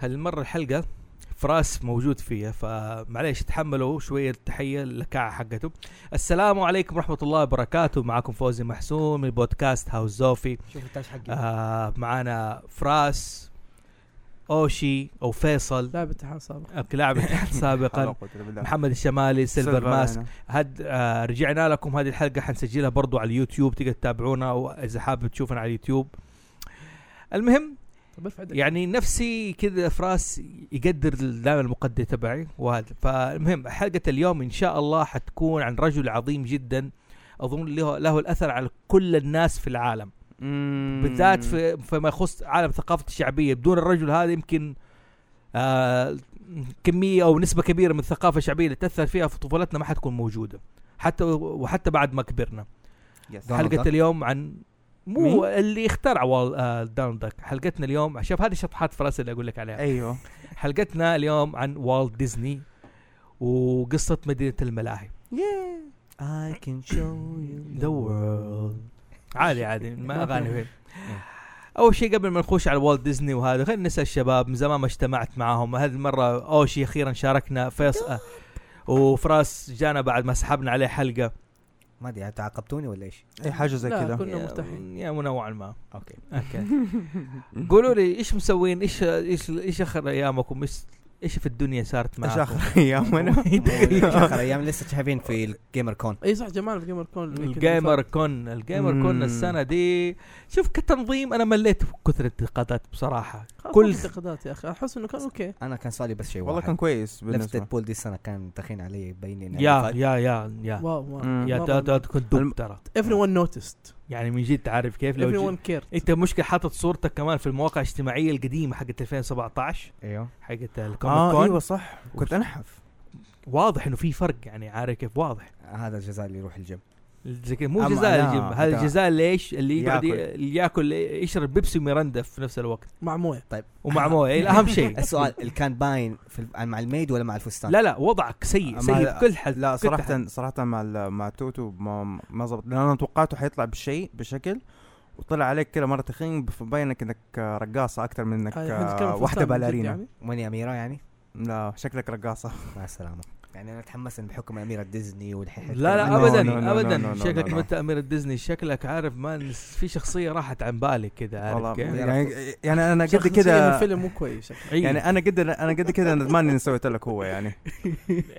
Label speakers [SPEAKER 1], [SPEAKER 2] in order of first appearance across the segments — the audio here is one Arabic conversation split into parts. [SPEAKER 1] هالمره الحلقه فراس موجود فيها فمعليش تحملوا شويه التحيه اللكاعه حقته السلام عليكم ورحمه الله وبركاته معكم فوزي محسون من بودكاست هاوس زوفي
[SPEAKER 2] شوف التاج حقي
[SPEAKER 1] آه معانا فراس اوشي او فيصل
[SPEAKER 3] لاعب اتحاد سابق
[SPEAKER 1] آه، لاعب اتحاد سابقا محمد الشمالي سيلفر ماسك هاد آه رجعنا لكم هذه الحلقه حنسجلها برضو على اليوتيوب تقدر تتابعونا واذا حابب تشوفنا على اليوتيوب المهم
[SPEAKER 3] طب ارفع يدك
[SPEAKER 1] يعني نفسي كذا فراس يقدر دائما المقدر تبعي وهذا فالمهم حلقه اليوم ان شاء الله حتكون عن رجل عظيم جدا اظن له, له الاثر على كل الناس في العالم بالذات في فيما يخص عالم ثقافه الشعبيه بدون الرجل هذا يمكن آه كميه او نسبه كبيره من الثقافه الشعبيه اللي تاثر فيها في طفولتنا ما حتكون موجوده حتى وحتى بعد ما كبرنا
[SPEAKER 4] دونالد
[SPEAKER 1] حلقه
[SPEAKER 4] داك.
[SPEAKER 1] اليوم عن مو اللي اخترع وال آه داون داك حلقتنا اليوم شوف هذه شطحات فراس اللي اقول لك عليها
[SPEAKER 4] ايوه
[SPEAKER 5] أيوه.
[SPEAKER 1] حلقتنا اليوم عن والت ديزني وقصه مدينه الملاهي
[SPEAKER 2] I can show you
[SPEAKER 1] ذا وورلد عادي عادي ما اغاني فيه
[SPEAKER 4] إيه.
[SPEAKER 1] اول شيء قبل ما نخش على والت ديزني وهذا خلينا نسال الشباب من زمان ما اجتمعت معاهم هذه المره اوشي اخيرا شاركنا فيصل آه، وفراس جانا بعد ما سحبنا عليه حلقه
[SPEAKER 4] ما ادري تعاقبتوني ولا ايش؟
[SPEAKER 3] اي حاجه زي
[SPEAKER 1] يا-
[SPEAKER 3] كذا كنا مرتاحين
[SPEAKER 1] يا نوعا ما
[SPEAKER 4] اوكي
[SPEAKER 1] اوكي قولوا لي ايش مسوين ايش ايش ايش اخر ايامكم ايش ايش في الدنيا صارت
[SPEAKER 4] ايش
[SPEAKER 1] معاكم
[SPEAKER 4] اخر ايام انا؟ اخر ايام لسه شايفين في الجيمر كون
[SPEAKER 3] اي صح جمال في جيمر كون اللي كنا
[SPEAKER 1] الجيمر
[SPEAKER 3] نفرق.
[SPEAKER 1] كون الجيمر كون
[SPEAKER 4] مم.
[SPEAKER 1] السنه دي شوف كتنظيم انا مليت من كثر الانتقادات بصراحه
[SPEAKER 3] خلاص،
[SPEAKER 1] كل-
[SPEAKER 3] ما في انتقادات يا اخي احس انه كان اوكي
[SPEAKER 4] انا كان سؤالي بس شيء
[SPEAKER 5] والله
[SPEAKER 4] واحد
[SPEAKER 5] كان كويس آه،
[SPEAKER 4] لفت
[SPEAKER 5] بالنسبه
[SPEAKER 4] بول دي السنه كان تخين علي باين انه
[SPEAKER 1] يا يا يا يا
[SPEAKER 3] واو واو
[SPEAKER 5] مم.
[SPEAKER 1] آه. يا تا- تا- كنت دوب
[SPEAKER 5] الم-
[SPEAKER 1] ترى
[SPEAKER 3] ايفري ون نوتست
[SPEAKER 1] يعني من جد تعرف كيف لو
[SPEAKER 3] ايفري
[SPEAKER 1] جي-
[SPEAKER 3] ون كير
[SPEAKER 1] انت مشكله حاطط صورتك كمان في المواقع الاجتماعيه القديمه حقت 2017
[SPEAKER 4] ايوه
[SPEAKER 1] حقت الكوميك
[SPEAKER 5] اه
[SPEAKER 1] كون
[SPEAKER 5] ايوه صح كنت انحف
[SPEAKER 1] واضح انه في فرق يعني عارف كيف واضح
[SPEAKER 4] هذا الجزاء اللي يروح الجيم
[SPEAKER 1] زي كده، مو
[SPEAKER 5] أما
[SPEAKER 1] جزاء
[SPEAKER 5] لا،
[SPEAKER 1] الجيم هذا
[SPEAKER 5] بتاع-
[SPEAKER 1] جزاء ليش اللي يقعد ي-
[SPEAKER 5] ياكل.
[SPEAKER 1] اللي ياكل يشرب بيبسي وميرندا في نفس الوقت
[SPEAKER 3] مع مويه
[SPEAKER 1] ومع مويه إيه، الاهم شيء
[SPEAKER 4] السؤال اللي كان باين في ال- مع الميد ولا مع الفستان؟
[SPEAKER 1] لا لا وضعك سيء
[SPEAKER 5] ما-
[SPEAKER 1] سيء بكل حد
[SPEAKER 5] لا
[SPEAKER 1] كل حد.
[SPEAKER 5] صراحه صراحه مع ال- مع توتو ما ما زبط لان انا توقعته حيطلع بشيء بشكل وطلع عليك كذا مره تخين فباين انك آه، رقاصه اكثر من انك
[SPEAKER 3] هاي-
[SPEAKER 5] آه،
[SPEAKER 3] إحنا نتكلم في
[SPEAKER 5] واحده
[SPEAKER 3] يعني فستان من جد
[SPEAKER 5] باليرينا
[SPEAKER 3] يعني.
[SPEAKER 4] ماني اميره يعني؟
[SPEAKER 5] لا شكلك رقاصه
[SPEAKER 4] مع السلامه يعني انا اتحمس إن بحكم اميره ديزني والحين
[SPEAKER 1] لا لا
[SPEAKER 5] No,
[SPEAKER 1] ابدا
[SPEAKER 5] no, no, no,
[SPEAKER 1] ابدا
[SPEAKER 5] no, no,
[SPEAKER 1] شكلك
[SPEAKER 5] no, no.
[SPEAKER 1] متى امير ديزني شكلك عارف ما نس- في شخصيه راحت عن بالك كذا
[SPEAKER 5] والله
[SPEAKER 1] عارف كيف
[SPEAKER 5] يعني يعني انا قد
[SPEAKER 3] شخصية من
[SPEAKER 5] كذا
[SPEAKER 3] الفيلم مو كويس شكله.
[SPEAKER 1] يعني
[SPEAKER 5] يعني انا قد انا قد كذا ندمان اني سويت لك هو يعني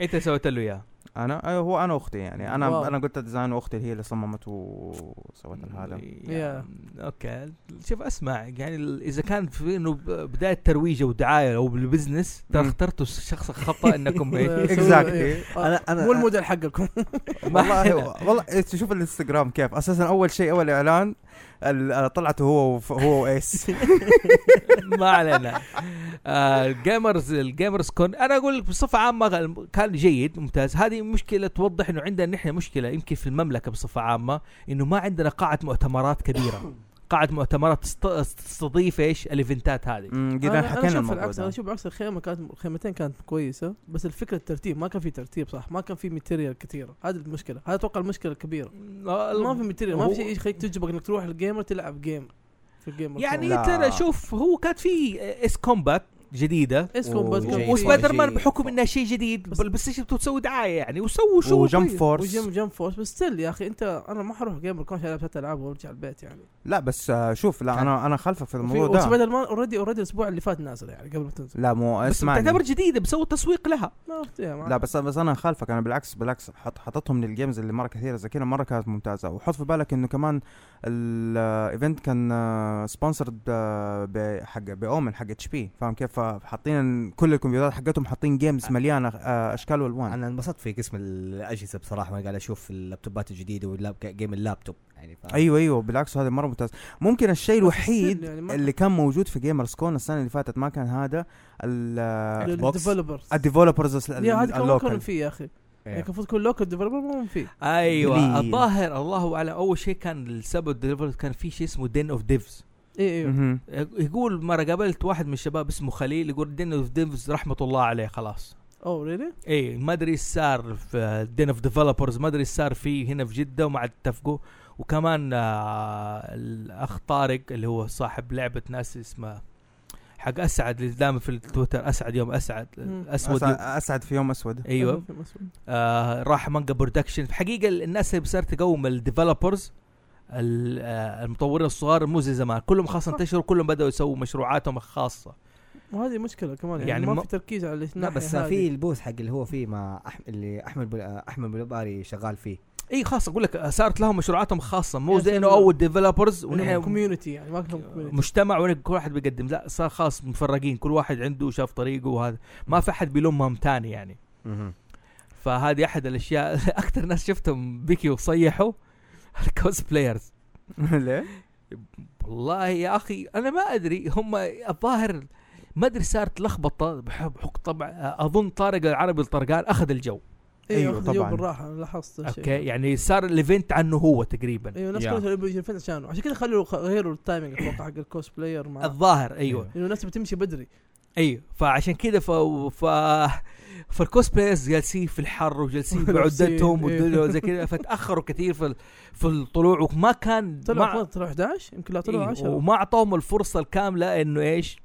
[SPEAKER 1] انت سويت له اياه
[SPEAKER 5] انا أيوه هو انا واختي يعني
[SPEAKER 3] واو.
[SPEAKER 5] انا انا قلت الديزاين واختي هي اللي صممت وسوت هذا
[SPEAKER 1] إيه. يا- اوكي شوف اسمع يعني ال- اذا كان في انه ب- بدايه ترويج او دعايه او بالبزنس ترى
[SPEAKER 5] مم.
[SPEAKER 1] اخترتوا الشخص الخطا انكم إيه،
[SPEAKER 3] سوي-
[SPEAKER 5] Exactly.
[SPEAKER 3] إيه. آه،
[SPEAKER 5] أنا- أنا-
[SPEAKER 3] مو الموديل حقكم
[SPEAKER 5] والله والله تشوف الانستغرام كيف اساسا اول شيء اول اعلان ال- طلعته هو وف- هو وايس
[SPEAKER 1] ما علينا آه، الجيمرز الجيمرز كون انا اقول لك بصفه عامه غ- كان جيد ممتاز هذه مشكله توضح انه عندنا نحن مشكله يمكن في المملكه بصفه عامه انه ما عندنا قاعه مؤتمرات كبيره قاعه مؤتمرات تست- تستضيف ايش الايفنتات هذه
[SPEAKER 5] أمم،
[SPEAKER 3] أنا-
[SPEAKER 5] قد
[SPEAKER 3] أنا
[SPEAKER 5] حكينا
[SPEAKER 3] أشوف
[SPEAKER 5] الموضوع
[SPEAKER 3] العكس انا
[SPEAKER 5] ده
[SPEAKER 3] اشوف بالعكس الخيمه كانت الخيمتين كانت كويسه بس الفكره الترتيب ما كان في ترتيب صح ما كان في ماتيريال كثيره هذه المشكله هذا اتوقع المشكله الكبيره ما في ماتيريال ما في شيء يخليك تجبرك انك تروح الجيمر تلعب جيم في الجيمر
[SPEAKER 1] يعني
[SPEAKER 5] لا.
[SPEAKER 1] ترى شوف هو كانت في اس كومبات جديده
[SPEAKER 3] اسكم
[SPEAKER 4] و- جاي-
[SPEAKER 3] بس
[SPEAKER 1] وسبايدر مان
[SPEAKER 4] جاي-
[SPEAKER 1] بحكم انها شيء جديد بس بس ايش بتسوي دعايه يعني وسووا شو
[SPEAKER 5] وجمب فورس
[SPEAKER 3] وجيم جيم فورس بس still يا اخي انت انا ما حروح جيمر كون عشان العب ثلاث العاب وارجع البيت يعني
[SPEAKER 5] لا بس آه، شوف لا انا انا خلفك في
[SPEAKER 3] وفي-
[SPEAKER 5] الموضوع ده
[SPEAKER 3] وسبايدر مان اوريدي اوريدي الاسبوع اللي فات نازل يعني قبل ما تنزل
[SPEAKER 5] لا مو
[SPEAKER 1] بس
[SPEAKER 5] اسمع
[SPEAKER 1] تعتبر جديده بسووا تسويق لها
[SPEAKER 3] ما عرفت يا
[SPEAKER 5] لا
[SPEAKER 3] معلم.
[SPEAKER 5] بس بس انا خالفك انا بالعكس بالعكس حط حطتهم للجيمز اللي مره كثيره زي كذا مره كانت ممتازه وحط في بالك انه كمان الايفنت كان آه، سبونسرد حق باومن حق اتش بي فاهم كيف حاطين كل الكمبيوترات حقتهم حاطين جيمز مليانه آه، اشكال والوان
[SPEAKER 4] انا انبسطت في قسم الاجهزه بصراحه وانا قاعد اشوف اللابتوبات الجديده واللاب جيم اللابتوب يعني فاهم؟
[SPEAKER 5] ايوه ايوه بالعكس هذا مره ممتاز ممكن الشيء
[SPEAKER 3] بس
[SPEAKER 5] الوحيد
[SPEAKER 3] still يعني ما-
[SPEAKER 5] اللي كان موجود في جيمرز كون السنه اللي فاتت ما كان هذا ال-
[SPEAKER 4] Xbox.
[SPEAKER 3] الديفلوبرز
[SPEAKER 5] الديفلوبرز
[SPEAKER 3] يا هذا كان ما كانوا
[SPEAKER 5] اللوكال
[SPEAKER 3] فيه يا اخي يعني
[SPEAKER 4] إيه.
[SPEAKER 3] كان المفروض يكون لوكال ديفلوبر ما هم فيه
[SPEAKER 1] ايوه
[SPEAKER 5] قليل.
[SPEAKER 1] الظاهر الله اعلم اول شيء كان السبب ديليفرد كان في شيء اسمه دين اوف ديفز
[SPEAKER 3] اي ايوه
[SPEAKER 5] مهم.
[SPEAKER 1] يقول مره قابلت واحد من الشباب اسمه خليل يقول دين اوف ديفز رحمه الله عليه خلاص
[SPEAKER 3] اوه ريلي
[SPEAKER 1] اي ما ادري ايش صار في دين اوف ديفلوبرز ما ادري ايش صار فيه هنا في جده وما عاد اتفقوا وكمان آه الاخ طارق اللي هو صاحب لعبه ناس اسمها حق اسعد اللي دائما في التويتر اسعد يوم اسعد
[SPEAKER 3] مم.
[SPEAKER 1] اسود
[SPEAKER 5] أسع-
[SPEAKER 1] يوم
[SPEAKER 5] اسعد في يوم اسود
[SPEAKER 1] ايوه
[SPEAKER 3] في مسؤول.
[SPEAKER 1] آه راح مانجا برودكشن حقيقه الناس اللي صارت تقوم الديفلوبرز آه، المطورين الصغار مو زي زمان كلهم خاصة انتشروا كلهم بدأوا يسووا مشروعاتهم الخاصة
[SPEAKER 3] وهذه مشكله كمان يعني,
[SPEAKER 1] يعني
[SPEAKER 3] ما
[SPEAKER 1] ما-
[SPEAKER 3] في تركيز على
[SPEAKER 4] لا
[SPEAKER 3] الناحيه
[SPEAKER 4] بس
[SPEAKER 3] هذه.
[SPEAKER 4] في البوث حق اللي هو فيه مع أح... اللي احمد بل... احمد بلباري شغال فيه
[SPEAKER 1] اي خاصة اقول لك آه، صارت لهم مشروعاتهم الخاصة مو
[SPEAKER 3] يا
[SPEAKER 1] زي انه
[SPEAKER 3] سلام.
[SPEAKER 1] اول ديفلوبرز ونحن
[SPEAKER 3] كوميونتي يعني ما كان كوميونتي
[SPEAKER 1] مجتمع ونحن كل واحد بيقدم لا صار خاص مفرقين كل واحد عنده شاف طريقه وهذا ما في احد بيلومهم تاني يعني فهذه احد الاشياء اكثر ناس شفتهم بكي وصيحوا الكوسبلايرز
[SPEAKER 5] ليه؟
[SPEAKER 1] والله يا اخي انا ما ادري هم الظاهر ما ادري صارت لخبطه بح- بحق طبعا اظن طارق العربي الطرقان اخذ الجو
[SPEAKER 5] أيوة
[SPEAKER 3] ايوه طبعا
[SPEAKER 5] طبعاً.
[SPEAKER 3] بالراحه انا لاحظت الشيء
[SPEAKER 1] اوكي يعني صار الايفنت عنه هو تقريبا
[SPEAKER 3] ايوه الناس
[SPEAKER 4] يا.
[SPEAKER 3] كلها تبي فين عشانه عشان كذا خلوا غيروا التايمنج اتوقع حق الكوست بلاير مع
[SPEAKER 1] الظاهر ايوه
[SPEAKER 4] أيوة.
[SPEAKER 3] لانه الناس بتمشي بدري
[SPEAKER 1] ايوه فعشان كذا ف ف فالكوسبلايرز جالسين في الحر وجالسين بعدتهم
[SPEAKER 3] إيه.
[SPEAKER 1] والدنيا وزي كذا فتاخروا كثير في ال- في الطلوع وما كان
[SPEAKER 3] طلعوا
[SPEAKER 1] ما-
[SPEAKER 3] كمان- طلعوا 11 يمكن لا طلعوا
[SPEAKER 1] إيه،
[SPEAKER 3] 10
[SPEAKER 1] وما اعطاهم الفرصه الكامله انه ايش؟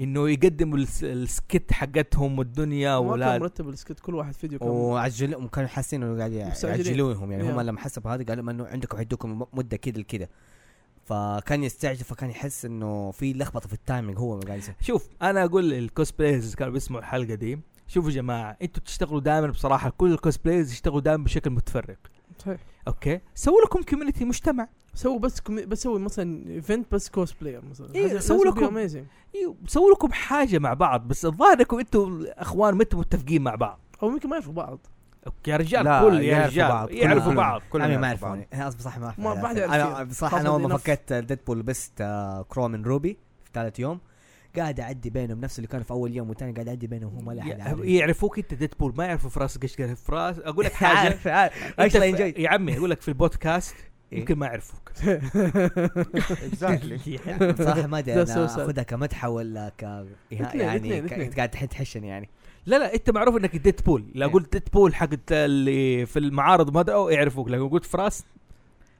[SPEAKER 1] انه يقدموا الس- السكت حقتهم والدنيا
[SPEAKER 3] ما كان
[SPEAKER 1] ولا
[SPEAKER 3] مرتب السكت كل واحد فيديو كان
[SPEAKER 4] وعجلهم كانوا حاسين انه قاعد
[SPEAKER 3] مستعجلين.
[SPEAKER 4] يعجلوهم يعني هم
[SPEAKER 3] يا.
[SPEAKER 4] لما حسبوا هذا قالوا انه عندكم حيدوكم م- مده كذا لكذا فكان يستعجل فكان يحس انه في لخبطه في التايمنج هو قاعد يسوي
[SPEAKER 1] شوف انا اقول للكوسبلايرز اللي كانوا بيسمعوا الحلقه دي شوفوا يا جماعه انتوا بتشتغلوا دائما بصراحه كل الكوسبلايرز يشتغلوا دائما بشكل متفرق
[SPEAKER 3] صحيح
[SPEAKER 1] اوكي سووا لكم كوميونتي مجتمع
[SPEAKER 3] سووا بس كومي... بس سووا مثلا ايفنت بس كوست بلاير مثلا
[SPEAKER 1] إيه، سووا لكم-
[SPEAKER 3] اميزنج
[SPEAKER 1] إيوه، سووا لكم حاجه مع بعض بس الظاهر انكم انتم اخوان ما انتم متفقين مع بعض
[SPEAKER 3] او يمكن ما يعرفوا بعض
[SPEAKER 1] اوكي يا رجال
[SPEAKER 5] لا،
[SPEAKER 1] كل يا
[SPEAKER 4] يعرفوا
[SPEAKER 1] رجال
[SPEAKER 4] بعض، كلهم-
[SPEAKER 1] يعرفوا
[SPEAKER 4] كلهم.
[SPEAKER 1] بعض
[SPEAKER 5] كلهم
[SPEAKER 4] انا ما
[SPEAKER 5] يعرفوا بعض.
[SPEAKER 4] يعرفوني انا اصلا صح ما اعرف
[SPEAKER 3] ما- ما حد
[SPEAKER 4] أعرف.
[SPEAKER 3] يعرف
[SPEAKER 4] انا بصراحه
[SPEAKER 3] خاصة
[SPEAKER 4] انا اول ما
[SPEAKER 3] نفس-
[SPEAKER 4] فكيت ديدبول لبست آه، كرو من روبي في ثالث يوم قاعد اعدي بينهم نفس اللي كان في اول يوم والثاني قاعد اعدي بينهم هم ولا احد
[SPEAKER 1] يع-
[SPEAKER 4] عارف.
[SPEAKER 1] يعرفوك انت ديدبول ما يعرفوا فراس قش فراس اقول لك حاجه
[SPEAKER 4] عارف عارف
[SPEAKER 1] انت
[SPEAKER 4] اكشلي
[SPEAKER 1] في-
[SPEAKER 4] انجوي
[SPEAKER 1] يا عمي اقول لك في البودكاست
[SPEAKER 4] إيه.
[SPEAKER 1] يمكن ما يعرفوك
[SPEAKER 5] اكزاكتلي
[SPEAKER 4] بصراحه ما ادري
[SPEAKER 3] ده
[SPEAKER 4] انا
[SPEAKER 3] suicide.
[SPEAKER 4] اخذها كمدحه ولا ك
[SPEAKER 3] اثنين،
[SPEAKER 4] يعني
[SPEAKER 3] اثنين،
[SPEAKER 4] ك-
[SPEAKER 3] اثنين.
[SPEAKER 4] قاعد تحشن يعني
[SPEAKER 1] لا لا انت معروف انك ديدبول لا
[SPEAKER 4] إيه.
[SPEAKER 1] قلت ديدبول حق اللي في المعارض ما دقوا يعرفوك لو قلت فراس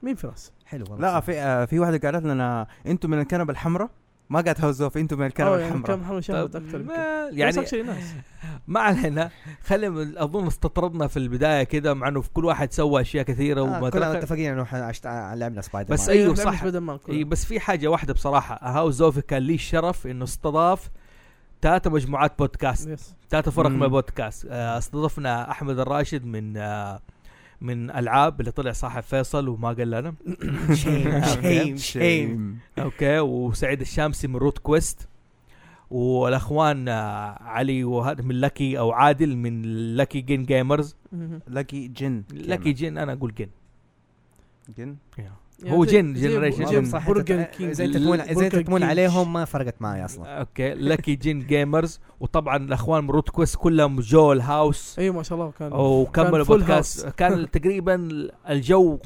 [SPEAKER 3] مين فراس؟
[SPEAKER 4] حلو والله
[SPEAKER 5] لا في آه، في واحده قالت لنا انتم من الكنبه الحمراء ما قاعد تهزوا في انتم من الكنبه
[SPEAKER 3] أو يعني كان
[SPEAKER 5] الحمراء
[SPEAKER 3] محمد شهوت اكثر يمكن.
[SPEAKER 1] ما-
[SPEAKER 3] بس
[SPEAKER 1] يعني
[SPEAKER 3] actually ناس
[SPEAKER 1] ما علينا خلينا اظن استطردنا في البدايه كده مع انه في كل واحد سوى اشياء كثيره
[SPEAKER 4] آه
[SPEAKER 1] وما
[SPEAKER 4] كلنا
[SPEAKER 1] ترك
[SPEAKER 4] متفقين انه إحنا عشت- آه، لعبنا سبايدر
[SPEAKER 1] بس
[SPEAKER 4] مان.
[SPEAKER 1] أيوه
[SPEAKER 3] أيوة، لعبة
[SPEAKER 1] صح.
[SPEAKER 3] بدل ما
[SPEAKER 1] إيه
[SPEAKER 3] كلها.
[SPEAKER 1] بس في حاجه واحده بصراحه هاو زوفي كان لي الشرف انه استضاف ثلاثة مجموعات بودكاست
[SPEAKER 3] يس
[SPEAKER 1] ثلاثة فرق من
[SPEAKER 5] مم.
[SPEAKER 1] البودكاست آه، استضفنا احمد الراشد من آه، من العاب اللي طلع صاحب فيصل وما قال لنا
[SPEAKER 4] شيم شيم شيم
[SPEAKER 5] نعم، شيم
[SPEAKER 1] اوكي وسعيد الشامسي من روت كويست والاخوان آه، علي وهذا من لكي او عادل من لكي جين جيمرز
[SPEAKER 3] مهم.
[SPEAKER 5] لكي جن
[SPEAKER 1] لكي جين انا اقول جين
[SPEAKER 5] جن
[SPEAKER 1] هو
[SPEAKER 3] يعني
[SPEAKER 1] جن-
[SPEAKER 3] زي- زي
[SPEAKER 1] generation.
[SPEAKER 3] بو-
[SPEAKER 1] جن
[SPEAKER 4] والله صح
[SPEAKER 3] برجر
[SPEAKER 4] تت-
[SPEAKER 3] كينج.
[SPEAKER 4] زي تتمون زي
[SPEAKER 3] برجر
[SPEAKER 4] تتمون
[SPEAKER 3] كينج.
[SPEAKER 4] عليهم ما فرقت معي اصلا
[SPEAKER 1] اوكي لكي جين جيمرز وطبعا الاخوان من روت كويست كلهم جول هاوس
[SPEAKER 3] ايوه ما شاء الله كان
[SPEAKER 1] وكملوا
[SPEAKER 3] full
[SPEAKER 1] بودكاست
[SPEAKER 3] house.
[SPEAKER 1] كان تقريبا الجو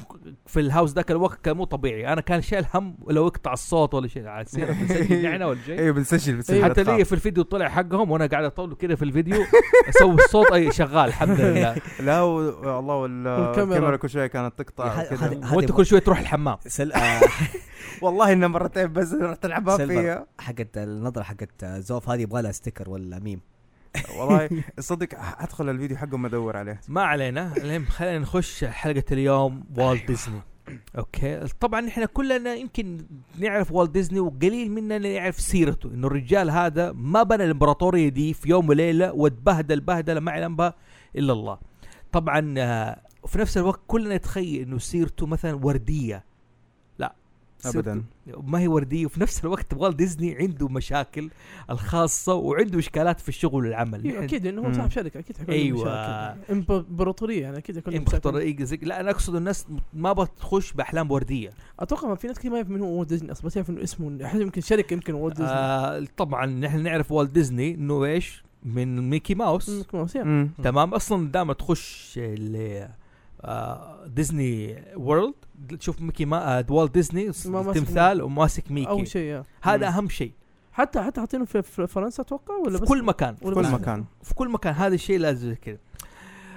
[SPEAKER 1] في الهاوس ذاك الوقت كان مو طبيعي انا كان شايل هم لو يقطع الصوت ولا شيء على السيره بنسجل نعنى ولا
[SPEAKER 4] إيه.
[SPEAKER 1] شيء
[SPEAKER 5] ايوه بنسجل بنسجل
[SPEAKER 3] أيوة.
[SPEAKER 1] حتى
[SPEAKER 5] أطفال.
[SPEAKER 4] طيب.
[SPEAKER 1] لي في الفيديو طلع حقهم وانا قاعد اطول كذا في الفيديو اسوي الصوت اي شغال الحمد لله
[SPEAKER 5] لا و- والله وال-
[SPEAKER 3] والكاميرا.
[SPEAKER 5] الكاميرا كل شويه كانت
[SPEAKER 3] طيب،
[SPEAKER 5] تقطع
[SPEAKER 4] هذا-
[SPEAKER 5] كذا
[SPEAKER 4] هذا- هذه
[SPEAKER 1] وانت
[SPEAKER 4] مو-
[SPEAKER 1] كل شوي تروح الحمام
[SPEAKER 4] سل... آه،
[SPEAKER 5] والله انه مرتين بس رحت العبها
[SPEAKER 4] سيلفر.
[SPEAKER 5] فيها
[SPEAKER 4] حقت النظره حقت زوف هذه يبغى لها ستيكر ولا ميم
[SPEAKER 5] والله صدق ادخل الفيديو حقهم ادور عليه
[SPEAKER 1] ما علينا المهم خلينا نخش حلقه اليوم والت ديزني اوكي طبعا احنا كلنا يمكن نعرف والت ديزني وقليل مننا اللي يعرف سيرته انه الرجال هذا ما بنى الامبراطوريه دي في يوم وليله واتبهدل بهدله ما يعلم بها الا الله طبعا آه، في نفس الوقت كلنا نتخيل انه سيرته مثلا ورديه لا سيرته
[SPEAKER 5] أبداً.
[SPEAKER 1] ما هي ورديه وفي نفس الوقت والت ديزني عنده مشاكل الخاصه وعنده اشكالات في الشغل والعمل
[SPEAKER 3] إيه، اكيد انه هو
[SPEAKER 5] مم.
[SPEAKER 3] صاحب شركه اكيد حيكون
[SPEAKER 1] أيوة.
[SPEAKER 3] امبراطوريه يعني اكيد حيكون له مشاكل.
[SPEAKER 1] امبراطوريه إيه، زي- لا انا اقصد الناس ما بتخش باحلام ورديه
[SPEAKER 3] اتوقع ما في ناس كثير ما يعرف من هو والت ديزني اصلا بس يعرف انه اسمه احس يمكن شركه يمكن والت ديزني
[SPEAKER 1] آه طبعا نحن نعرف والت ديزني انه ايش من ميكي ماوس
[SPEAKER 3] يمكن وصية.
[SPEAKER 5] مم.
[SPEAKER 1] تمام اصلا دائما تخش ال- آه ديزني وورلد تشوف ميكي ما آه والت ديزني
[SPEAKER 3] ماسك
[SPEAKER 1] تمثال وماسك
[SPEAKER 3] او
[SPEAKER 1] ميكي
[SPEAKER 3] شيء يا.
[SPEAKER 1] هذا
[SPEAKER 5] مم.
[SPEAKER 1] اهم شيء
[SPEAKER 3] حتى حتى حاطينه في في فرنسا اتوقع ولا
[SPEAKER 1] في
[SPEAKER 3] بس
[SPEAKER 1] كل مكان
[SPEAKER 3] ولا
[SPEAKER 5] كل
[SPEAKER 3] بس-
[SPEAKER 5] مكان.
[SPEAKER 1] في كل مكان هذا الشيء لازم كذا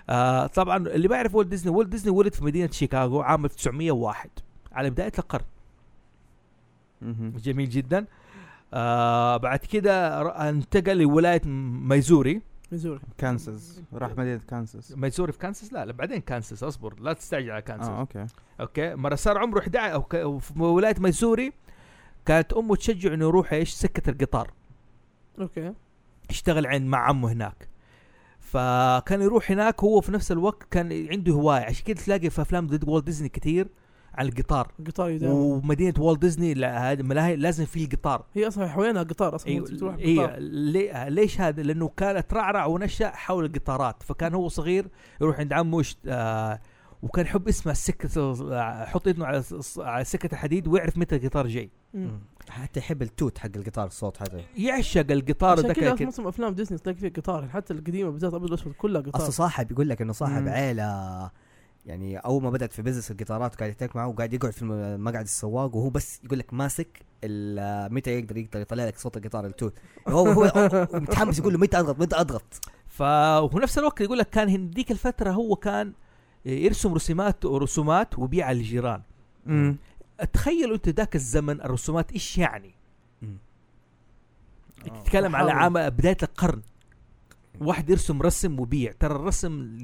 [SPEAKER 1] آه طبعا اللي ما يعرف والت ديزني والت ديزني ولد في مدينه شيكاغو عام 1901 على بدايه القرن
[SPEAKER 5] مهم.
[SPEAKER 1] جميل جدا آه بعد كده ر- انتقل لولايه م- ميزوري
[SPEAKER 3] ميزوري
[SPEAKER 5] كانساس راح مدينه كانساس
[SPEAKER 1] ميزوري في كانساس لا لا بعدين كانساس اصبر لا تستعجل على كانساس
[SPEAKER 5] اه اوكي
[SPEAKER 1] اوكي مره صار عمره 11 او ك- أو في ولايه ميسوري كانت امه تشجع انه يروح ايش سكه القطار
[SPEAKER 3] اوكي
[SPEAKER 1] اشتغل عند مع عمه هناك فكان يروح هناك هو في نفس الوقت كان عنده هوايه عشان كده تلاقي في افلام ضد والت ديزني كثير عن القطار
[SPEAKER 3] القطار يداوم
[SPEAKER 1] ومدينه والت ديزني لا هذه ملاهي لازم في القطار
[SPEAKER 3] هي اصلا حوالينها قطار اصلا
[SPEAKER 1] ايوه
[SPEAKER 3] أيوه. تروح
[SPEAKER 1] إيه
[SPEAKER 3] قطار
[SPEAKER 1] ليه ليش هذا لانه كان اترعرع ونشا حول القطارات فكان هو صغير يروح عند عمه يشت... آه وكان يحب يسمع السكه آه، حط اذنه على الس- على سكه الحديد ويعرف متى القطار جاي
[SPEAKER 3] مم.
[SPEAKER 4] حتى يحب التوت حق القطار الصوت هذا
[SPEAKER 1] يعشق القطار
[SPEAKER 3] عشان
[SPEAKER 1] ده
[SPEAKER 3] كذا
[SPEAKER 1] كده
[SPEAKER 3] أصلاً معظم افلام ديزني تلاقي فيها قطار حتى القديمه بالذات ابيض واسود كلها قطار
[SPEAKER 4] اصلا صاحب يقول لك انه صاحب
[SPEAKER 5] مم.
[SPEAKER 4] عيله يعني اول ما بدات في بزنس القطارات وقاعد يتك معه وقاعد يقعد في الم- مقعد السواق وهو بس يقول لك ماسك ال- آه، متى يقدر يقدر يطلع لك صوت القطار التوت هو هو متحمس يقول له متى اضغط متى اضغط
[SPEAKER 1] ف وفي نفس الوقت يقول لك كان هن- ديك الفتره هو كان يرسم رسومات رسومات وبيع على الجيران
[SPEAKER 5] امم
[SPEAKER 1] تخيلوا انت ذاك الزمن الرسومات ايش يعني آه،
[SPEAKER 4] مم.
[SPEAKER 1] تتكلم على
[SPEAKER 3] حاول.
[SPEAKER 1] عام بدايه القرن واحد يرسم رسم وبيع ترى الرسم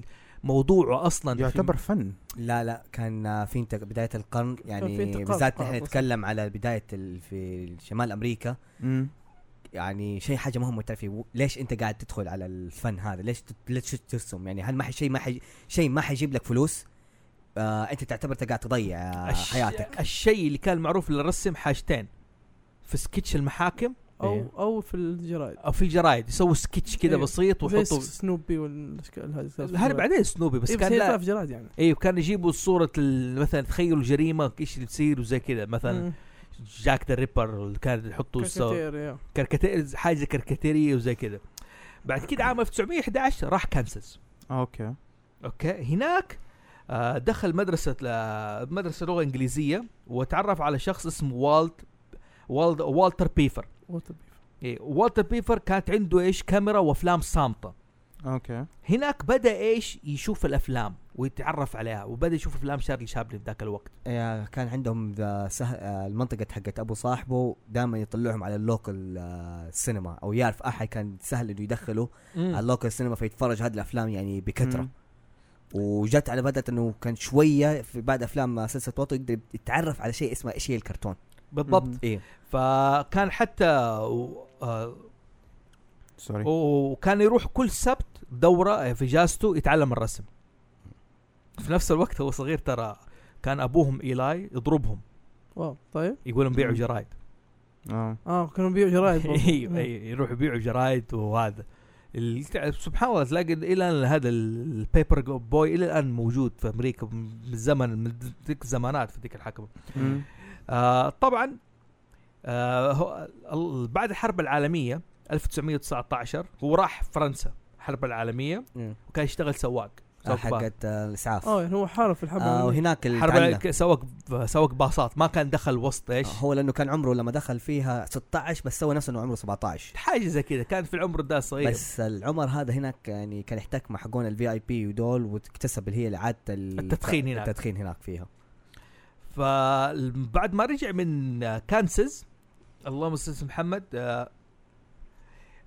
[SPEAKER 1] موضوعه اصلا في-
[SPEAKER 5] يعتبر فن
[SPEAKER 4] لا لا كان في انت بدايه القرن
[SPEAKER 3] في
[SPEAKER 4] يعني
[SPEAKER 3] انتقال
[SPEAKER 4] بالذات
[SPEAKER 3] قطار
[SPEAKER 4] نحن
[SPEAKER 3] أصلاً.
[SPEAKER 4] نتكلم على بدايه ال- في شمال امريكا
[SPEAKER 5] امم
[SPEAKER 4] يعني شيء حاجه مهمه تعرفي و- ليش انت قاعد تدخل على الفن هذا ليش تت- ليش ترسم يعني هل ما حي شيء ما حي شيء ما حيجيب لك فلوس آه انت تعتبر انت قاعد تضيع آه
[SPEAKER 1] الش-
[SPEAKER 4] حياتك
[SPEAKER 1] الشيء اللي كان معروف للرسم حاجتين في سكتش المحاكم
[SPEAKER 3] او
[SPEAKER 4] إيه.
[SPEAKER 3] او في الجرايد
[SPEAKER 1] او في الجرايد يسووا سكتش كذا
[SPEAKER 3] أيوه.
[SPEAKER 1] بسيط
[SPEAKER 3] زي
[SPEAKER 1] ويحطوا
[SPEAKER 3] سنوبي والاشكال هذه إيه،
[SPEAKER 1] هذا بعدين سنوبي إيه، بس كان لا
[SPEAKER 3] في جرايد يعني
[SPEAKER 1] ايوه كان يجيبوا صورة ال- مثلا تخيلوا الجريمة ايش اللي بتصير وزي كذا مثلا
[SPEAKER 3] مم.
[SPEAKER 1] جاك ذا ريبر كان يحطوا سو-
[SPEAKER 3] كاريكاتير، إيه.
[SPEAKER 1] كاركاتير حاجة كاركاتيرية وزي كذا بعد كده عام 1911 راح كانساس
[SPEAKER 5] اوكي
[SPEAKER 1] اوكي هناك آه، دخل مدرسة ل- مدرسة لغة انجليزية وتعرف على شخص اسمه والت والد والتر بيفر
[SPEAKER 3] وات بيف.
[SPEAKER 1] إيه، والتر بيفر كانت عنده ايش كاميرا وافلام صامتة
[SPEAKER 5] اوكي
[SPEAKER 1] هناك بدا ايش يشوف الافلام ويتعرف عليها وبدا يشوف افلام شارلي شابلن في ذاك الوقت
[SPEAKER 4] آه كان عندهم ذا سه... آه المنطقه حقت ابو صاحبه دائما يطلعهم على اللوكل آه سينما او يعرف احد كان سهل انه يدخله على اللوكل سينما فيتفرج هذه الافلام يعني بكثره
[SPEAKER 5] مم.
[SPEAKER 4] وجت على بدات انه كان شويه في بعد افلام سلسله واتو يقدر يتعرف على شيء اسمه ايش هي الكرتون
[SPEAKER 1] بالضبط
[SPEAKER 5] مم.
[SPEAKER 4] ايه
[SPEAKER 1] فكان حتى آه،
[SPEAKER 5] سوري
[SPEAKER 1] وكان يروح كل سبت دوره في جازته يتعلم الرسم في نفس الوقت هو صغير ترى كان ابوهم ايلاي يضربهم
[SPEAKER 3] واو طيب
[SPEAKER 1] يقول لهم بيعوا
[SPEAKER 5] مم.
[SPEAKER 1] جرايد
[SPEAKER 5] اه
[SPEAKER 3] اه كانوا بيبيعوا جرايد برضو.
[SPEAKER 1] ايوه
[SPEAKER 3] مم.
[SPEAKER 1] ايوه يروحوا يبيعوا جرايد وهذا ال- تع- سبحان الله تلاقي الى الان هذا ال- البيبر جو- بوي الى الان موجود في امريكا من زمن من ذيك الزمانات في ذيك الحقبه
[SPEAKER 5] مم.
[SPEAKER 1] آه طبعا آه هو ال- بعد الحرب العالميه 1919 هو راح فرنسا الحرب العالميه وكان يشتغل سواق
[SPEAKER 4] آه،
[SPEAKER 1] سواق باص.
[SPEAKER 4] حقت آه الاسعاف
[SPEAKER 3] اه يعني هو حارب في الحرب
[SPEAKER 4] آه
[SPEAKER 3] العالمية.
[SPEAKER 4] وهناك
[SPEAKER 1] حرب
[SPEAKER 4] الحرب
[SPEAKER 1] الع- سواق سواق باصات ما كان دخل وسط ايش
[SPEAKER 4] آه، هو لانه كان عمره لما دخل فيها 16 بس سوى نفسه انه عمره 17
[SPEAKER 1] حاجه زي كذا كان في العمر ده صغير
[SPEAKER 4] بس العمر هذا هناك يعني كان يحتك مع حقون الفي اي بي ودول واكتسب اللي هي عاده
[SPEAKER 1] التدخين هناك.
[SPEAKER 4] التدخين هناك فيها
[SPEAKER 1] فبعد ما رجع من آه، كانساس اللهم صل على محمد آه،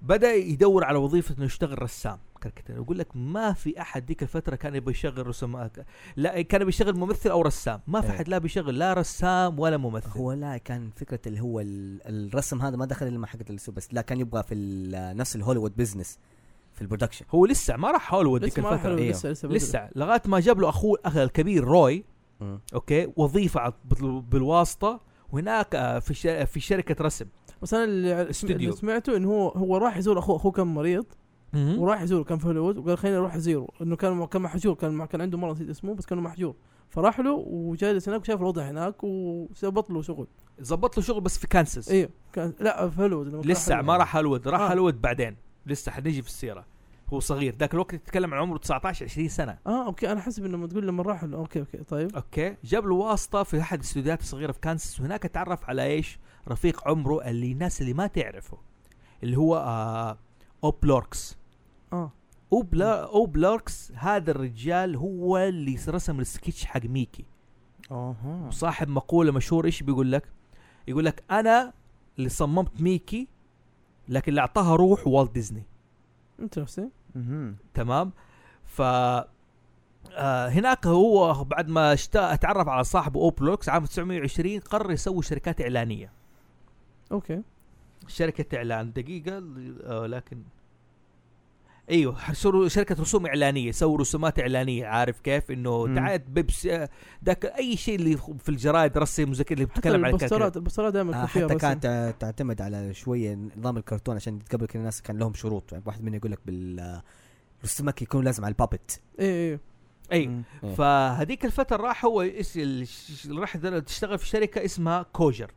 [SPEAKER 1] بدا يدور على وظيفه انه يشتغل رسام كاركاتير يقول لك ما في احد ديك الفتره كان يبغى يشتغل رسام آه، لا كان بيشتغل ممثل او رسام ما في
[SPEAKER 4] إيه.
[SPEAKER 1] احد لا بيشتغل لا رسام ولا ممثل
[SPEAKER 4] هو لا كان فكره اللي هو ال- الرسم هذا ما دخل الا مع حقت السوبر بس لا كان يبغى في ال- نفس الهوليوود بزنس في البرودكشن
[SPEAKER 1] هو لسه ما راح هوليوود ديك
[SPEAKER 3] لسه ما حلو
[SPEAKER 1] الفتره
[SPEAKER 4] إيه.
[SPEAKER 3] لسه لسه بدري.
[SPEAKER 1] طيب، لسه لغايه ما جاب له اخوه اخه الكبير روي
[SPEAKER 4] مم.
[SPEAKER 1] اوكي وظيفه على- بال- بالواسطه وهناك آه، في ش- في شركه رسم
[SPEAKER 3] بس انا اللي, اللي
[SPEAKER 1] استوديو.
[SPEAKER 3] سمعته انه هو هو راح يزور اخوه اخوه كان مريض وراح يزوره كان في هوليوود وقال خليني اروح ازيره انه كان كان محجور كان مع- كان عنده مره نسيت اسمه بس كان محجور فراح له وجالس هناك وشاف الوضع هناك وظبط له شغل
[SPEAKER 1] ظبط له شغل بس في كانساس
[SPEAKER 3] ايوه كان لا في هوليوود لما كان
[SPEAKER 1] لسه
[SPEAKER 3] حلو.
[SPEAKER 1] ما راح هالود راح
[SPEAKER 3] آه.
[SPEAKER 1] هالود بعدين لسه حنيجي في السيره هو صغير ذاك الوقت تتكلم عن عمره 19 20 سنه
[SPEAKER 3] اه اوكي انا حسب انه لما تقول لما راح له اوكي اوكي طيب
[SPEAKER 1] اوكي جاب له واسطه في احد الاستوديوهات الصغيره في كانساس وهناك تعرف على ايش رفيق عمره اللي الناس اللي ما تعرفه اللي هو آه اوب لوركس
[SPEAKER 3] اه
[SPEAKER 1] أوبلا- اوب لوركس هذا الرجال هو اللي رسم السكتش حق ميكي
[SPEAKER 5] اها
[SPEAKER 1] وصاحب مقوله مشهور ايش بيقول لك يقول لك انا اللي صممت ميكي لكن اللي اعطاها روح والت ديزني
[SPEAKER 3] انترستنج
[SPEAKER 5] مهم.
[SPEAKER 1] تمام ف آه هناك هو بعد ما اشتا اتعرف على صاحبه اوبلوكس عام 1920 قرر يسوي شركات اعلانيه
[SPEAKER 3] اوكي
[SPEAKER 1] شركة إعلان دقيقة آه لكن ايوه حيصيروا شركة رسوم إعلانية يسووا رسومات إعلانية عارف كيف انه
[SPEAKER 5] مم.
[SPEAKER 1] دعاية بيبسي آه، ذاك اي شيء اللي في الجرايد رسم زي كذا اللي
[SPEAKER 3] حتى
[SPEAKER 1] بتتكلم عن
[SPEAKER 3] البوسترات
[SPEAKER 1] الكاركتر.
[SPEAKER 3] البوسترات دائما
[SPEAKER 4] آه
[SPEAKER 3] يكون فيها
[SPEAKER 4] حتى
[SPEAKER 3] رسم.
[SPEAKER 4] كانت آه، تعتمد على شويه نظام الكرتون عشان قبل كان الناس كان لهم شروط يعني واحد منهم يقول لك بال آه، السمك يكون لازم على البابت
[SPEAKER 3] اي اي
[SPEAKER 1] اي
[SPEAKER 5] مم.
[SPEAKER 4] إيه.
[SPEAKER 1] فهذيك الفترة راح هو يس- ال- ش- راح در- تشتغل في شركة اسمها كوجر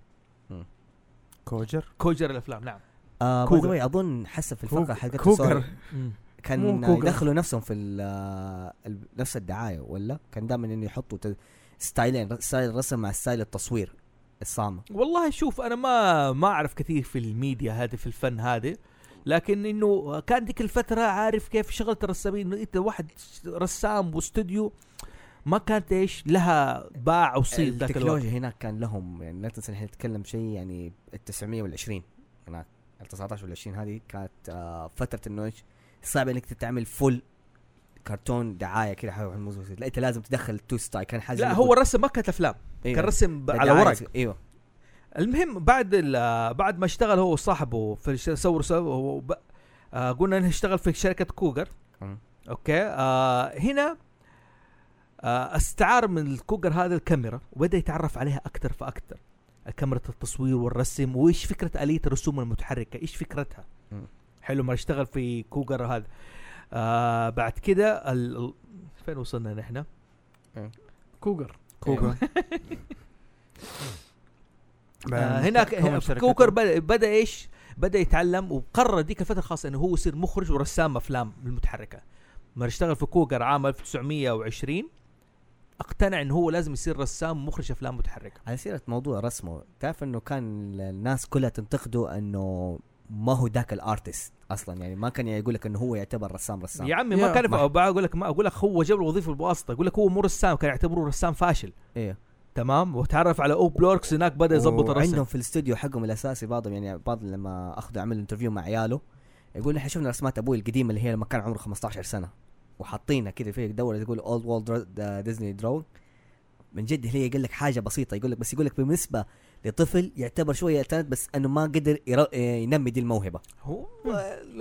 [SPEAKER 5] كوجر
[SPEAKER 1] كوجر الافلام نعم
[SPEAKER 4] آه by the
[SPEAKER 1] كوغر.
[SPEAKER 4] way، اظن حسب في
[SPEAKER 5] كوغ-
[SPEAKER 4] الفقره حقت
[SPEAKER 5] كوغر.
[SPEAKER 4] Sony
[SPEAKER 3] مو
[SPEAKER 4] كان
[SPEAKER 3] كوغر.
[SPEAKER 4] يدخلوا نفسهم في ال- آه، ال- نفس الدعايه ولا كان دائما انه يحطوا ت- ستايلين ستايل الرسم مع ستايل التصوير الصامه
[SPEAKER 1] والله شوف انا ما ما اعرف كثير في الميديا هذه في الفن هذه لكن انه كان ديك الفتره عارف كيف شغله الرسامين انه انت واحد رسام واستوديو ما كانت ايش لها باع وصيد ذاك الوقت
[SPEAKER 4] التكنولوجيا هناك كان لهم يعني لا تنسى نحن نتكلم شيء يعني ال 900 وال 20 هناك ال 19 وال 20 هذه كانت آه، فتره انه ايش صعب انك تعمل فول كرتون دعايه كذا حول الموضوع لا انت لازم تدخل تو ستايل كان حاجه
[SPEAKER 1] لا هو الرسم ما كانت افلام
[SPEAKER 4] إيه.
[SPEAKER 1] كان رسم ب- على ورق
[SPEAKER 4] ايوه
[SPEAKER 1] المهم بعد ال- بعد ما اشتغل هو وصاحبه في الش- سووا سووا- هو ب- آه، قلنا انه اشتغل في شركه كوجر
[SPEAKER 4] مم.
[SPEAKER 1] اوكي آه هنا آه استعار من الكوجر هذا الكاميرا وبدا يتعرف عليها اكثر فاكثر كاميرا التصوير والرسم وايش فكره اليه الرسوم المتحركه ايش فكرتها
[SPEAKER 4] مم.
[SPEAKER 1] حلو ما اشتغل في كوجر هذا آه بعد كده ال... ال- فين وصلنا نحن
[SPEAKER 3] كوجر
[SPEAKER 5] كوغر
[SPEAKER 1] آه هناك
[SPEAKER 5] كوم
[SPEAKER 1] في
[SPEAKER 5] شركته.
[SPEAKER 1] كوكر بدا, بدا ايش؟ بدا يتعلم وقرر ديك الفتره خاصة انه هو يصير مخرج ورسام افلام المتحركه. لما اشتغل في كوكر عام 1920 اقتنع انه هو لازم يصير رسام مخرج افلام متحركه.
[SPEAKER 4] على سيره موضوع رسمه تعرف انه كان الناس كلها تنتقده انه ما هو ذاك الارتست اصلا يعني ما كان يقول لك انه هو يعتبر رسام رسام
[SPEAKER 1] يا عمي ما
[SPEAKER 3] يا-
[SPEAKER 1] كان
[SPEAKER 4] ما-
[SPEAKER 1] بقول لك ما اقول لك هو جاب له وظيفه بواسطه، اقول لك هو مو رسام كان يعتبروه رسام فاشل.
[SPEAKER 4] إيه.
[SPEAKER 1] تمام؟ وتعرف على اوب لوركس هناك بدا يظبط الرسم.
[SPEAKER 4] عندهم في الاستوديو حقهم الاساسي بعضهم يعني بعض لما اخذوا عمل انترفيو مع عياله يقول احنا شفنا رسمات ابوي القديمه اللي هي لما كان عمره 15 سنه وحاطينها كذا في دوره تقول اولد وولد ديزني درون من جد هي يقول لك حاجه بسيطه يقول لك بس يقول لك بالنسبه لطفل يعتبر شويه تانت بس انه ما قدر يرو- ينمي دي الموهبه
[SPEAKER 1] هو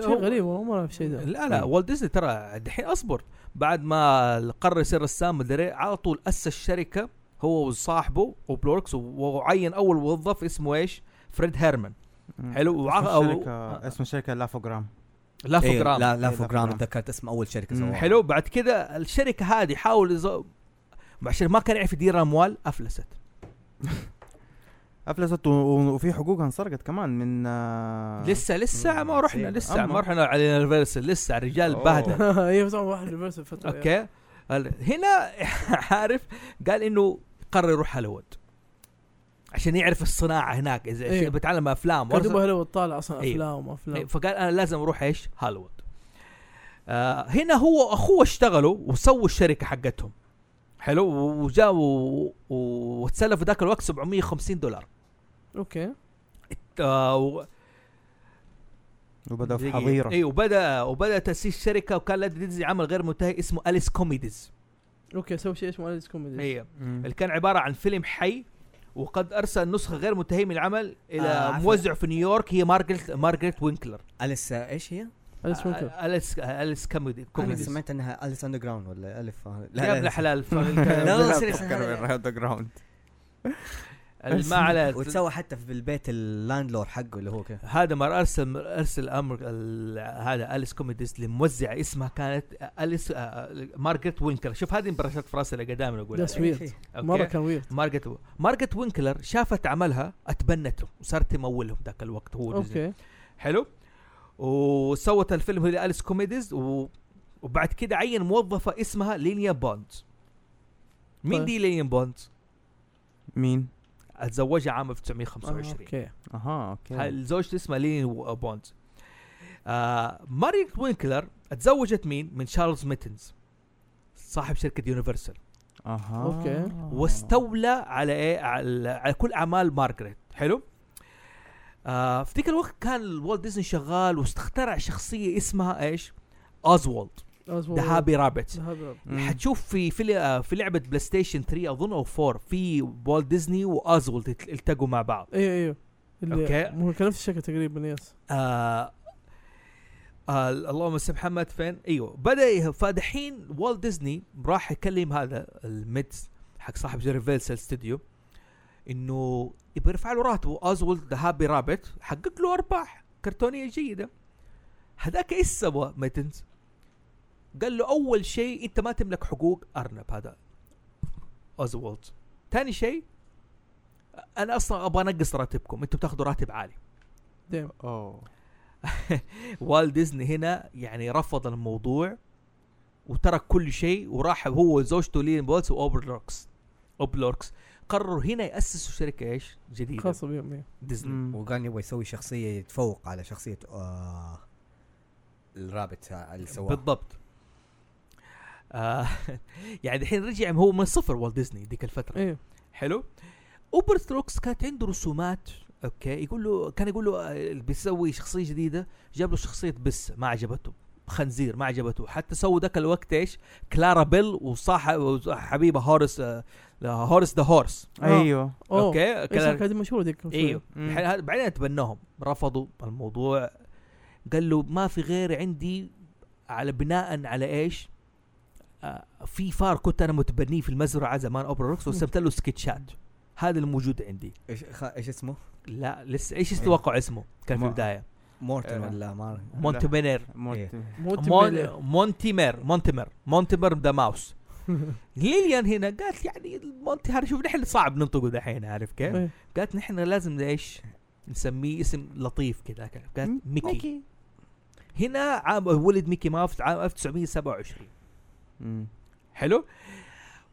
[SPEAKER 3] شيء غريب والله ما اعرف شيء ده
[SPEAKER 1] لا لا والت ديزني ترى دحين اصبر بعد ما قرر يصير رسام مدري إيه، على طول اسس شركه هو وصاحبه وبلوركس وعين اول موظف اسمه ايش؟ فريد هيرمان
[SPEAKER 5] مم.
[SPEAKER 1] حلو وعق-
[SPEAKER 5] اسم
[SPEAKER 1] أو-
[SPEAKER 5] الشركة اسم الشركة لافوجرام
[SPEAKER 4] إيه،
[SPEAKER 1] لافوجرام
[SPEAKER 4] لا لا
[SPEAKER 5] إيه،
[SPEAKER 4] فوجرام
[SPEAKER 5] لافوجرام.
[SPEAKER 4] تذكرت اسم اول شركه
[SPEAKER 5] مم،
[SPEAKER 4] سواها
[SPEAKER 1] حلو بعد كده الشركه هذه حاول يز- عشان ما كان يعرف يدير اموال افلست
[SPEAKER 5] افلست و- و- وفي حقوقها انسرقت كمان من آه،
[SPEAKER 1] لسه لسه
[SPEAKER 5] مم،
[SPEAKER 1] ما رحنا
[SPEAKER 5] سيئة.
[SPEAKER 1] لسه ما
[SPEAKER 5] أما.
[SPEAKER 1] رحنا على اليونيفرسال لسه الرجال
[SPEAKER 5] أوه.
[SPEAKER 1] بهدل
[SPEAKER 3] ايوه طبعا واحد ريفرس الفتره
[SPEAKER 1] اوكي هل- هنا عارف قال انه قرر يروح هوليوود عشان يعرف الصناعه هناك اذا
[SPEAKER 3] إيه.
[SPEAKER 1] أيوه. بتعلم افلام
[SPEAKER 3] كان
[SPEAKER 1] وأرسل-
[SPEAKER 3] يبغى هلا طالع اصلا
[SPEAKER 1] إيه.
[SPEAKER 3] افلام وافلام
[SPEAKER 1] إيه، فقال انا لازم اروح ايش هوليوود آه هنا هو اخوه اشتغلوا وسووا الشركه حقتهم حلو وجاوا و- و- وتسلف ذاك الوقت 750 دولار
[SPEAKER 3] اوكي
[SPEAKER 1] آه و- إيه،
[SPEAKER 5] وبدأوا في
[SPEAKER 1] دقيقة.
[SPEAKER 5] حظيرة
[SPEAKER 1] اي وبدا وبدا تاسيس شركه وكان لها ديزني عمل غير منتهي اسمه اليس كوميديز إيه.
[SPEAKER 3] اوكي سوي شيء اسمه اليس كوميدي
[SPEAKER 1] هي
[SPEAKER 5] مم.
[SPEAKER 1] اللي كان عبارة عن فيلم حي وقد أرسل نسخة غير منتهية من العمل إلى
[SPEAKER 4] آه،
[SPEAKER 1] آه
[SPEAKER 4] عفوا.
[SPEAKER 1] موزع في نيويورك هي مارغريت مارغريت وينكلر
[SPEAKER 4] اليس آه، ايش هي؟
[SPEAKER 3] اليس ممكن
[SPEAKER 1] آه، أليس أليس كوميدي
[SPEAKER 4] انا
[SPEAKER 1] كوميدي
[SPEAKER 4] سمعت انها اليس اندر جراوند ولا الف آه، لا
[SPEAKER 1] يا ابن
[SPEAKER 4] لا
[SPEAKER 1] الحلال ف-
[SPEAKER 4] لا،
[SPEAKER 5] لا
[SPEAKER 4] سيريس،
[SPEAKER 5] تفكر
[SPEAKER 4] هذا-
[SPEAKER 5] بالراوند جراوند
[SPEAKER 1] ما على
[SPEAKER 4] وتسوى حتى في البيت اللاندلور حقه اللي هو كذا
[SPEAKER 1] هذا ما ارسل ارسل امر ال- هذا اليس كوميديز لموزعة اسمها كانت اليس آه، آه، مارغريت وينكلر شوف هذه برشات في راسي اللي دائما اقولها
[SPEAKER 3] That's weird.
[SPEAKER 1] أوكي؟
[SPEAKER 3] مره كان ويرد
[SPEAKER 1] مارغريت مارغريت وينكلر شافت عملها اتبنته وصارت تمولهم ذاك الوقت هو ديزني.
[SPEAKER 3] اوكي
[SPEAKER 1] حلو وسوت الفيلم هي اليس كوميديز و... وبعد كده عين موظفه اسمها لينيا بوند مين
[SPEAKER 3] طيب.
[SPEAKER 1] دي لينيا بوند؟
[SPEAKER 5] مين؟
[SPEAKER 1] اتزوجها عام
[SPEAKER 3] آه،
[SPEAKER 1] 1925
[SPEAKER 3] اوكي
[SPEAKER 5] اها اوكي
[SPEAKER 1] هاي زوجته اسمها لينيا و- بوند آه ماريت وينكلر اتزوجت مين؟ من تشارلز ميتنز صاحب شركه يونيفرسال
[SPEAKER 5] اها
[SPEAKER 3] أوكي.
[SPEAKER 1] آه. إيه؟ واستولى على ايه على, على كل اعمال مارغريت حلو آه في ذيك الوقت كان والت ديزني شغال واستخترع شخصيه اسمها ايش؟ اوزوالد ذا هابي رابت
[SPEAKER 3] ذهب
[SPEAKER 1] حتشوف في في ل- آه، في لعبه بلاي ستيشن 3 اظن او 4 في والت ديزني واوزوالد الت- التقوا مع بعض
[SPEAKER 3] ايوه ايوه اللي
[SPEAKER 1] أوكي.
[SPEAKER 3] هو كان نفس الشكل تقريبا يس
[SPEAKER 1] آه آه اللهم سب محمد فين ايوه بدا يه- فدحين والت ديزني راح يكلم هذا الميدز حق صاحب جيرفيلسل ستوديو انه يبغى يرفع له راتبه اوزولد ذا هابي رابت حقق له ارباح كرتونيه جيده هذاك ايش سوى ميتنز قال له اول شيء انت ما تملك حقوق ارنب هذا اوزولد ثاني شيء انا اصلا ابغى انقص راتبكم انتم بتاخذوا راتب عالي
[SPEAKER 3] دايم
[SPEAKER 5] اوه
[SPEAKER 1] والت ديزني هنا يعني رفض الموضوع وترك كل شيء وراح هو وزوجته لين بولس واوبرلوكس اوبلوركس قرروا هنا ياسسوا شركه ايش؟ جديده
[SPEAKER 3] خاصه بيهم إيه.
[SPEAKER 1] ديزني
[SPEAKER 5] مم.
[SPEAKER 4] وكان يبغى يسوي شخصيه يتفوق على شخصيه آه الرابط اللي سواه
[SPEAKER 1] بالضبط آه يعني الحين رجع هو من صفر والت ديزني ديك الفتره
[SPEAKER 3] ايوه
[SPEAKER 1] حلو اوبرستروكس كانت عنده رسومات اوكي يقول له كان يقول له آه، بيسوي شخصيه جديده جاب له شخصيه بس ما عجبته خنزير ما عجبته حتى سووا ذاك الوقت ايش كلارا بيل وصاحب وحبيبه هورس آه، هورس ذا هورس
[SPEAKER 5] ايوه
[SPEAKER 3] اوه اوكي
[SPEAKER 1] اوكي كلارا-
[SPEAKER 3] إيه، كانت مشهوره ذيك
[SPEAKER 1] ايوه
[SPEAKER 5] مم.
[SPEAKER 1] الحين هذا- بعدين تبنوهم رفضوا الموضوع قال له ما في غير عندي على بناء على ايش؟ آه في فار كنت انا متبنيه في المزرعه زمان اوبرا روكس ورسمت له سكتشات هذا الموجود عندي
[SPEAKER 4] ايش خ- ايش اسمه؟
[SPEAKER 1] لا لسه ايش تتوقع اسمه كان في
[SPEAKER 5] إيه. ما-
[SPEAKER 1] البدايه
[SPEAKER 4] مورتن
[SPEAKER 5] آه.
[SPEAKER 4] ولا ما
[SPEAKER 1] مونتمير
[SPEAKER 5] موت-
[SPEAKER 3] مونتي
[SPEAKER 1] مون- مونتيمير مونتيمير مونتيمير ذا ماوس ليليان هنا قالت يعني مونتي هذا شوف نحن صعب ننطقه دحين عارف كيف؟
[SPEAKER 3] إيه.
[SPEAKER 1] قالت نحن لازم ايش؟ نسميه اسم لطيف كذا قالت ميكي هنا عام ولد ميكي ماوس عام 1927
[SPEAKER 5] مم.
[SPEAKER 1] حلو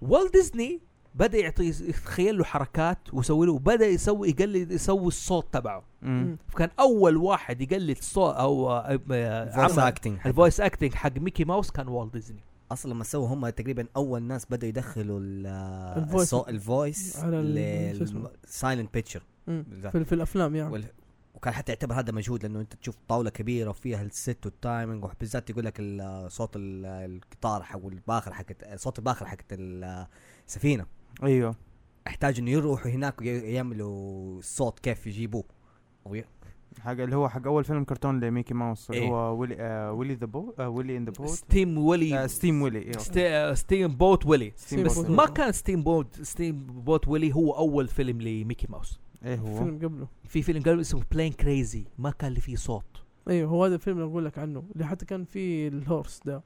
[SPEAKER 1] والت ديزني بدا يعطي يتخيل له حركات ويسوي له وبدا يسوي يقلد يسوي الصوت تبعه
[SPEAKER 5] مم.
[SPEAKER 1] فكان اول واحد يقلد صوت او آه، آه،
[SPEAKER 4] فويس
[SPEAKER 1] عمل-
[SPEAKER 4] اكتنج
[SPEAKER 1] الفويس اكتنج حق ميكي ماوس كان والت ديزني
[SPEAKER 4] اصلا لما سووا هم تقريبا اول ناس بدوا يدخلوا ال- آه،
[SPEAKER 3] الفويس.
[SPEAKER 4] الصو- الفويس
[SPEAKER 3] على ال- شو اسمه؟
[SPEAKER 4] للسايلنت بيتشر
[SPEAKER 3] مم. في, في الافلام
[SPEAKER 1] نعم.
[SPEAKER 3] يعني
[SPEAKER 4] وال- وكان حتى يعتبر هذا مجهود لانه انت تشوف طاوله كبيره وفيها الست والتايمنج وبالذات يقول لك ال- صوت ال- القطار حق الباخر حقت صوت الباخر حقت السفينه
[SPEAKER 5] ايوه
[SPEAKER 4] احتاج انه يروحوا هناك وي- يعملوا الصوت كيف يجيبوه وي-
[SPEAKER 5] حق اللي هو حق اول فيلم كرتون لميكي ماوس اللي
[SPEAKER 4] إيه.
[SPEAKER 5] هو ويلي آه، ويلي ذا بو آه، ويلي ان ذا بوت
[SPEAKER 1] إيه، ستيم
[SPEAKER 5] آه،
[SPEAKER 1] ويلي
[SPEAKER 5] ستيم ويلي إيه، أوكي.
[SPEAKER 1] ستي- آه، ستيم بوت ويلي
[SPEAKER 5] ستيم
[SPEAKER 1] بس
[SPEAKER 5] بوت.
[SPEAKER 1] ما كان ستيم بوت ستيم بوت ويلي هو اول فيلم لميكي ماوس
[SPEAKER 5] ايه هو
[SPEAKER 3] فيلم قبله
[SPEAKER 1] في فيلم قالوا اسمه بلين كريزي ما كان اللي فيه صوت
[SPEAKER 3] ايوه هو هذا الفيلم اللي اقول لك عنه اللي حتى كان فيه الهورس ده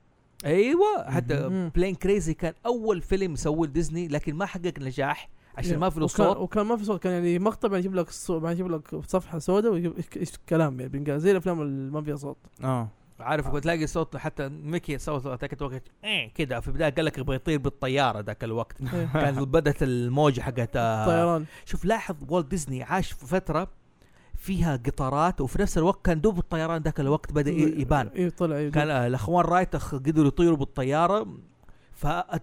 [SPEAKER 1] ايوه حتى
[SPEAKER 3] مهم.
[SPEAKER 1] بلين كريزي كان اول فيلم سووه لديزني لكن ما حقق نجاح عشان
[SPEAKER 3] إيه.
[SPEAKER 1] ما في له
[SPEAKER 3] وكان-
[SPEAKER 1] صوت
[SPEAKER 3] وكان ما في صوت كان يعني مقطع بعدين يجيب لك الصوت بعدين يجيب لك صفحه سوداء ويجيب إيش- إيش كلام يعني بينقال زي الافلام اللي ما فيها صوت
[SPEAKER 5] اه
[SPEAKER 1] عارف كنت تلاقي صوت حتى ميكي سوى صوت ذاك الوقت إيه كذا في البدايه قال لك يبغى يطير بالطياره ذاك الوقت
[SPEAKER 3] إيه.
[SPEAKER 1] كانت بدات الموجه حقت آه،
[SPEAKER 3] طيران
[SPEAKER 1] شوف لاحظ والت ديزني عاش في فتره فيها قطارات وفي نفس الوقت كان دوب الطيران ذاك الوقت بدا ي- يبان
[SPEAKER 3] ايوه طلع ايوه
[SPEAKER 1] كان آه، الاخوان رايت أخ- قدروا يطيروا بالطياره فالجو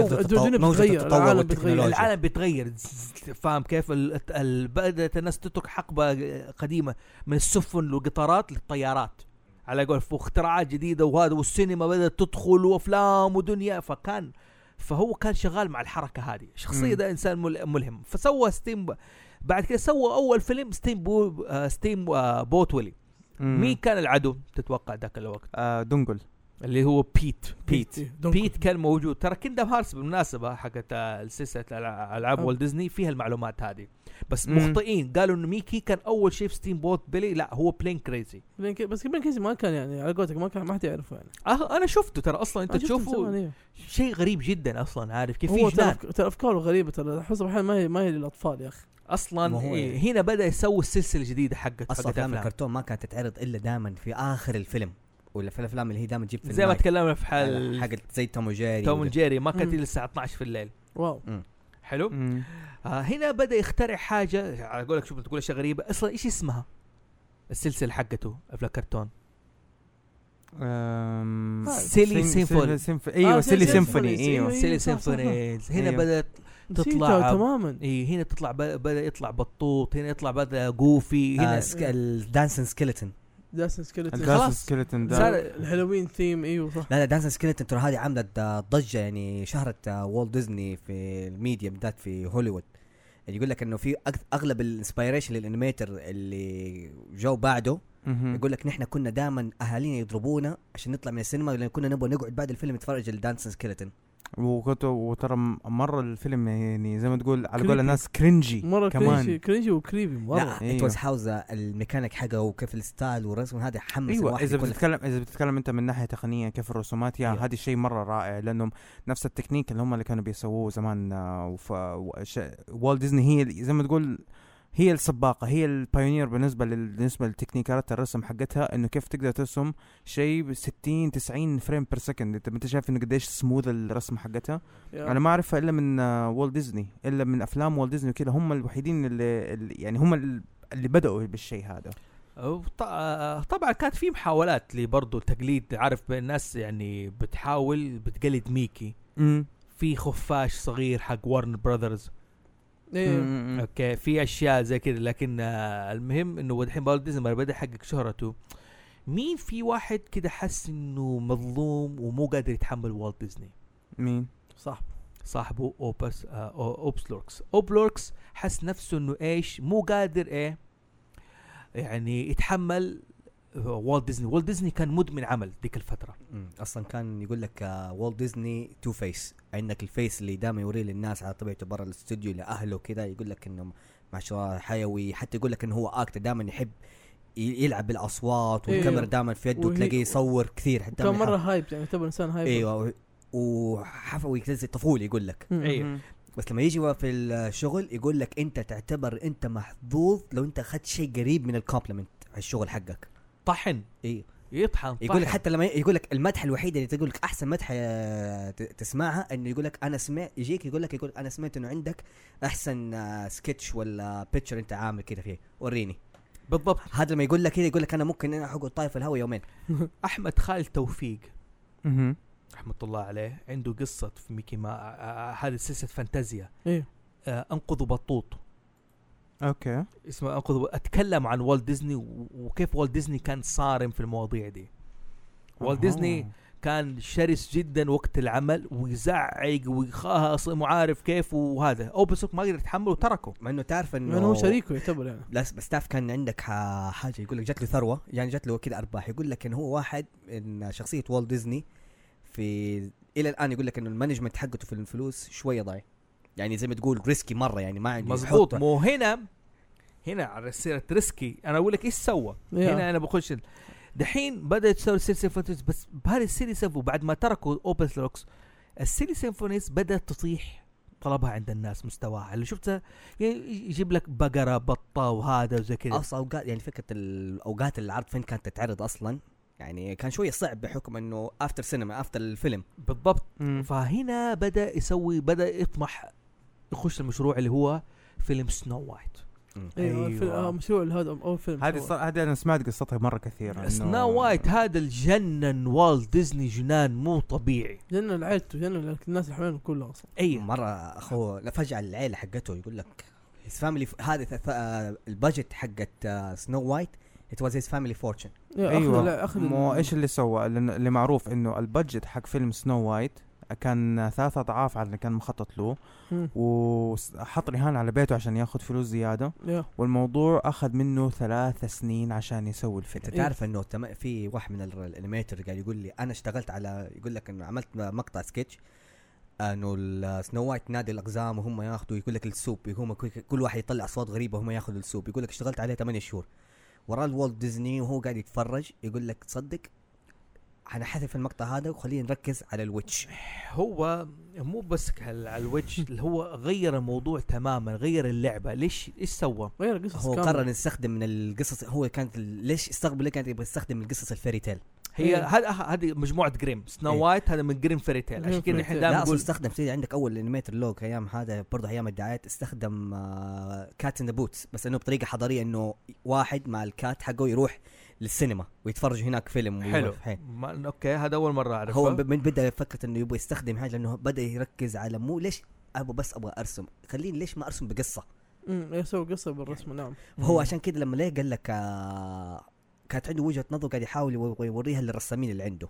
[SPEAKER 4] موجة
[SPEAKER 3] الدنيا
[SPEAKER 4] التطو- موجة
[SPEAKER 3] بتتغير،
[SPEAKER 4] التطور
[SPEAKER 3] العالم
[SPEAKER 4] والتكنولوجيا.
[SPEAKER 3] بتتغير.
[SPEAKER 1] العالم بيتغير ز- فاهم كيف ال- ال- بدات الناس تترك حقبه قديمه من السفن والقطارات للطيارات على قول واختراعات جديده وهذا والسينما بدات تدخل وافلام ودنيا فكان فهو كان شغال مع الحركه هذه الشخصيه
[SPEAKER 5] مم.
[SPEAKER 1] ده انسان مل- ملهم فسوى ستيم ب- بعد كده سوى اول فيلم ستيم بو آه، ستيم آه، بوت ويلي
[SPEAKER 5] مم.
[SPEAKER 1] مين كان العدو تتوقع ذاك الوقت
[SPEAKER 5] آه، دنجل
[SPEAKER 1] اللي هو بيت بيت
[SPEAKER 3] إيه، دونكو.
[SPEAKER 1] بيت كان موجود ترى كيندم هارس بالمناسبه حقت آه، سلسله الع- العاب
[SPEAKER 3] آه.
[SPEAKER 1] والت ديزني فيها المعلومات هذه بس
[SPEAKER 5] مم.
[SPEAKER 1] مخطئين قالوا انه ميكي كان اول شيء في ستيم بوت بيلي لا هو بلين كريزي
[SPEAKER 3] بلين كي- بس بلين كيزي ما كان يعني على قولتك ما كان ما حد يعرفه يعني
[SPEAKER 1] أه انا شفته ترى اصلا انت
[SPEAKER 3] أنا شفته من زمان،
[SPEAKER 1] تشوفه
[SPEAKER 3] إيه.
[SPEAKER 1] شيء غريب جدا اصلا عارف كيف في
[SPEAKER 3] هو
[SPEAKER 1] جنان
[SPEAKER 3] ترى أفك- ترى افكاره غريبه ترى احس احيانا ما هي ما هي للاطفال يا اخي
[SPEAKER 1] اصلا
[SPEAKER 4] ما هو
[SPEAKER 1] إيه،
[SPEAKER 4] يعني.
[SPEAKER 1] هنا بدا يسوي السلسله الجديده حقت
[SPEAKER 4] اصلا
[SPEAKER 1] حقت
[SPEAKER 4] افلام
[SPEAKER 1] افلام
[SPEAKER 4] الكرتون ما كانت تتعرض الا دائما في اخر الفيلم ولا في الافلام اللي هي دائما تجيب في
[SPEAKER 1] زي ما
[SPEAKER 4] النايت.
[SPEAKER 1] تكلمنا في
[SPEAKER 4] على
[SPEAKER 1] حال
[SPEAKER 4] حاجه زي توم وجيري
[SPEAKER 1] توم
[SPEAKER 4] وال-
[SPEAKER 1] جيري ما كانت
[SPEAKER 3] مم.
[SPEAKER 1] الا الساعه 12 في الليل
[SPEAKER 3] واو
[SPEAKER 1] حلو
[SPEAKER 5] مم.
[SPEAKER 1] آه هنا بدا يخترع حاجه على قولك شوف تقول اشياء غريبه اصلا ايش اسمها السلسله حقته افلام كرتون
[SPEAKER 5] أم،
[SPEAKER 1] سيلي
[SPEAKER 5] سين-
[SPEAKER 1] سيمفوني.
[SPEAKER 5] سيلي سيمف-
[SPEAKER 3] آه،
[SPEAKER 5] ايوه
[SPEAKER 3] سيلي
[SPEAKER 5] سيلي
[SPEAKER 3] سيمفوني،
[SPEAKER 5] سيمفوني ايوه
[SPEAKER 3] أيوة،
[SPEAKER 1] سيلي
[SPEAKER 3] صح، صح، صح.
[SPEAKER 1] سيمفونيز هنا
[SPEAKER 5] أيوة.
[SPEAKER 1] بدات تطلع- آه،
[SPEAKER 3] تطلع تماما
[SPEAKER 1] اي هنا تطلع ب- بدا يطلع بطوط هنا يطلع بدا جوفي هنا
[SPEAKER 4] آه سك... الدانسن سكيلتن
[SPEAKER 3] داسن سكيلتون
[SPEAKER 1] خلاص.
[SPEAKER 5] الدارس سكيلتون ده
[SPEAKER 1] صار-
[SPEAKER 3] الهالوين ثيم ايوه صح
[SPEAKER 4] لا لا دانسن سكيلتن ترى هذه عملت آه، ضجه يعني شهرت آه، والت ديزني في الميديا بالذات في هوليوود يعني يقول لك انه في أك- اغلب الانسبيريشن للانيميتر اللي جو بعده
[SPEAKER 5] مهم.
[SPEAKER 4] يقول لك نحن كنا دائما اهالينا يضربونا عشان نطلع من السينما لان كنا نبغى نقعد بعد الفيلم نتفرج الدانسن سكيلتن
[SPEAKER 5] وكنت وترى م- مره الفيلم يعني زي ما تقول على قول
[SPEAKER 3] كريبي.
[SPEAKER 5] الناس كرنجي
[SPEAKER 3] مره كرينجي
[SPEAKER 5] كمان
[SPEAKER 3] كرينجي وكريبي مره
[SPEAKER 4] لا
[SPEAKER 5] أيوة.
[SPEAKER 4] ات واز هاوز آه، الميكانيك حقه وكيف الستايل والرسم هذا حمس
[SPEAKER 5] ايوه
[SPEAKER 4] الواحد
[SPEAKER 5] اذا
[SPEAKER 4] يكون-
[SPEAKER 5] بتتكلم اذا بتتكلم انت من ناحيه تقنيه كيف الرسومات يعني يا
[SPEAKER 4] Yeah.
[SPEAKER 5] هذا الشيء مره رائع لانهم نفس التكنيك اللي هم اللي كانوا بيسووه زمان آه، وف وش- والت ديزني هي ال- زي ما تقول هي السباقه هي البايونير بالنسبه لل... بالنسبه للتكنيكات الرسم حقتها انه كيف تقدر ترسم شيء ب 60 90 فريم بير سكند انت انت شايف انه قديش سموذ الرسم حقتها
[SPEAKER 3] يا.
[SPEAKER 5] انا ما اعرفها الا من آه، والت ديزني الا من افلام والت ديزني وكذا هم الوحيدين اللي, اللي يعني هم ال- اللي بداوا بالشيء هذا
[SPEAKER 1] وط- آه، طبعا كانت في محاولات لبرضه تقليد عارف الناس يعني بتحاول بتقلد ميكي
[SPEAKER 5] امم
[SPEAKER 1] في خفاش صغير حق ورن براذرز
[SPEAKER 3] إيه.
[SPEAKER 1] اوكي في اشياء زي كذا لكن آه، المهم انه الحين بالت ديزني لما بدا يحقق شهرته مين في واحد كذا حس انه مظلوم ومو قادر يتحمل والت ديزني
[SPEAKER 5] مين
[SPEAKER 3] صح
[SPEAKER 1] صاحبه اوبس آه أو- اوبسلوركس اوبلوركس حس نفسه انه ايش مو قادر ايه يعني يتحمل آه، والت ديزني والت ديزني كان مدمن عمل ديك الفتره
[SPEAKER 4] مم. اصلا كان يقول لك آه، والت ديزني تو فيس عندك الفيس اللي دائما يوريه للناس على طبيعته برا الاستوديو لاهله كذا يقول لك انه ما شاء الله حيوي حتى يقول لك انه هو اكتر دائما يحب ي- يلعب بالاصوات
[SPEAKER 3] إيه.
[SPEAKER 4] والكاميرا دائما في يده
[SPEAKER 3] وهي-
[SPEAKER 4] وتلاقيه يصور كثير حتى
[SPEAKER 3] كان
[SPEAKER 4] دايماً
[SPEAKER 3] مره
[SPEAKER 4] يحاول-
[SPEAKER 3] هايب يعني يعتبر انسان هايب
[SPEAKER 1] إيوه.
[SPEAKER 4] ايوه و- وحفوي كذا زي طفولي يقول لك
[SPEAKER 5] إيه.
[SPEAKER 3] إيه.
[SPEAKER 4] بس لما يجي في الشغل يقول لك انت تعتبر انت محظوظ لو انت اخذت شيء قريب من الكومبلمنت على الشغل حقك
[SPEAKER 1] طحن
[SPEAKER 4] ايوه
[SPEAKER 1] يطحن
[SPEAKER 4] يقول لك
[SPEAKER 1] طحن.
[SPEAKER 4] حتى لما يقول لك المدح الوحيد اللي تقول لك احسن مدح آه، ت- تسمعها انه يقول لك انا سمعت يجيك يقول لك يقول انا سمعت انه عندك احسن آه، سكتش ولا بيتشر انت عامل كذا فيه وريني
[SPEAKER 1] بالضبط
[SPEAKER 4] هذا لما يقول لك كذا يقول لك انا ممكن انا اقعد طايف الهواء يومين
[SPEAKER 1] احمد خالد توفيق
[SPEAKER 5] مهم.
[SPEAKER 1] رحمه الله عليه عنده قصه في ميكي ما آه، آه، هذه سلسله فانتازيا
[SPEAKER 3] ايوه
[SPEAKER 1] آه انقذوا بطوط
[SPEAKER 5] اوكي
[SPEAKER 1] اسمه انقذ اتكلم عن والت ديزني و- وكيف والت ديزني كان صارم في المواضيع دي والت ديزني كان شرس جدا وقت العمل ويزعق ويخاص مو عارف كيف وهذا اوبسوك ما قدر يتحمله وتركه
[SPEAKER 4] مع انه تعرف انه
[SPEAKER 3] لانه هو شريكه يعتبر يعني
[SPEAKER 4] لا بس تعرف كان عندك ح- حاجه يقول لك جات له ثروه يعني جات له كذا ارباح يقول لك انه هو واحد من شخصيه والت ديزني في الى الان يقول لك انه المانجمنت حقته في الفلوس شويه ضايع يعني زي ما تقول ريسكي مره يعني ما عنده
[SPEAKER 1] مزبوط
[SPEAKER 4] يحط-
[SPEAKER 1] مو هنا هنا على سيره ريسكي انا اقول لك ايش سوى
[SPEAKER 3] يا.
[SPEAKER 1] هنا انا بخش ال- دحين بدات تسوي سلسله فانتسي بس بهذه السلسله وبعد ما تركوا اوبس لوكس السيري سيمفونيز بدات تطيح طلبها عند الناس مستواها اللي شفتها يعني يجيب لك بقره بطه وهذا وزي كذا
[SPEAKER 4] اصلا اوقات يعني فكره الاوقات العرض فين كانت تتعرض اصلا يعني كان شويه صعب بحكم انه افتر سينما افتر الفيلم
[SPEAKER 1] بالضبط
[SPEAKER 5] مم.
[SPEAKER 1] فهنا بدا يسوي بدا يطمح يخش المشروع اللي هو فيلم سنو وايت
[SPEAKER 3] ايوه
[SPEAKER 5] أيوة.
[SPEAKER 3] الفيلم- آه، مشروع هذا اول فيلم
[SPEAKER 5] هذه
[SPEAKER 3] سواه.
[SPEAKER 5] صار- هذه انا سمعت قصتها مره كثير
[SPEAKER 1] سنو وايت هذا الجنن والت ديزني جنان مو طبيعي
[SPEAKER 3] جنة لعيلته جنة الناس اللي حوالينه كلها اصلا
[SPEAKER 1] اي
[SPEAKER 4] مره اخوه لا فجاه العيله حقته يقول لك هيز فاميلي هذه ث- آه، البادجت حقت آه، سنو وايت ات واز هيز فاميلي فورتشن
[SPEAKER 3] يا، إيه، أخذ-
[SPEAKER 4] أيوة.
[SPEAKER 3] لا،
[SPEAKER 5] ايوه
[SPEAKER 3] أخذ
[SPEAKER 5] مو
[SPEAKER 3] ال-
[SPEAKER 5] ايش اللي سوى لأن- اللي معروف انه البادجت حق فيلم سنو وايت كان ثلاثة اضعاف على اللي كان مخطط له
[SPEAKER 3] مم.
[SPEAKER 5] وحط رهان على بيته عشان ياخذ فلوس زياده
[SPEAKER 3] يا.
[SPEAKER 5] والموضوع اخذ منه ثلاث سنين عشان يسوي الفيلم
[SPEAKER 4] انت
[SPEAKER 3] إيه.
[SPEAKER 4] تعرف انه تم... في واحد من ال- الانيميتر قاعد يقول لي انا اشتغلت على يقول لك انه عملت مقطع سكتش انه ال- سنو وايت نادي الاقزام وهم ياخذوا يقول لك السوب هم كل- كل واحد يطلع اصوات غريبه وهم ياخذوا السوب يقول لك اشتغلت عليه 8 شهور وراه الوالت ديزني وهو قاعد يتفرج يقول لك تصدق انا حذف المقطع هذا وخلينا نركز على الويتش
[SPEAKER 1] هو مو بس على على الوجه اللي هو غير الموضوع تماما غير اللعبه ليش ايش سوى
[SPEAKER 3] غير قصص
[SPEAKER 4] هو
[SPEAKER 3] كاملة.
[SPEAKER 4] قرر يستخدم من القصص هو كانت ال- ليش استغرب ليه كانت يبغى يستخدم من القصص الفيري تيل
[SPEAKER 1] هي
[SPEAKER 3] إيه.
[SPEAKER 1] هذا هذه مجموعه جريم سنو
[SPEAKER 4] إيه.
[SPEAKER 1] وايت هذا من جريم فيري تيل عشان
[SPEAKER 3] جريم
[SPEAKER 1] كذا
[SPEAKER 3] فيري
[SPEAKER 1] احنا
[SPEAKER 3] تيل.
[SPEAKER 1] دائما
[SPEAKER 4] لا اصلا
[SPEAKER 1] نقول
[SPEAKER 4] استخدم في عندك اول انيميتر لوك ايام هذا برضه ايام الدعايات استخدم آه، كات ان ذا بوتس بس انه بطريقه حضاريه انه واحد مع الكات حقه يروح للسينما ويتفرج هناك فيلم ويروح
[SPEAKER 1] حلو
[SPEAKER 4] في حي.
[SPEAKER 1] ما اوكي هذا اول مره اعرفه
[SPEAKER 4] هو ب- من بدا فكره انه يبغى يستخدم حاجه لانه بدا يركز على مو ليش ابغى بس ابغى ارسم خليني ليش ما ارسم بقصه
[SPEAKER 3] امم يسوي قصه بالرسم نعم
[SPEAKER 4] فهو عشان كده لما ليه قال لك آه كانت عنده وجهه نظر قاعد يحاول يو- يوريها للرسامين اللي عنده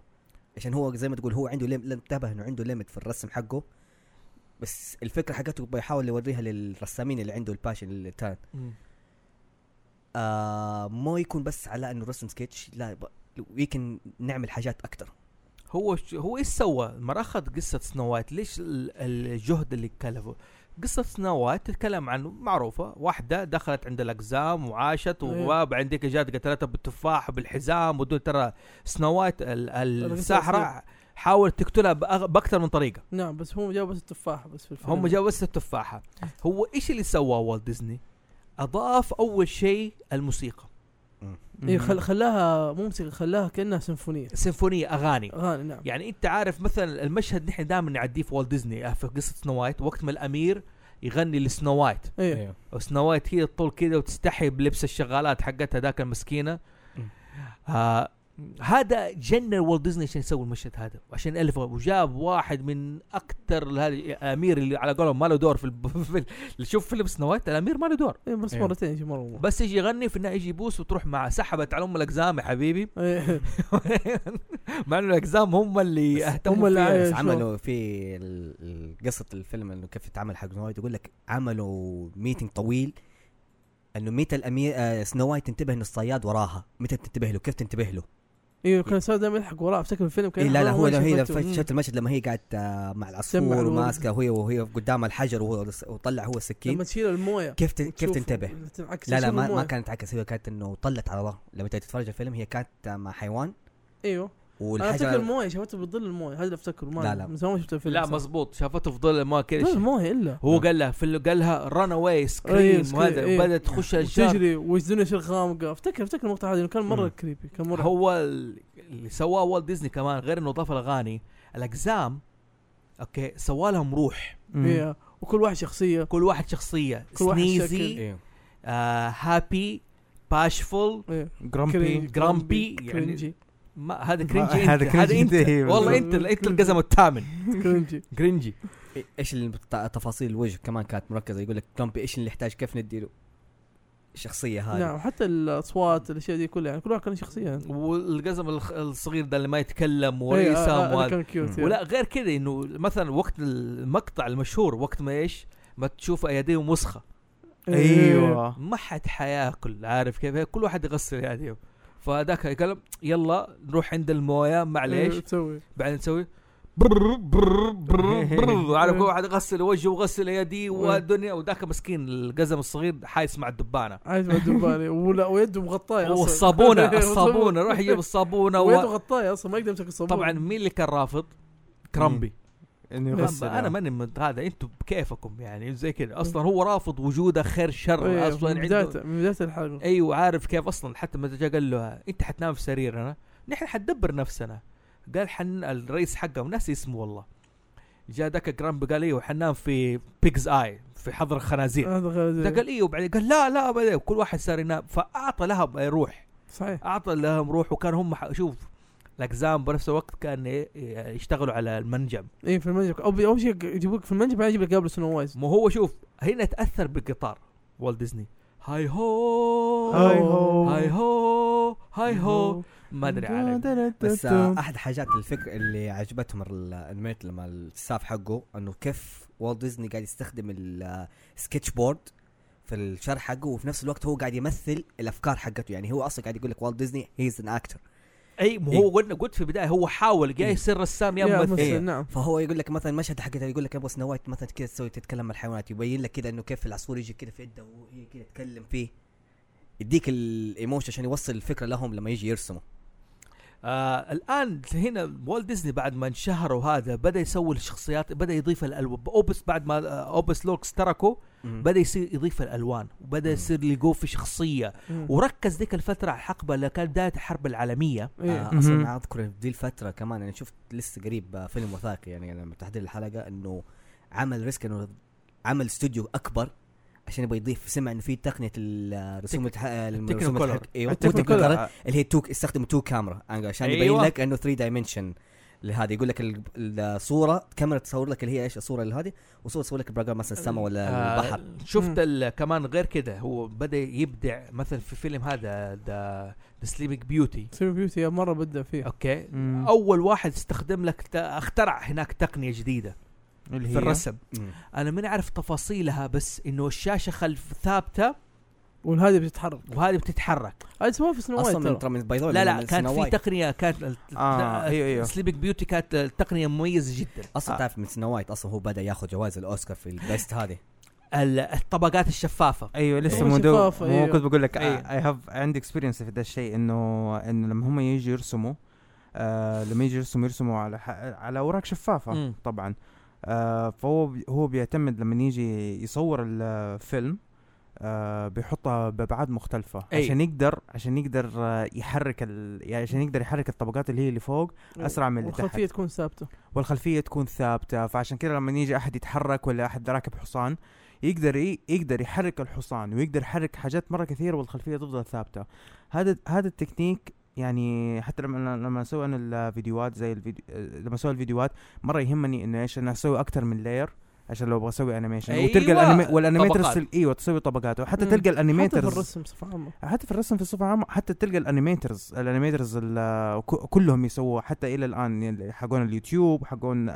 [SPEAKER 4] عشان هو زي ما تقول هو عنده لم... لا انتبه انه عنده ليمت في الرسم حقه بس الفكره حقته بيحاول يوريها للرسامين اللي عنده الباشن اللي تان آه ما يكون بس على انه رسم سكتش لا ب... يمكن نعمل حاجات اكثر
[SPEAKER 1] هو ش... هو ايش سوى؟ ما اخذ قصه سنو وايت ليش ال- الجهد اللي كلفه؟ قصة سنو وايت تتكلم عن معروفة واحدة دخلت عند الأقزام وعاشت
[SPEAKER 3] إيه.
[SPEAKER 1] وبعدين كده جات قتلتها بالتفاح بالحزام ودول ترى سنو وايت ال-
[SPEAKER 3] الرسالة.
[SPEAKER 1] الساحرة حاولت تقتلها بأغ- بأكثر من طريقة
[SPEAKER 3] نعم بس هم جابوا بس التفاحه بس في الفيلم
[SPEAKER 1] هم جابوا بس التفاحة هو ايش اللي سواه والت ديزني؟ أضاف أول شيء الموسيقى
[SPEAKER 3] ايه خل... خلاها مو موسيقى خلاها كانها سيمفونيه
[SPEAKER 1] سيمفونية أغاني
[SPEAKER 3] اغاني نعم
[SPEAKER 1] يعني انت عارف مثلا المشهد نحن دائما نعديه في والت ديزني في قصه سنو وايت وقت ما الامير يغني لسنو وايت
[SPEAKER 3] ايه
[SPEAKER 1] وسنو وايت كذا تطول كذا وتستحي بلبس الشغالات حقتها ذاك المسكينه
[SPEAKER 4] مم.
[SPEAKER 1] آه هذا جنن والت ديزني عشان يسوي المشهد هذا وعشان الفه وجاب واحد من اكثر الامير اللي على قولهم ما له دور في, الب... في ال- شوف فيلم سنو وايت الامير ما له دور
[SPEAKER 3] ايه بس
[SPEAKER 5] إيه.
[SPEAKER 3] مرتين شي مره مو.
[SPEAKER 1] بس يجي يغني في النهايه يجي يبوس وتروح معه سحبت على ام الاقزام يا حبيبي
[SPEAKER 3] إيه.
[SPEAKER 1] مع انه الاقزام هم اللي اهتموا
[SPEAKER 3] هم اللي
[SPEAKER 1] فيها.
[SPEAKER 3] إيه،
[SPEAKER 4] بس
[SPEAKER 3] شو-
[SPEAKER 4] عملوا في ال- ال- قصه الفيلم انه كيف اتعمل حق سنو وايت يقول لك عملوا ميتنج طويل انه متى الامير آه سنو وايت تنتبه انه الصياد وراها متى تنتبه له كيف تنتبه له
[SPEAKER 3] ايوه كان صار دائما يلحق وراه افتكر الفيلم كان
[SPEAKER 4] إيه لا لا
[SPEAKER 3] يلحق
[SPEAKER 4] هو
[SPEAKER 3] وراه
[SPEAKER 4] لو
[SPEAKER 3] وين
[SPEAKER 4] هي لو
[SPEAKER 3] شفته.
[SPEAKER 4] فت- شفت المشهد لما هي قاعد آه، مع العصفور
[SPEAKER 3] الورد.
[SPEAKER 4] وماسكه وهي وهي قدام الحجر وهو لس- وطلع هو السكين
[SPEAKER 3] لما تشيل المويه
[SPEAKER 4] كيف تن- كيف
[SPEAKER 3] تشوف-
[SPEAKER 4] تنتبه؟
[SPEAKER 3] تنعكس
[SPEAKER 4] لا لا
[SPEAKER 3] تشيل
[SPEAKER 4] ما, ما
[SPEAKER 3] الموية.
[SPEAKER 4] كانت عكس هي كانت انه طلت على ظهر لما تيجي تتفرج الفيلم هي كانت آه، مع حيوان
[SPEAKER 3] ايوه انا افتكر
[SPEAKER 4] والحجر
[SPEAKER 3] المويه شفته بظل المويه هذا اللي افتكره ما
[SPEAKER 4] لا، لا.
[SPEAKER 3] من زمان ما شفت الفيلم
[SPEAKER 1] لا
[SPEAKER 3] صراحة.
[SPEAKER 1] مزبوط شافته في ظل ما
[SPEAKER 3] لا
[SPEAKER 1] كذا
[SPEAKER 3] المويه الا
[SPEAKER 1] هو
[SPEAKER 4] آه.
[SPEAKER 1] قال لها في اللي قال لها رن اواي
[SPEAKER 3] إيه،
[SPEAKER 1] سكريم
[SPEAKER 3] نعم. scream،
[SPEAKER 1] وهذا
[SPEAKER 3] إيه.
[SPEAKER 1] بدات تخش الشارع
[SPEAKER 3] تجري والدنيا شيء غامقه افتكر افتكر المقطع هذا إنه كان مره
[SPEAKER 5] مم.
[SPEAKER 3] كريبي كان مره
[SPEAKER 1] هو ال- اللي سواه والت ديزني كمان غير انه ضاف الاغاني الاقزام اوكي سوى لهم روح
[SPEAKER 3] إيه. وكل واحد شخصيه
[SPEAKER 1] كل واحد شخصيه
[SPEAKER 3] كل واحد
[SPEAKER 1] سنيزي
[SPEAKER 3] شكل.
[SPEAKER 4] إيه.
[SPEAKER 1] آه هابي باشفول
[SPEAKER 5] جرامبي
[SPEAKER 3] كري-
[SPEAKER 1] جرامبي، يعني-
[SPEAKER 3] كرنجي
[SPEAKER 1] ما هذا
[SPEAKER 5] ما-
[SPEAKER 1] كرنجي
[SPEAKER 5] هذا
[SPEAKER 1] انت هذا
[SPEAKER 5] كرنجي
[SPEAKER 1] انت
[SPEAKER 5] أنت، إيه،
[SPEAKER 1] والله انت
[SPEAKER 3] بالضبط.
[SPEAKER 1] انت القزم الثامن
[SPEAKER 3] كرنجي
[SPEAKER 1] كرنجي
[SPEAKER 4] إيه، ايش الت- تفاصيل الوجه كمان كانت مركزه يقول لك جامبي ايش اللي يحتاج كيف نديله الشخصيه هذه
[SPEAKER 3] نعم حتى الاصوات الاشياء دي كلها يعني كل واحد كان شخصيه
[SPEAKER 1] والقزم الخ- الصغير ده اللي ما يتكلم
[SPEAKER 3] إيه، آه،
[SPEAKER 1] وريسم
[SPEAKER 3] آه،
[SPEAKER 1] وهذا
[SPEAKER 3] هذا كان كيوت إيه.
[SPEAKER 1] ولا غير كذا انه مثلا وقت المقطع المشهور وقت ما ايش ما تشوف ايديه مسخه
[SPEAKER 3] إيه.
[SPEAKER 5] ايوه
[SPEAKER 1] ما حد حياكل عارف كيف كل واحد يغسل يديه فذاك يتكلم يلا نروح عند المويه معليش
[SPEAKER 3] إيه، تسوي
[SPEAKER 1] بعدين نسوي برر برر برر برر عارف كل واحد يغسل وجهه وغسل يديه والدنيا وذاك مسكين القزم الصغير حايس مع الدبانه
[SPEAKER 3] عايز مع الدباني ولا ويده مغطايه أصلاً.
[SPEAKER 1] والصابونه الصابونه روح يجيب الصابونه
[SPEAKER 3] ويده
[SPEAKER 1] و...
[SPEAKER 3] مغطايه اصلا ما يقدر يمسك الصابون
[SPEAKER 1] طبعا مين اللي كان رافض؟ كرامبي
[SPEAKER 5] انه يغسل
[SPEAKER 1] انا
[SPEAKER 5] آه.
[SPEAKER 1] ماني من هذا انتم بكيفكم يعني زي كذا اصلا هو رافض وجوده خير شر
[SPEAKER 3] إيه،
[SPEAKER 1] اصلا
[SPEAKER 3] من
[SPEAKER 1] عنده
[SPEAKER 3] بدايه من بدايه الحلقه
[SPEAKER 1] ايوه عارف كيف اصلا حتى متى جاء قال له انت حتنام في سريرنا نحن حندبر نفسنا قال حن الرئيس حقهم ناسي اسمه والله جاء ذاك جرامبي قال ايوه حننام في بيجز اي في حظر الخنازير
[SPEAKER 3] هذا غير
[SPEAKER 1] ده قال ايوه وبعدين قال لا لا أبداً. كل واحد صار ينام فاعطى لهم روح
[SPEAKER 3] صحيح
[SPEAKER 1] اعطى لهم روح وكان هم ح- شوف الاقزام بنفس الوقت كان ي- يشتغلوا على المنجم
[SPEAKER 3] اي إيه، في المنجم او اول شيء يجيبوك في المنجم بعدين يجيب لك قبل سنو وايز
[SPEAKER 1] مو هو شوف هنا تاثر بالقطار والت ديزني هاي هو
[SPEAKER 5] هاي هو
[SPEAKER 1] هاي هو هاي هو ما ادري عارف
[SPEAKER 4] بس
[SPEAKER 3] طيب،
[SPEAKER 4] آه، احد حاجات الفكر اللي عجبتهم الانميت لما الساف حقه انه كيف والت ديزني قاعد يستخدم السكتش بورد في الشرح حقه وفي نفس الوقت هو قاعد يمثل الافكار حقته يعني هو اصلا قاعد يقول لك والت ديزني هيز ان اكتر
[SPEAKER 1] اي ما هو قلنا قلت في البدايه هو حاول يا
[SPEAKER 4] إيه.
[SPEAKER 1] يصير رسام إيه. يا
[SPEAKER 3] يا
[SPEAKER 1] ممثل
[SPEAKER 4] إيه.
[SPEAKER 3] ممثل نعم
[SPEAKER 4] فهو يقول لك مثلا المشهد حقته يقول لك ابغى سنو وايت مثلا كذا تسوي تتكلم مع الحيوانات يبين لك كذا انه كيف العصفور يجي كذا في يده وهي كذا تتكلم فيه يديك الايموشن عشان يوصل الفكره لهم لما يجي يرسمه
[SPEAKER 1] آه الان هنا والت ديزني بعد ما انشهروا هذا بدا يسوي الشخصيات بدا يضيف الالوان اوبس بعد ما آه، اوبس لوكس تركه بدا يصير يضيف الالوان وبدا
[SPEAKER 4] مم.
[SPEAKER 1] يصير لقوه في شخصيه
[SPEAKER 3] مم.
[SPEAKER 1] وركز ذيك الفتره على الحقبه اللي كانت بدايه الحرب العالميه
[SPEAKER 3] إيه.
[SPEAKER 4] آه اصلا
[SPEAKER 5] مهم.
[SPEAKER 4] أنا اذكر في دي الفتره كمان انا شفت لسه قريب آه، فيلم وثائقي يعني لما تحضير الحلقه انه عمل ريسك انه عمل استوديو اكبر عشان يبغى يضيف سمع انه في تقنيه ال- آه، الرسوم التح... الرسوم
[SPEAKER 1] التكنيكولر.
[SPEAKER 4] التحك... ايوه
[SPEAKER 3] التكنيكولر.
[SPEAKER 4] التكنيكولر اللي هي تو يستخدم تو كاميرا عشان
[SPEAKER 1] أيوة.
[SPEAKER 4] يبين لك انه 3 دايمنشن لهذه يقول لك ال- الصوره كاميرا تصور لك اللي هي ايش الصوره اللي هذه وصوره تصور لك الباك مثلا السماء ولا
[SPEAKER 1] آه،
[SPEAKER 4] البحر
[SPEAKER 3] مم.
[SPEAKER 1] شفت ال- كمان غير كده هو بدا يبدع مثلا في فيلم هذا ذا سليمينج بيوتي
[SPEAKER 3] سيمي بيوتي مره بدع فيها
[SPEAKER 1] اوكي
[SPEAKER 5] مم.
[SPEAKER 1] اول واحد استخدم لك ت- اخترع هناك تقنيه جديده
[SPEAKER 5] اللي
[SPEAKER 1] في الرسم
[SPEAKER 4] مم.
[SPEAKER 1] انا ما نعرف تفاصيلها بس انه الشاشه خلف ثابته
[SPEAKER 3] والهذه بتتحرك
[SPEAKER 1] وهذه بتتحرك
[SPEAKER 3] هذه سووها في سنو
[SPEAKER 4] اصلا
[SPEAKER 3] وايت
[SPEAKER 4] من
[SPEAKER 3] ترى
[SPEAKER 4] ترى من بايذول
[SPEAKER 1] لا
[SPEAKER 4] من
[SPEAKER 1] لا كانت
[SPEAKER 4] سنو
[SPEAKER 1] في
[SPEAKER 4] وايت.
[SPEAKER 1] تقنيه كانت
[SPEAKER 5] آه، أيوة، أيوة.
[SPEAKER 1] سليبك بيوتي كانت تقنيه مميزه جدا
[SPEAKER 4] اصلا
[SPEAKER 5] آه.
[SPEAKER 4] تعرف من سنو وايت اصلا هو بدا ياخذ جوائز الاوسكار في البيست هذه
[SPEAKER 1] ال- الطبقات الشفافه
[SPEAKER 5] ايوه لسه
[SPEAKER 3] أيوة.
[SPEAKER 5] مو دو
[SPEAKER 3] شفافة،
[SPEAKER 5] مو
[SPEAKER 3] أيوة.
[SPEAKER 5] كنت بقول لك
[SPEAKER 1] أيوة.
[SPEAKER 5] اي هاف عندي اكسبيرينس في ده الشيء انه انه لما هم يجوا يرسموا آه لما يجوا يرسموا يرسموا على ح- على اوراق شفافه
[SPEAKER 1] مم.
[SPEAKER 5] طبعا آه فهو بي- هو بيعتمد لما يجي يصور الفيلم آه بيحطها بابعاد مختلفة
[SPEAKER 1] أي.
[SPEAKER 5] عشان يقدر عشان يقدر آه، يحرك ال... يعني عشان يقدر يحرك الطبقات اللي هي اللي فوق أسرع من اللي تحت.
[SPEAKER 3] والخلفيه تكون ثابته
[SPEAKER 5] والخلفية تكون ثابتة فعشان كذا لما يجي أحد يتحرك ولا أحد راكب حصان يقدر ي- يقدر يحرك الحصان ويقدر يحرك حاجات مرة كثيرة والخلفية تفضل ثابتة هذا هذا التكنيك يعني حتى لما لما اسوي انا الفيديوهات زي الفيديو آه، لما اسوي الفيديوهات مره يهمني انه ايش انا اسوي اكثر من لاير عشان لو ابغى اسوي انيميشن
[SPEAKER 1] أيوة،
[SPEAKER 5] وتلقى الانيمي والانيميترز
[SPEAKER 1] طبقات.
[SPEAKER 5] تل- ايوه تسوي طبقات وحتى
[SPEAKER 3] مم.
[SPEAKER 5] تلقى
[SPEAKER 3] حتى في
[SPEAKER 5] الانيميترز
[SPEAKER 3] الرسم بصفه عامه
[SPEAKER 5] حتى في الرسم في الصفحة عامة حتى تلقى الانيميترز الانيميترز ال- ك- كلهم يسووا حتى الى الان يعني حقون اليوتيوب حقون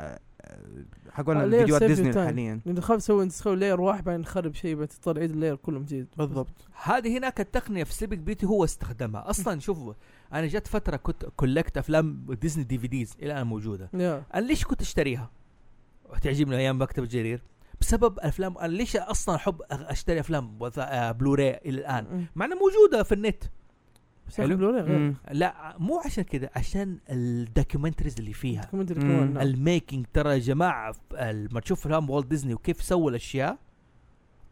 [SPEAKER 5] حقون
[SPEAKER 3] آه، layer
[SPEAKER 5] الفيديوهات
[SPEAKER 3] save
[SPEAKER 5] ديزني
[SPEAKER 3] your time.
[SPEAKER 5] حاليا
[SPEAKER 3] لان خاف تسوي انت تسوي لاير واحد بعدين تخرب شيء بعدين تضطر عيد اللاير كله من جديد
[SPEAKER 5] بالضبط
[SPEAKER 1] هذه هناك التقنيه في سليبك بيوتي هو استخدمها اصلا شوفوا انا جت فتره كنت كولكت افلام ديزني دي في ديز الى الان موجوده
[SPEAKER 3] يا
[SPEAKER 1] انا ليش كنت اشتريها؟ وتعجبني ايام مكتب الجرير بسبب افلام انا ليش اصلا احب أغ- اشتري افلام وثا- آه، بلوراي الى الان
[SPEAKER 3] مم.
[SPEAKER 1] مع انها موجوده في النت
[SPEAKER 3] بس
[SPEAKER 1] حلو.
[SPEAKER 3] إيه. البلوري غير
[SPEAKER 1] لا مو عشان كذا عشان الدوكيومنتريز اللي فيها
[SPEAKER 3] كم أدري
[SPEAKER 5] مم.
[SPEAKER 3] كمان، نعم.
[SPEAKER 1] الميكنج ترى يا جماعه ف- لما تشوف افلام والت ديزني وكيف سووا الاشياء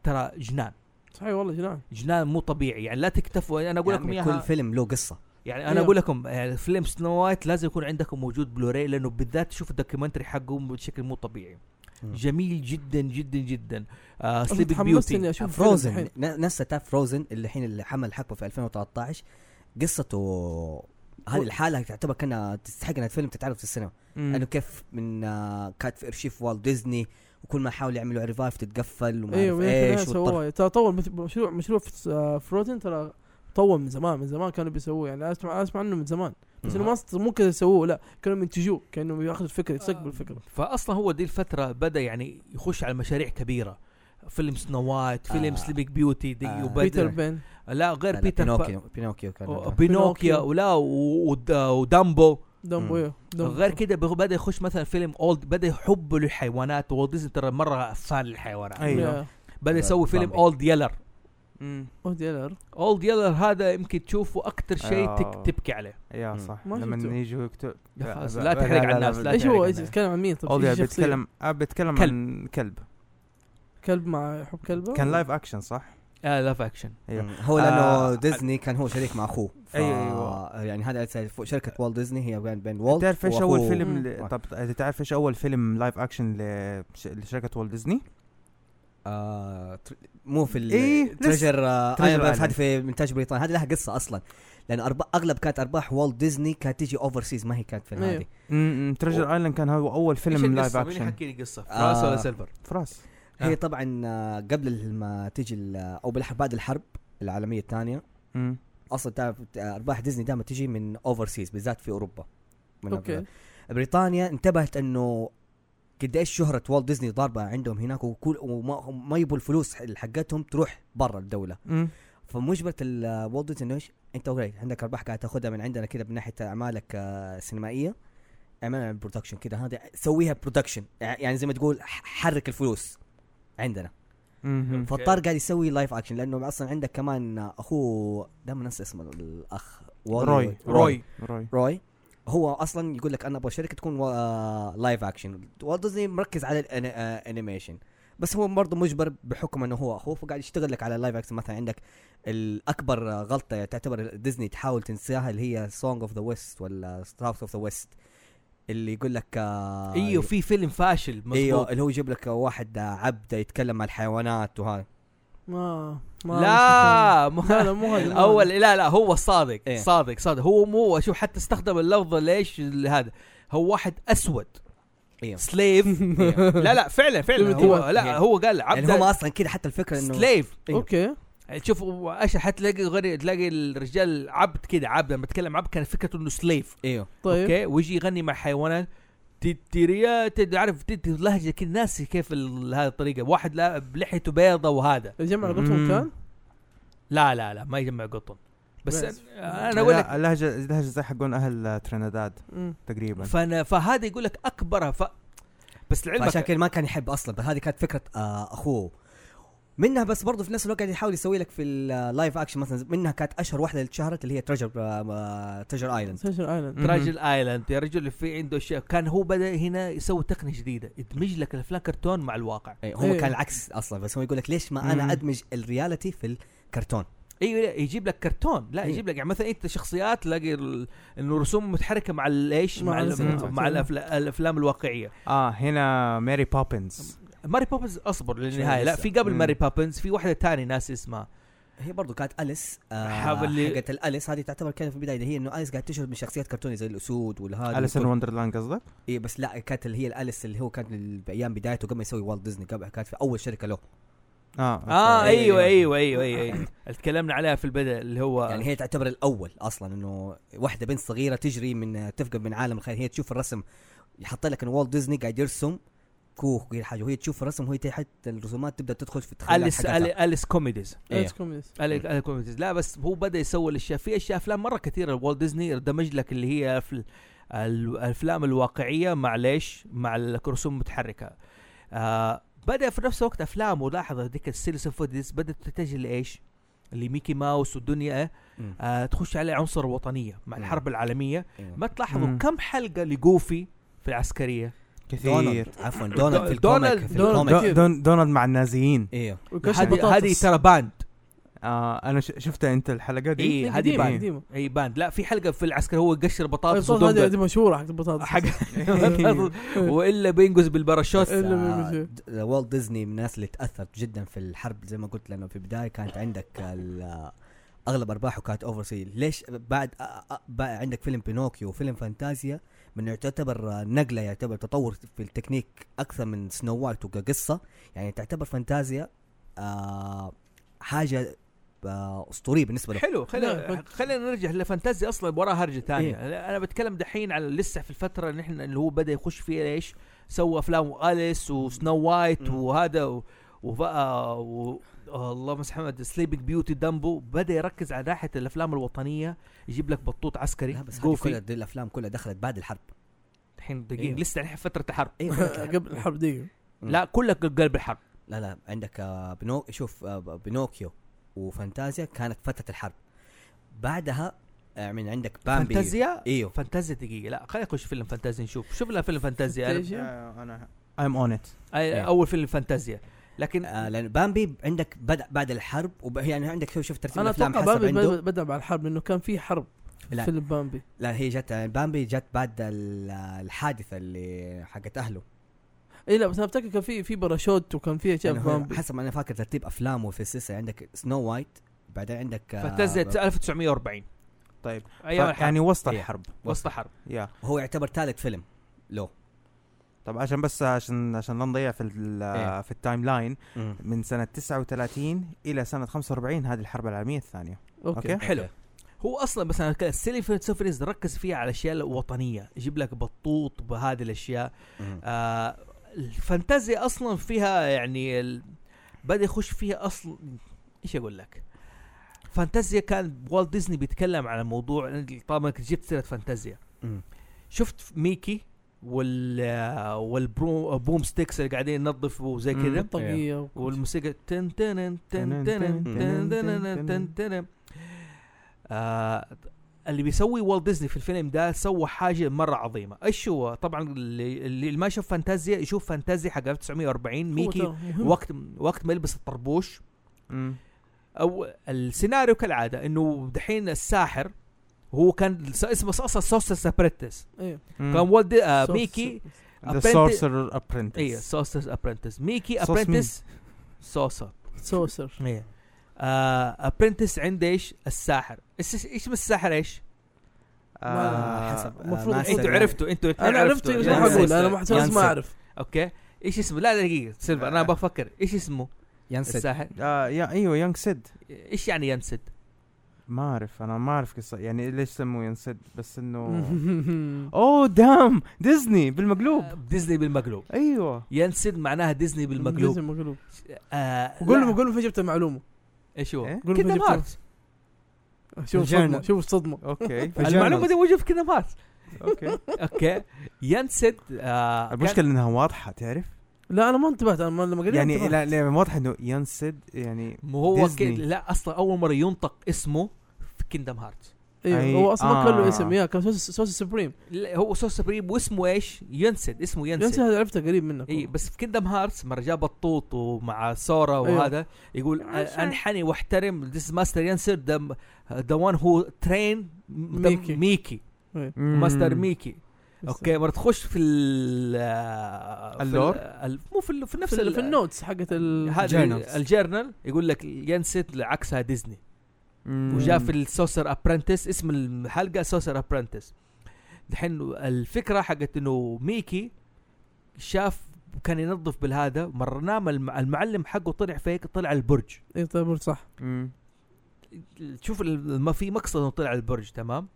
[SPEAKER 1] ترى جنان
[SPEAKER 3] صحيح والله جنان
[SPEAKER 1] جنان مو طبيعي يعني لا تكتفوا انا اقول لكم
[SPEAKER 4] يعني كل
[SPEAKER 1] اياها
[SPEAKER 4] فيلم له قصه
[SPEAKER 1] يعني انا
[SPEAKER 3] أيوه.
[SPEAKER 1] اقول لكم يعني فيلم سنو وايت لازم يكون عندكم موجود بلوراي لانه بالذات تشوف الدوكيومنتري حقه بشكل مو طبيعي
[SPEAKER 4] مم.
[SPEAKER 1] جميل جدا جدا جدا آه
[SPEAKER 3] أصلاً
[SPEAKER 1] سليب
[SPEAKER 3] تحمست
[SPEAKER 1] بيوتي
[SPEAKER 3] اني اشوف الفيلم
[SPEAKER 4] فروزن
[SPEAKER 3] الحين.
[SPEAKER 4] ناس تعرف فروزن اللي الحين اللي حمل حقبه في 2013 قصته هذه الحاله تعتبر كانها تستحق انها فيلم تتعرض في السينما انه كيف من آه، كانت في ارشيف والت ديزني وكل ما حاولوا يعملوا ريفايف تتقفل
[SPEAKER 5] إيه،
[SPEAKER 4] وما
[SPEAKER 3] ايوه ايش
[SPEAKER 4] اعرف ايش والطرف.
[SPEAKER 3] سووها ترى طول مت- مشروع مشروع في- آه، فروزن ترى طول من زمان من زمان كانوا بيسووه يعني اسمع اسمع عنه من زمان بس انه ما است- مو كذا يسووه لا كانوا ينتجوه كانهم ياخذوا الفكره
[SPEAKER 1] آه.
[SPEAKER 3] يستقبلوا الفكره
[SPEAKER 1] فاصلا هو دي الفتره بدا يعني يخش على مشاريع كبيره فيلم سنو وايت فيلم
[SPEAKER 4] آه.
[SPEAKER 1] آه سليبك بيوتي دي
[SPEAKER 4] آه.
[SPEAKER 1] آه
[SPEAKER 3] بيتر
[SPEAKER 1] وبدا
[SPEAKER 3] بين
[SPEAKER 1] لا غير
[SPEAKER 4] لا، لا،
[SPEAKER 1] بيتر
[SPEAKER 4] بينوكيو بينوكيو كان
[SPEAKER 1] بينوكيا
[SPEAKER 3] بينوكيو.
[SPEAKER 1] ولا و- ود- ودامبو
[SPEAKER 3] دمبو
[SPEAKER 4] مم.
[SPEAKER 3] إيه، دمبو.
[SPEAKER 1] غير كده بغ- بدا يخش مثلا فيلم اولد بدا يحب للحيوانات وولد ديزني ترى مره فان للحيوانات
[SPEAKER 5] أيوه.
[SPEAKER 3] يا،
[SPEAKER 1] بدا يسوي فيلم
[SPEAKER 4] بامبي.
[SPEAKER 1] اولد يلر
[SPEAKER 3] اوه ديلر
[SPEAKER 1] اولد يلر هذا يمكن تشوفه اكثر شيء
[SPEAKER 5] آه.
[SPEAKER 1] تك- تبكي عليه
[SPEAKER 5] يا
[SPEAKER 4] مم.
[SPEAKER 5] صح
[SPEAKER 3] ما
[SPEAKER 5] لما
[SPEAKER 3] شفته.
[SPEAKER 5] يجوا يكتب
[SPEAKER 1] يا خلاص، لا تحرق على الناس، لا
[SPEAKER 3] ايش هو
[SPEAKER 1] تعرف
[SPEAKER 3] ايش
[SPEAKER 1] إنه-
[SPEAKER 3] يتكلم عن مين طب
[SPEAKER 5] اولدي
[SPEAKER 3] إيش شخصية؟
[SPEAKER 5] بيتكلم آه، بيتكلم
[SPEAKER 1] كلب.
[SPEAKER 5] عن كلب
[SPEAKER 3] كلب مع حب كلبه
[SPEAKER 5] كان لايف اكشن صح؟
[SPEAKER 1] آه لاف اكشن
[SPEAKER 5] ايوه
[SPEAKER 4] إيه. هو لانه
[SPEAKER 5] آه،
[SPEAKER 4] ديزني كان هو شريك مع اخوه ف-
[SPEAKER 5] أيوه، أيوه.
[SPEAKER 4] يعني هذا شركه والت ديزني هي بين بين والت
[SPEAKER 5] تعرف ايش
[SPEAKER 4] وأخوه.
[SPEAKER 5] اول فيلم
[SPEAKER 3] مم.
[SPEAKER 5] ل- طب تعرف ايش اول فيلم لايف اكشن لشركه والت ديزني؟
[SPEAKER 4] آه، تر- مو في ال
[SPEAKER 5] إيه، لسه.
[SPEAKER 4] تريجر آه،
[SPEAKER 5] تريجر
[SPEAKER 4] ايرون مان،
[SPEAKER 5] آيلاند.
[SPEAKER 4] هذه في انتاج بريطاني هذه لها قصه اصلا لان أرباح اغلب كانت ارباح والت ديزني كانت تيجي اوفر سيز ما هي كانت
[SPEAKER 5] إيه.
[SPEAKER 4] في
[SPEAKER 3] أيوه.
[SPEAKER 4] هذه
[SPEAKER 5] تريجر ايلاند كان هو اول فيلم لايف اكشن
[SPEAKER 1] حكي لي قصه
[SPEAKER 4] آه.
[SPEAKER 1] فراس ولا سيلفر
[SPEAKER 5] فراس
[SPEAKER 4] هي طبعا آه، قبل ما تيجي ال- او بالح- بعد الحرب العالميه الثانيه
[SPEAKER 5] مم.
[SPEAKER 4] اصلا تعرف آه، ارباح ديزني دائما تيجي من اوفر سيز بالذات في اوروبا من
[SPEAKER 3] اوكي
[SPEAKER 4] بريطانيا انتبهت انه قد ايش شهرة والت ديزني ضاربة عندهم هناك وكل وما ما يبوا الفلوس حقتهم تروح برا الدولة
[SPEAKER 5] مم.
[SPEAKER 4] فمجبرة ال- والت ديزني انه ايش انت اوكي عندك ارباح قاعد تاخذها من عندنا كده من ناحية اعمالك آه، سينمائية اعملها برودكشن كده هذا سويها برودكشن يعني زي ما تقول ح- حرك الفلوس عندنا
[SPEAKER 5] مم.
[SPEAKER 1] أوكي.
[SPEAKER 4] فالطار قاعد يسوي لايف اكشن لانه اصلا عندك كمان اخوه دائما ننسى اسمه الاخ والي-
[SPEAKER 5] روي.
[SPEAKER 1] روي
[SPEAKER 5] روي
[SPEAKER 4] روي هو اصلا يقول لك انا ابغى شركه تكون آه، لايف اكشن والت ديزني مركز على الانيميشن بس هو برضه مجبر بحكم انه هو اخوه فقاعد يشتغل لك على لايف اكشن مثلا عندك الاكبر آه، غلطه تعتبر ديزني تحاول تنساها اللي هي سونج اوف ذا ويست ولا ساوث اوف ذا ويست اللي يقول لك آه،
[SPEAKER 1] ايوه في فيلم فاشل مظبوط
[SPEAKER 4] ايوه اللي هو يجيب لك واحد آه، عبد يتكلم مع الحيوانات وهذا
[SPEAKER 3] ما ما
[SPEAKER 1] لا مو
[SPEAKER 3] لا لا مو هذا مو هذا.
[SPEAKER 1] اول لا لا هو الصادق
[SPEAKER 4] إيه.
[SPEAKER 1] صادق صادق هو مو شوف حتى استخدم اللفظ ليش هذا هو واحد اسود
[SPEAKER 4] ايوه
[SPEAKER 1] سليف
[SPEAKER 4] إيوه.
[SPEAKER 1] لا لا فعلا فعلا
[SPEAKER 3] Primitive.
[SPEAKER 1] هو لا هو قال عبد
[SPEAKER 4] يعني هم اصلا كذا حتى الفكره انه
[SPEAKER 1] سليف
[SPEAKER 4] إيه.
[SPEAKER 3] اوكي
[SPEAKER 1] شوف ايش حتلاقي غير تلاقي الرجال عبد كذا عبد لما اتكلم عبد كان فكرته انه سليف
[SPEAKER 4] ايوه
[SPEAKER 3] طيب
[SPEAKER 1] اوكي ويجي يغني مع حيوانات تتريات تعرف تت- لهجه كذا ناسي كيف ال- هذه الطريقه واحد لا بلحيته بيضة وهذا
[SPEAKER 3] الجمع علاقتهم
[SPEAKER 5] مم.
[SPEAKER 3] كان
[SPEAKER 1] لا لا لا ما يجمع قطن بس
[SPEAKER 3] بس.
[SPEAKER 1] انا اقول لك
[SPEAKER 5] لا، اللهجه اللهجه زي حقون اهل ترينيداد
[SPEAKER 3] مم.
[SPEAKER 5] تقريبا
[SPEAKER 1] فانا فهذا يقول لك اكبرها ف بس
[SPEAKER 4] فعشان
[SPEAKER 1] لعلمك
[SPEAKER 4] كذا ما كان يحب اصلا بس هذه كانت فكره آه اخوه منها بس برضه في نفس الوقت قاعد يحاول يسوي لك في آه، اللايف اكشن مثلا منها كانت اشهر واحده اللي اتشهرت اللي هي آه، تريجر تريجر ايلاند
[SPEAKER 3] سيشن ايلاند
[SPEAKER 5] مم.
[SPEAKER 1] تراجل ايلاند يا رجل في عنده اشياء كان هو بدا هنا يسوي تقنيه جديده يدمج لك الافلام كرتون مع الواقع
[SPEAKER 4] هم
[SPEAKER 3] إيه.
[SPEAKER 4] كان العكس اصلا بس هو يقول لك ليش ما انا
[SPEAKER 5] مم.
[SPEAKER 4] ادمج الرياليتي في الكرتون
[SPEAKER 1] ايوه لا، يجيب لك كرتون لا
[SPEAKER 4] إيه.
[SPEAKER 1] يجيب لك يعني مثلا انت شخصيات تلاقي ال- انه رسوم متحركه مع ال- ايش
[SPEAKER 3] مع
[SPEAKER 1] مع ال-
[SPEAKER 3] الرسوم.
[SPEAKER 1] مع الأفلا- الافلام الواقعيه
[SPEAKER 5] اه هنا ماري بوبنز
[SPEAKER 1] ماري بابنز اصبر
[SPEAKER 4] شوي
[SPEAKER 1] للنهايه لا
[SPEAKER 4] لسه.
[SPEAKER 1] في قبل
[SPEAKER 5] مم.
[SPEAKER 1] ماري بابنز في واحده تاني ناس اسمها
[SPEAKER 4] هي برضه كانت اليس آه
[SPEAKER 1] حاب اللي-
[SPEAKER 4] حقت الاليس هذه تعتبر كانت في البدايه هي انه اليس قاعد تشهر من شخصيات كرتونيه زي الاسود والهذا
[SPEAKER 5] اليس ان وندرلاند قصدك؟
[SPEAKER 4] اي بس لا كانت اللي هي الاليس اللي هو كان بايام بدايته قبل ما يسوي والت ديزني قبل كانت في اول شركه له
[SPEAKER 5] اه
[SPEAKER 1] اه
[SPEAKER 4] أوكي.
[SPEAKER 1] ايوه ايوه ايوه ايوه, أيوة. تكلمنا عليها في البدء اللي هو
[SPEAKER 4] آه، يعني هي تعتبر الاول اصلا انه واحده بنت صغيره تجري من تفقد من عالم الخيال هي تشوف الرسم يحط لك ان والت ديزني قاعد يرسم كوخ وكل حاجه وهي تشوف الرسم وهي تحت الرسومات تبدا تدخل في التخيلات
[SPEAKER 1] اليس
[SPEAKER 4] حقتها
[SPEAKER 1] ألي- اليس كوميديز
[SPEAKER 4] إيه.
[SPEAKER 3] Let's Communist.
[SPEAKER 1] ألي- أليس كوميديز لا بس هو بدا يسوي الاشياء في اشياء افلام مره كثيره والت ديزني دمج لك اللي هي في الافلام الواقعيه مع ليش مع الرسوم المتحركه آه بدا في نفس الوقت افلامه لاحظ ذيك السلسله فوديز بدات تتجه لايش؟ لميكي ماوس والدنيا
[SPEAKER 4] مم.
[SPEAKER 1] آه تخش عليه عنصر وطنيه مع
[SPEAKER 4] مم.
[SPEAKER 1] الحرب العالميه
[SPEAKER 4] أيوة.
[SPEAKER 1] ما تلاحظوا
[SPEAKER 5] مم.
[SPEAKER 1] كم حلقه لجوفي في العسكريه
[SPEAKER 5] كثير
[SPEAKER 4] دونالد عفوا دونالد في
[SPEAKER 1] دونالد-
[SPEAKER 4] الكوميك في
[SPEAKER 3] دونالد-
[SPEAKER 4] الكوميك
[SPEAKER 5] دون- دون- دونالد مع النازيين
[SPEAKER 4] ايوه
[SPEAKER 3] وكاش
[SPEAKER 1] هذه هذه
[SPEAKER 3] البطاطس.
[SPEAKER 1] ترى باند
[SPEAKER 5] آه انا ش- شفتها انت الحلقه دي
[SPEAKER 1] اي هذه
[SPEAKER 3] قديمة،
[SPEAKER 1] باند
[SPEAKER 3] قديمة.
[SPEAKER 1] اي باند لا في حلقه في العسكر هو يقشر بطاطس
[SPEAKER 3] البطاطس هذه
[SPEAKER 1] ودونجل
[SPEAKER 3] هذه مشهوره حق البطاطس
[SPEAKER 1] حق والا بينقز بالباراشوت
[SPEAKER 3] إيه. إلا من المشي.
[SPEAKER 4] والت ديزني من الناس اللي تاثرت جدا في الحرب زي ما قلت لانه في البدايه كانت عندك ال- اغلب ارباحه كانت اوفر سي ليش بعد أ- أ- بقى عندك فيلم بينوكيو وفيلم فانتازيا من يعتبر نقله يعتبر تطور في التكنيك اكثر من سنو وايت وكقصه يعني تعتبر فانتازيا آه، حاجه آه، اسطوريه بالنسبه له
[SPEAKER 1] حلو خلينا
[SPEAKER 3] لا،
[SPEAKER 1] خلينا نرجع للفانتازيا اصلا وراها هرجه ثانيه انا بتكلم دحين على لسه في الفتره اللي احنا اللي هو بدا يخش فيها ايش سوى افلام اليس وسنو وايت
[SPEAKER 4] مم.
[SPEAKER 1] وهذا و- وبقى و... آه، اللهم صل على محمد سليبنج بيوتي دامبو بدا يركز على ناحيه الافلام الوطنيه يجيب لك بطوط عسكري
[SPEAKER 4] لا بس هذه كلها
[SPEAKER 1] جوفي
[SPEAKER 4] دي الافلام كلها دخلت بعد الحرب
[SPEAKER 1] الحين دقيقه
[SPEAKER 4] أيوه.
[SPEAKER 1] يعني لسه الحين فتره حرب
[SPEAKER 4] ايوه
[SPEAKER 3] قبل الحرب دقيقه
[SPEAKER 4] مم.
[SPEAKER 1] لا كلها قلب الحرب
[SPEAKER 4] لا لا عندك آه، بنو شوف آه، ب- بنوكيو وفانتازيا كانت فتره الحرب بعدها آه، من عندك بامبي
[SPEAKER 1] فانتازيا
[SPEAKER 4] ايوه
[SPEAKER 1] فانتازيا دقيقه لا خلينا نخش فيلم فانتازيا نشوف شوف لنا فيلم فانتازيا أنا-
[SPEAKER 3] إيش؟ يعني؟
[SPEAKER 5] انا ايم اون ات
[SPEAKER 1] أي-
[SPEAKER 4] إيه.
[SPEAKER 1] اول فيلم فانتازيا لكن
[SPEAKER 4] آه لان بامبي عندك بدا بعد الحرب وب... يعني عندك شوف شوف ترتيب
[SPEAKER 3] انا
[SPEAKER 4] الافلام
[SPEAKER 3] اتوقع
[SPEAKER 4] حسب
[SPEAKER 3] بامبي
[SPEAKER 4] عنده
[SPEAKER 3] بدا- بدا مع الحرب لانه كان في حرب في
[SPEAKER 4] لا.
[SPEAKER 3] فيلم بامبي
[SPEAKER 4] لا هي جت يعني بامبي جت بعد ال- الحادثه اللي حقت اهله
[SPEAKER 3] اي إيه لا بس انا افتكر كان في في باراشوت وكان في اشياء
[SPEAKER 4] يعني
[SPEAKER 3] في
[SPEAKER 4] هو
[SPEAKER 3] بامبي
[SPEAKER 4] حسب انا فاكر ترتيب افلامه في السلسله عندك سنو وايت بعدين عندك آه،
[SPEAKER 1] فانتازيا 1940
[SPEAKER 5] طيب
[SPEAKER 1] ايام الحرب
[SPEAKER 5] يعني وسط
[SPEAKER 4] إيه.
[SPEAKER 5] الحرب
[SPEAKER 1] وسط حرب
[SPEAKER 5] يا
[SPEAKER 4] هو يعتبر ثالث فيلم له
[SPEAKER 5] طب عشان بس عشان عشان لا نضيع في ال-
[SPEAKER 4] إيه.
[SPEAKER 5] في التايم لاين
[SPEAKER 4] مم.
[SPEAKER 5] من سنه 39 الى سنه 45 هذه الحرب العالميه الثانيه
[SPEAKER 3] اوكي
[SPEAKER 5] أوكي.
[SPEAKER 1] حلو هو اصلا بس انا السيلي سفريز ركز فيها على الاشياء الوطنيه يجيب لك بطوط بهذه الاشياء
[SPEAKER 4] مم.
[SPEAKER 1] آه الفانتازيا اصلا فيها يعني ال... بدا يخش فيها اصلا ايش اقول لك فانتازيا كان والت ديزني بيتكلم على موضوع طبعا إنك جبت سيره فانتازيا
[SPEAKER 4] مم.
[SPEAKER 1] شفت ميكي وال آه، والبرو بوم ستيكس اللي قاعدين ينظفوا زي
[SPEAKER 5] مم.
[SPEAKER 1] كذا
[SPEAKER 3] طاقيه وكل شيء.
[SPEAKER 1] والموسيقى تن تن تن تن تن تن تن تن تن آه، اللي بيسوي والت ديزني في الفيلم ده سوى حاجه مره عظيمه ايش هو طبعا اللي, اللي ما شاف فانتازيا يشوف فانتازيا حق 1940
[SPEAKER 3] هو
[SPEAKER 1] ميكي
[SPEAKER 3] ترى مهم.
[SPEAKER 1] وقت وقت ما يلبس الطربوش
[SPEAKER 5] مم.
[SPEAKER 1] او السيناريو كالعاده انه دحين الساحر هو كان س- اسمه اصلا سوستس ابرنتس
[SPEAKER 3] إيه.
[SPEAKER 5] مم.
[SPEAKER 1] كان والد آه
[SPEAKER 3] Source-
[SPEAKER 1] ميكي
[SPEAKER 5] ذا
[SPEAKER 1] apprentice-
[SPEAKER 5] سورسر ابرنتس
[SPEAKER 1] ايوه سوستس ابرنتس ميكي
[SPEAKER 5] Sauce مين؟
[SPEAKER 1] ابرنتس سوسر
[SPEAKER 3] سوسر
[SPEAKER 1] ايه آه، ابرنتس عند ايش؟ الساحر ايش ايش اسم الساحر ايش؟
[SPEAKER 4] ما-
[SPEAKER 5] آه،
[SPEAKER 4] حسب.
[SPEAKER 3] آه، المفروض
[SPEAKER 5] ما
[SPEAKER 3] أنتوا
[SPEAKER 5] أستدعي.
[SPEAKER 1] انتوا عرفتوا انتوا الاثنين
[SPEAKER 3] انا عرفت
[SPEAKER 1] عرفتوا.
[SPEAKER 3] ايش
[SPEAKER 5] ينسى.
[SPEAKER 3] راح
[SPEAKER 1] يعني-
[SPEAKER 3] اقول انا ما حتى
[SPEAKER 4] ينسى.
[SPEAKER 3] ما اعرف
[SPEAKER 1] اوكي ايش اسمه لا دقيقه سيلفر انا بفكر ايش اسمه
[SPEAKER 4] ينسد
[SPEAKER 1] الساحر
[SPEAKER 5] آه يا ايوه يانج سيد
[SPEAKER 1] ايش يعني ينسد
[SPEAKER 5] ما اعرف انا ما اعرف قصه يعني ليش سموه يانج سيد بس انه اوه دام ديزني بالمقلوب
[SPEAKER 1] ديزني بالمقلوب
[SPEAKER 5] ايوه
[SPEAKER 1] ينسد معناها ديزني بالمقلوب
[SPEAKER 3] لازم مقلوب
[SPEAKER 1] آه
[SPEAKER 3] قول
[SPEAKER 1] لا.
[SPEAKER 3] لهم قول لهم فين جبت المعلومه
[SPEAKER 1] ايش هو
[SPEAKER 5] إيه؟
[SPEAKER 3] قول
[SPEAKER 1] كيندم
[SPEAKER 3] فجبتها.
[SPEAKER 1] هارتس
[SPEAKER 3] شوف
[SPEAKER 4] الجنة.
[SPEAKER 3] صدمه شوف الصدمه
[SPEAKER 5] اوكي
[SPEAKER 1] المعلومه دي موجوده في كيندم هارتس
[SPEAKER 5] اوكي
[SPEAKER 1] اوكي ينسد آه كان-
[SPEAKER 5] المشكله انها واضحه تعرف
[SPEAKER 3] لا انا ما انتبهت انا ما- لما قريت
[SPEAKER 5] يعني
[SPEAKER 3] انتبهت.
[SPEAKER 5] لا لا واضح انه ينسد يعني
[SPEAKER 1] مو إيه، هو كده
[SPEAKER 5] ديزني.
[SPEAKER 1] لا اصلا اول مره ينطق اسمه في كيندم هارتس
[SPEAKER 5] أي-
[SPEAKER 3] ايوه هو اصلا ما كان له
[SPEAKER 5] آه.
[SPEAKER 3] اسم يا كان سوس سوس سبريم
[SPEAKER 1] لا، هو سوس سبريم واسمه ايش؟ ينسد اسمه
[SPEAKER 3] ينسى
[SPEAKER 1] ينسد
[SPEAKER 3] هذا عرفته قريب منك
[SPEAKER 1] اي بس في كيندم هارتس مره جاب الطوط ومع سورا
[SPEAKER 3] أيوه.
[SPEAKER 1] وهذا يقول أ- انحني واحترم ذيس ماستر ينسد ذا ذا وان هو ترين
[SPEAKER 3] ميكي.
[SPEAKER 1] ميكي ماستر ميكي اوكي مره تخش في ال آه، في ال-
[SPEAKER 5] اللور؟
[SPEAKER 1] ال- مو في ال- في نفس
[SPEAKER 3] في,
[SPEAKER 1] ال-
[SPEAKER 3] في النوتس حقت ال
[SPEAKER 1] هذه
[SPEAKER 4] Journals.
[SPEAKER 1] الجيرنال يقول لك ينسد عكسها ديزني وجاء في السوسر ابرنتس اسم الحلقه سوسر ابرنتس الحين الفكره حقت انه ميكي شاف كان ينظف بالهذا مره نام الم- المعلم حقه طلع فيك طلع البرج
[SPEAKER 3] اي طيب صح
[SPEAKER 1] شوف ال- ما في مقصد انه طلع البرج تمام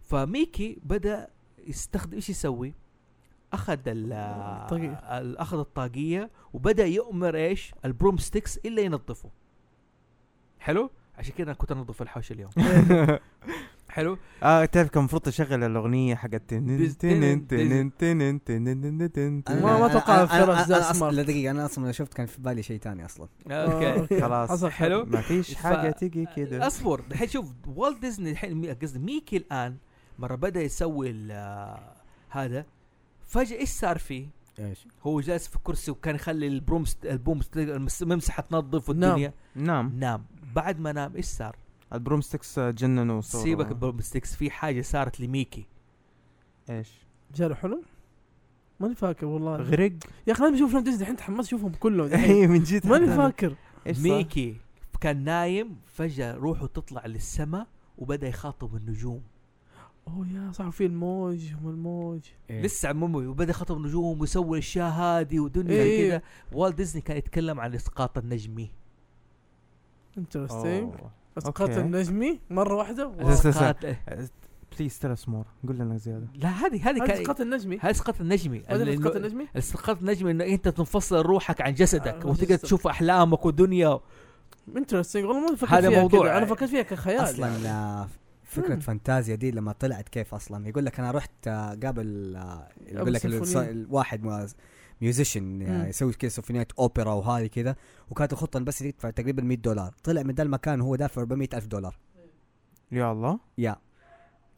[SPEAKER 1] فميكي بدا يستخدم ايش يسوي اخذ ال
[SPEAKER 3] الطاقية.
[SPEAKER 1] ال- اخذ الطاقيه وبدا يؤمر ايش البروم ستيكس الا ينظفه حلو عشان كذا انا كنت انظف الحوش اليوم حلو
[SPEAKER 5] اه تعرف كان المفروض تشغل الاغنيه حقت
[SPEAKER 1] ديز- تنن- تنن-
[SPEAKER 3] ما- ما أتوقع الفرس ذا سمارت.
[SPEAKER 4] لا دقيقة أنا أصلا شفت كان في بالي شيء ثاني أصلا
[SPEAKER 3] آه،
[SPEAKER 1] اوكي
[SPEAKER 3] أوكي.
[SPEAKER 5] خلاص
[SPEAKER 3] حصل
[SPEAKER 1] حلو.
[SPEAKER 5] ما فيش
[SPEAKER 1] ف-
[SPEAKER 5] حاجه تيجي كده
[SPEAKER 1] اصبر الحين شوف والت ديزني الحين مي- قصدي ميكي الان مره بدا يسوي ال- آه، هذا فجاه ايش صار فيه؟
[SPEAKER 4] ايش؟
[SPEAKER 1] هو جالس في كرسي وكان يخلي البروم ست- البوم ست- المس- ممسحه تنظف
[SPEAKER 3] نام.
[SPEAKER 1] والدنيا
[SPEAKER 5] نعم
[SPEAKER 1] نام بعد ما نام ايش صار؟
[SPEAKER 5] البرومستكس جننوا صورة.
[SPEAKER 1] سيبك البروم ستيكس في حاجه صارت لميكي
[SPEAKER 5] ايش
[SPEAKER 3] جاله حلم ماني فاكر والله
[SPEAKER 5] غرق
[SPEAKER 3] يا اخي انا بشوف فيلم ديزني الحين تحمست اشوفهم كلهم الحين.
[SPEAKER 5] اي إيه، من جد
[SPEAKER 3] ماني
[SPEAKER 5] حتى-
[SPEAKER 3] فاكر
[SPEAKER 5] إيش صار؟
[SPEAKER 1] ميكي كان نايم فجاه روحه تطلع للسماء وبدا يخاطب النجوم
[SPEAKER 3] اوه يا صح في الموج هم الموج
[SPEAKER 4] إيه.
[SPEAKER 1] لسه عمومي وبدا يخاطب النجوم ويسوي الاشياء هذه ودنيا
[SPEAKER 3] إيه.
[SPEAKER 1] كذا والت ديزني كان يتكلم عن الاسقاط النجمي
[SPEAKER 3] انترستنج
[SPEAKER 5] أوه.
[SPEAKER 3] اسقاط
[SPEAKER 5] أوكي.
[SPEAKER 3] النجمي مره واحده واو.
[SPEAKER 5] أساس-
[SPEAKER 1] اسقاط
[SPEAKER 5] Uh, بليز تيل اس مور قول لنا زياده
[SPEAKER 1] لا هذه هذه
[SPEAKER 3] هذا
[SPEAKER 1] كان
[SPEAKER 3] اسقاط النجمي
[SPEAKER 1] هذا اسقاط النجمي
[SPEAKER 3] هذا
[SPEAKER 1] لأنه-
[SPEAKER 3] اسقاط النجمي
[SPEAKER 1] الاسقاط النجمي انه انت تنفصل روحك عن جسدك
[SPEAKER 3] آه،
[SPEAKER 1] وتقدر
[SPEAKER 3] جسدك.
[SPEAKER 1] تشوف احلامك ودنيا
[SPEAKER 3] انترستنج والله ما فكرت
[SPEAKER 1] هذا
[SPEAKER 3] فيها
[SPEAKER 1] موضوع.
[SPEAKER 3] كذا. انا فكرت فيها كخيال
[SPEAKER 4] اصلا آه، فكره
[SPEAKER 3] مم.
[SPEAKER 4] فانتازيا دي لما طلعت كيف اصلا يقول لك انا رحت آه، قابل آه،
[SPEAKER 3] أبو
[SPEAKER 4] يقول لك الص-
[SPEAKER 3] سيمفونية.
[SPEAKER 4] الواحد مو- ميوزيشن آه،
[SPEAKER 3] مم.
[SPEAKER 4] يسوي كذا سيمفونيات اوبرا وهذه كذا وكانت الخطه إن بس يدفع تقريبا 100 دولار طلع من ذا المكان وهو دافع 400 الف دولار
[SPEAKER 5] يا الله
[SPEAKER 4] يا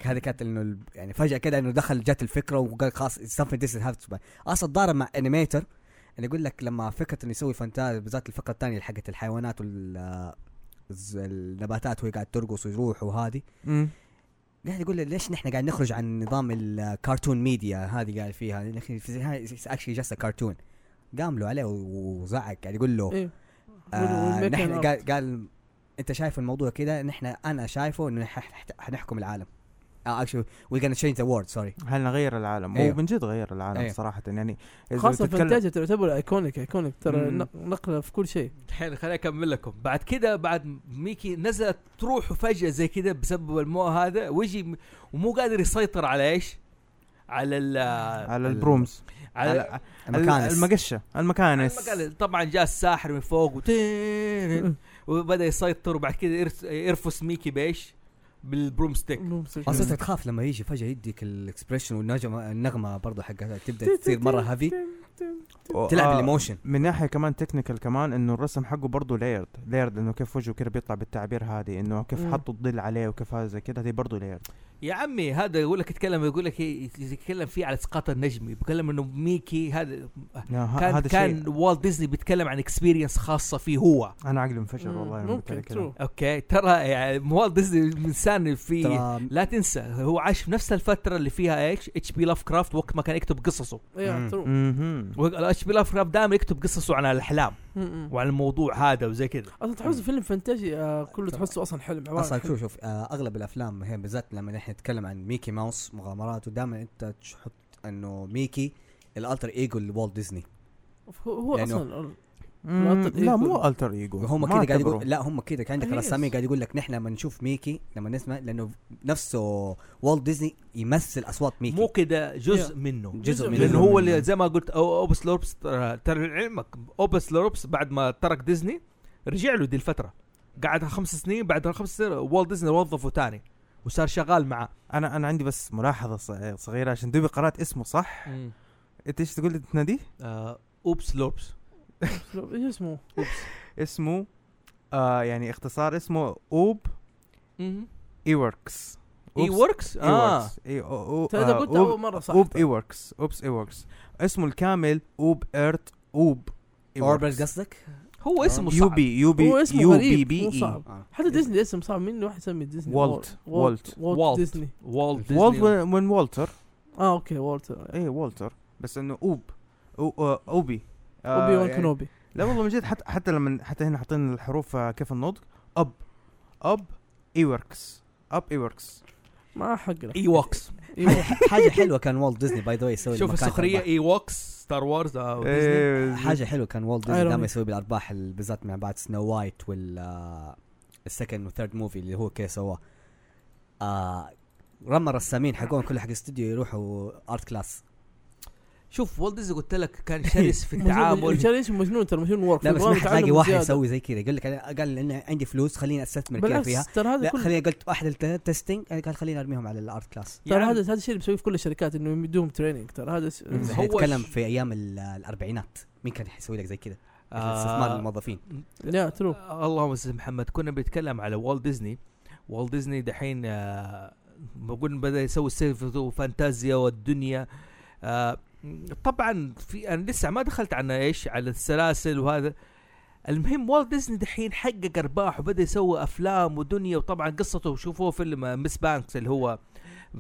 [SPEAKER 4] هذه كانت انه ال- يعني فجاه كده انه دخل جت الفكره وقال خلاص something this has to be. اصلا ضارب مع انيميتر انا يقول لك لما فكره انه يسوي فانتازيا بالذات الفقره الثانيه اللي حقت الحيوانات وال آه، الز- النباتات وهي قاعد ترقص ويروح وهذه قاعد يقول لي ليش نحن قاعد نخرج عن نظام الكرتون ميديا هذه قاعد فيها يا اخي اكشلي جاست كرتون قام له عليه و- وزعق قاعد يقول له
[SPEAKER 3] ايه
[SPEAKER 4] آه
[SPEAKER 3] وال-
[SPEAKER 4] نحن
[SPEAKER 3] والميكن
[SPEAKER 4] قال, قال انت شايف الموضوع كده نحن انا شايفه انه نح- نح- حنحكم العالم اه اكشلي وي gonna تشينج ذا وورد سوري
[SPEAKER 5] هل نغير العالم هو
[SPEAKER 4] أيوه.
[SPEAKER 5] من جد غير العالم
[SPEAKER 4] أيوه.
[SPEAKER 5] صراحه يعني إذا
[SPEAKER 3] خاصه
[SPEAKER 5] بتتكلم-
[SPEAKER 3] فانتازيا تعتبر ايكونيك ايكونيك ترى
[SPEAKER 5] مم.
[SPEAKER 3] نق- نقله في كل شيء
[SPEAKER 1] الحين خليني اكمل لكم بعد كده بعد ميكي نزلت تروح فجاه زي كده بسبب الماء هذا ويجي م- ومو قادر يسيطر على ايش؟ على ال
[SPEAKER 5] على البرومز
[SPEAKER 1] على
[SPEAKER 4] المكانس
[SPEAKER 5] المقشه المكانس
[SPEAKER 1] المقال- طبعا جاء الساحر من فوق وتين- وبدا يسيطر وبعد كده يرس- يرفس ميكي بايش؟ بالبرومستيك
[SPEAKER 3] ممسك.
[SPEAKER 4] اصلا أنت تخاف لما يجي فجاه يديك الاكسبريشن والنغمه النغمه برضه حقها تبدا تصير مره هافي تلعب الايموشن
[SPEAKER 5] آه، من ناحيه كمان تكنيكال كمان انه الرسم حقه برضه ليرد ليرد انه كيف وجهه كده بيطلع بالتعبير هذه انه كيف
[SPEAKER 3] مم.
[SPEAKER 5] حطوا الظل عليه وكيف هذا زي كده هذه برضه ليرد
[SPEAKER 1] يا عمي هذا يقول لك يتكلم يقول لك ي- يتكلم فيه على اسقاط النجمي بيتكلم انه ميكي هذا كان
[SPEAKER 5] هذا
[SPEAKER 1] كان
[SPEAKER 5] شيء
[SPEAKER 1] والت ديزني بيتكلم عن اكسبيرينس خاصه فيه هو
[SPEAKER 5] انا عقلي انفجر
[SPEAKER 3] مم.
[SPEAKER 5] والله لما قلت
[SPEAKER 3] ممكن
[SPEAKER 5] لك كده.
[SPEAKER 3] ترو
[SPEAKER 1] اوكي ترى يعني والت ديزني انسان في
[SPEAKER 4] ترى
[SPEAKER 1] لا تنسى هو عاش في نفس الفتره اللي فيها ايش اتش بي لاف كرافت وقت ما كان يكتب قصصه
[SPEAKER 3] ايه
[SPEAKER 4] مم.
[SPEAKER 3] ترو
[SPEAKER 5] مهم.
[SPEAKER 1] اتش بي لاف كرافت دائما يكتب قصصه عن الاحلام
[SPEAKER 3] مم.
[SPEAKER 1] وعن الموضوع هذا وزي كذا
[SPEAKER 3] اصلا تحس فيلم فانتاجي آه، كله تحسه اصلا حلم عباره عن
[SPEAKER 4] اصلا
[SPEAKER 3] حلم.
[SPEAKER 4] شوف شوف آه، اغلب الافلام هي بالذات لما نح- احنا نتكلم عن ميكي ماوس مغامرات ودائما انت تحط انه ميكي الالتر ايجو لوالت ديزني
[SPEAKER 3] هو هو
[SPEAKER 4] لأنه-
[SPEAKER 3] اصلا
[SPEAKER 5] مم،
[SPEAKER 3] Alter
[SPEAKER 5] لا
[SPEAKER 3] Ego.
[SPEAKER 5] مو التر ايجو
[SPEAKER 4] وهم كده قاعد يقول لا هم كده عندك
[SPEAKER 3] Yes.
[SPEAKER 1] أيوه.
[SPEAKER 4] رسامين قاعد يقول لك نحن لما نشوف ميكي لما نسمع لانه نفسه والت ديزني يمثل اصوات ميكي
[SPEAKER 1] مو كده جزء
[SPEAKER 3] Yeah.
[SPEAKER 1] منه
[SPEAKER 4] جزء
[SPEAKER 3] جزء
[SPEAKER 4] منه
[SPEAKER 1] لانه هو اللي زي ما قلت أو- اوبس لوربس ترى ترى لعلمك اوبس لوربس بعد ما ترك ديزني رجع له دي الفتره قعد خمس سنين بعد خمس سنين والت ديزني وظفه تاني وصار شغال معاه
[SPEAKER 5] انا انا عندي بس ملاحظه ص- صغيره عشان دوبي قرات اسمه صح انت ايش تقول لي تناديه
[SPEAKER 1] آه، اوبس لوربس
[SPEAKER 3] ايش اسمه؟
[SPEAKER 5] اسمه آه يعني اختصار اسمه اوب اي وركس
[SPEAKER 1] اي وركس اه
[SPEAKER 5] اي أو-
[SPEAKER 3] ترى
[SPEAKER 5] أو-
[SPEAKER 3] طيب، إذا
[SPEAKER 5] آه،
[SPEAKER 3] قلت
[SPEAKER 5] أوب-
[SPEAKER 3] اول مره صح
[SPEAKER 5] اوب اي وركس اوبس اي وركس اسمه الكامل اوب ايرت اوب
[SPEAKER 4] اوربل قصدك؟
[SPEAKER 1] هو اسمه
[SPEAKER 5] يو
[SPEAKER 1] صعب
[SPEAKER 5] بي يو بي
[SPEAKER 3] هو اسمه
[SPEAKER 5] يو بي
[SPEAKER 3] غريب،
[SPEAKER 5] بي
[SPEAKER 3] مو
[SPEAKER 5] اي
[SPEAKER 3] صعب. حتى ديزني اسم صعب مين واحد يسمي ديزني
[SPEAKER 5] والت. والت.
[SPEAKER 1] والت.
[SPEAKER 3] والت ديزني
[SPEAKER 1] والت
[SPEAKER 5] والت
[SPEAKER 1] ديزني.
[SPEAKER 5] من والتر
[SPEAKER 3] اه اوكي والت
[SPEAKER 5] اي والتر إيه، بس انه اوب أو- آه، اوبي آه،
[SPEAKER 3] اوبي وان
[SPEAKER 5] يعني-
[SPEAKER 3] كنوبي
[SPEAKER 5] لا والله من جد حتى حتى لما حتى هنا حاطين الحروف آه، كيف النطق اب اب اي وركس اب اي وركس
[SPEAKER 3] ما حق له
[SPEAKER 1] اي ووكس
[SPEAKER 3] إيوه.
[SPEAKER 4] حاجه حلوه كان والت ديزني باي ذا واي يسوي
[SPEAKER 1] شوف
[SPEAKER 4] لما كان
[SPEAKER 1] السخريه
[SPEAKER 4] أرباح.
[SPEAKER 1] اي ووكس ستار وورز او ديزني
[SPEAKER 5] إيه،
[SPEAKER 4] حاجه حلوه كان والت ديزني
[SPEAKER 3] Ironic.
[SPEAKER 4] دائما يسوي بالارباح ال- بالذات مع بعد سنو وايت وال آه، السكند وثيرد موفي اللي هو كيف سواه آه، رمى الرسامين حقهم كل حق استوديو يروحوا ارت كلاس
[SPEAKER 1] شوف والت ديزني قلت لك كان شرس في
[SPEAKER 3] مجنون-
[SPEAKER 1] التعامل
[SPEAKER 3] مشان ايش مجنون ترى مجنون ورك
[SPEAKER 4] لا بس ما
[SPEAKER 3] يبغى
[SPEAKER 4] حتلاقي
[SPEAKER 3] يتعلم
[SPEAKER 4] واحد
[SPEAKER 3] زيادة.
[SPEAKER 4] يسوي زي كذا يقول لك انا قال إن عندي فلوس خليني استثمر كذا فيها
[SPEAKER 3] بالعكس ترى هذا
[SPEAKER 4] لا
[SPEAKER 3] كله
[SPEAKER 4] خليني قلت واحد التستنج قال خليني ارميهم على الارت كلاس
[SPEAKER 3] ترى هذا
[SPEAKER 1] يعني
[SPEAKER 3] هذا الشيء اللي بيسويه في كل الشركات انه يدوهم تريننج ترى هذا س-
[SPEAKER 1] مم.
[SPEAKER 4] احنا
[SPEAKER 1] هو
[SPEAKER 4] نتكلم
[SPEAKER 1] ش-
[SPEAKER 4] في ايام ال- الاربعينات مين كان حيسوي لك زي كذا؟ مثل استثمار
[SPEAKER 1] آه،
[SPEAKER 4] الموظفين
[SPEAKER 3] لا ترو
[SPEAKER 1] آه، اللهم استاذ محمد كنا بنتكلم على والت ديزني والت ديزني دحين آه، بقول بدا يسوي سيف وفانتازيا والدنيا آه، طبعا في انا لسه ما دخلت على ايش على السلاسل وهذا المهم والت ديزني دحين حقق ارباح وبدا يسوي افلام ودنيا وطبعا قصته شوفوه فيلم آه، مس بانكس اللي هو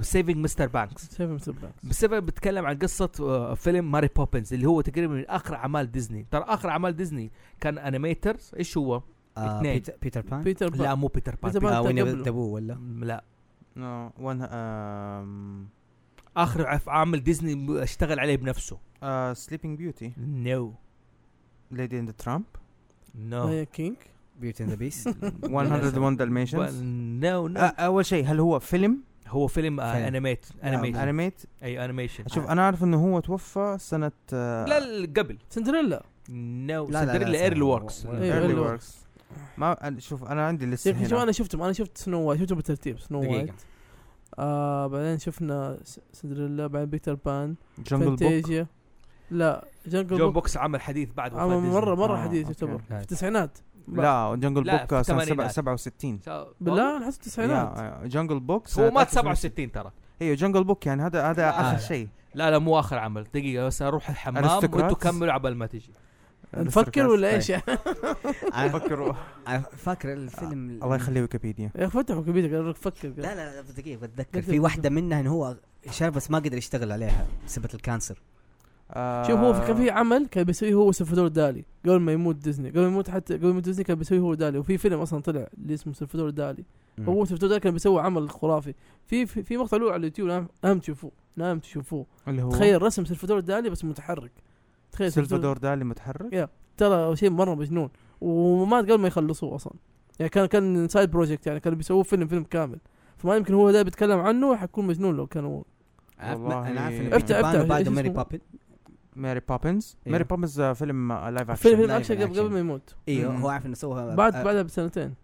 [SPEAKER 1] سيفينج مستر بانكس
[SPEAKER 3] سيف مستر بلاكس
[SPEAKER 1] بسبب بتكلم عن قصة آه، فيلم ماري بوبنز اللي هو تقريبا من آخر أعمال ديزني ترى آخر أعمال ديزني كان أنيميترز إيش هو؟
[SPEAKER 4] آه،
[SPEAKER 1] اثنين.
[SPEAKER 4] بيتر- بيتر بان
[SPEAKER 3] بيتر بان
[SPEAKER 1] لا مو بيتر بان
[SPEAKER 3] بيتر بان
[SPEAKER 4] آه، وين
[SPEAKER 3] تقبله.
[SPEAKER 4] تبوه ولا
[SPEAKER 1] لا
[SPEAKER 5] نو وان آم،
[SPEAKER 1] آخر عف- عامل ديزني م- اشتغل عليه بنفسه
[SPEAKER 5] آه سليبينج بيوتي
[SPEAKER 1] نو
[SPEAKER 5] ليدي اند ترامب
[SPEAKER 1] نو
[SPEAKER 5] آه.
[SPEAKER 3] لاين آه، كينج
[SPEAKER 4] بيوتي اند ذا بيست
[SPEAKER 5] 101 دالميشنز
[SPEAKER 1] نو نو
[SPEAKER 5] اول شيء هل هو فيلم
[SPEAKER 1] هو فيلم آه،
[SPEAKER 4] فيلم.
[SPEAKER 1] انيميت انيميشن
[SPEAKER 5] انيميت
[SPEAKER 1] اي انيميشن
[SPEAKER 5] آه، شوف انا اعرف انه هو توفى سنه آه،
[SPEAKER 1] أيوة، آه. لا لا، قبل
[SPEAKER 3] سندريلا
[SPEAKER 1] نو
[SPEAKER 4] لا، لا، لا،
[SPEAKER 1] سندريلا ايرلي
[SPEAKER 4] سندريلا.
[SPEAKER 1] ووركس
[SPEAKER 4] إيه.
[SPEAKER 5] early
[SPEAKER 3] Early
[SPEAKER 5] works. ما أنا- شوف انا عندي
[SPEAKER 3] يا
[SPEAKER 5] لسه
[SPEAKER 3] اخي شوف
[SPEAKER 5] هنا
[SPEAKER 3] انا شفتهم انا شفت سنو وايت شفته بالترتيب سنو وايت
[SPEAKER 4] دقيقه
[SPEAKER 3] آه بعدين شفنا س- سندريلا بعدين بيتر بان
[SPEAKER 5] جنجل بوك
[SPEAKER 3] فانتيجيا لا جنجل
[SPEAKER 1] جون
[SPEAKER 3] بوك
[SPEAKER 1] بوكس عمل حديث بعد وفاة
[SPEAKER 3] عمل
[SPEAKER 1] ديزني.
[SPEAKER 3] مره مره
[SPEAKER 5] آه،
[SPEAKER 3] حديث
[SPEAKER 5] أوكي.
[SPEAKER 3] يعتبر
[SPEAKER 4] لا.
[SPEAKER 3] في التسعينات
[SPEAKER 5] لا جنجل
[SPEAKER 1] لا، في
[SPEAKER 5] بوك سنه سبعة-
[SPEAKER 1] الثمانينات.
[SPEAKER 5] 67
[SPEAKER 1] سا-
[SPEAKER 3] بالله انا حسب التسعينات
[SPEAKER 5] يا، آه، جنجل بوك
[SPEAKER 1] آه. هو
[SPEAKER 5] سنة
[SPEAKER 1] مات
[SPEAKER 5] 1970.
[SPEAKER 1] 67 ترى
[SPEAKER 5] ايوه جنجل بوك يعني هذا هذا
[SPEAKER 1] لا.
[SPEAKER 5] اخر شيء
[SPEAKER 1] لا لا مو اخر عمل دقيقه بس اروح الحمام
[SPEAKER 5] أرستقراط؟
[SPEAKER 1] وانتوا كملوا عبال ما تجي
[SPEAKER 3] نفكر ولا ايش يا
[SPEAKER 5] فكروا
[SPEAKER 4] فاكر الفيلم
[SPEAKER 5] الله يخليه ويكيبيديا
[SPEAKER 3] اخي فتح ويكيبيديا قال لك فكر قال.
[SPEAKER 4] لا لا لا دقيقه بتذكر
[SPEAKER 3] قلت
[SPEAKER 4] في
[SPEAKER 3] لك-
[SPEAKER 4] واحده منها انه هو شاف بس ما قدر يشتغل عليها بسبب الكانسر
[SPEAKER 3] شوف هو في-
[SPEAKER 4] آه.
[SPEAKER 3] كان في عمل كان بيسويه هو سلفادور دالي قبل ما يموت ديزني قبل ما يموت حتى قبل ما يموت ديزني كان بيسويه هو دالي وفي فيلم اصلا طلع اللي اسمه سلفادور دالي هو سلفادور دالي كان بيسوي عمل خرافي في في, في مقطع له على اليوتيوب لازم- لازم تشوفوه لازم تشوفوه
[SPEAKER 5] اللي هو
[SPEAKER 3] تخيل رسم سلفادور دالي بس متحرك تخيل سلفادور
[SPEAKER 5] سلفادور دالي متحرك
[SPEAKER 3] ترى شيء مره مجنون ومات قبل ما يخلصوه اصلا يعني كان كان سايد بروجكت يعني كانوا بيسووه فيلم فيلم كامل فما يمكن هو ده بيتكلم عنه حيكون مجنون لو كان هو
[SPEAKER 5] والله.
[SPEAKER 4] انا عارف إنه
[SPEAKER 5] افتح-
[SPEAKER 4] بيتر بان
[SPEAKER 3] افتح،
[SPEAKER 4] وبعده
[SPEAKER 3] إيش
[SPEAKER 4] ماري
[SPEAKER 3] اسمه؟
[SPEAKER 4] بابن
[SPEAKER 5] ماري بابنز
[SPEAKER 4] إيه.
[SPEAKER 5] ماري بابنز آه، فيلم آه،
[SPEAKER 3] فيلم
[SPEAKER 5] لايف اكشن
[SPEAKER 3] فيلم
[SPEAKER 4] لايف
[SPEAKER 3] اكشن قبل
[SPEAKER 4] أكشن.
[SPEAKER 3] قبل ما يموت
[SPEAKER 4] ايوه
[SPEAKER 5] مم.
[SPEAKER 4] هو عارف انه سوى
[SPEAKER 3] بعد
[SPEAKER 4] آه،
[SPEAKER 3] بعدها بسنتين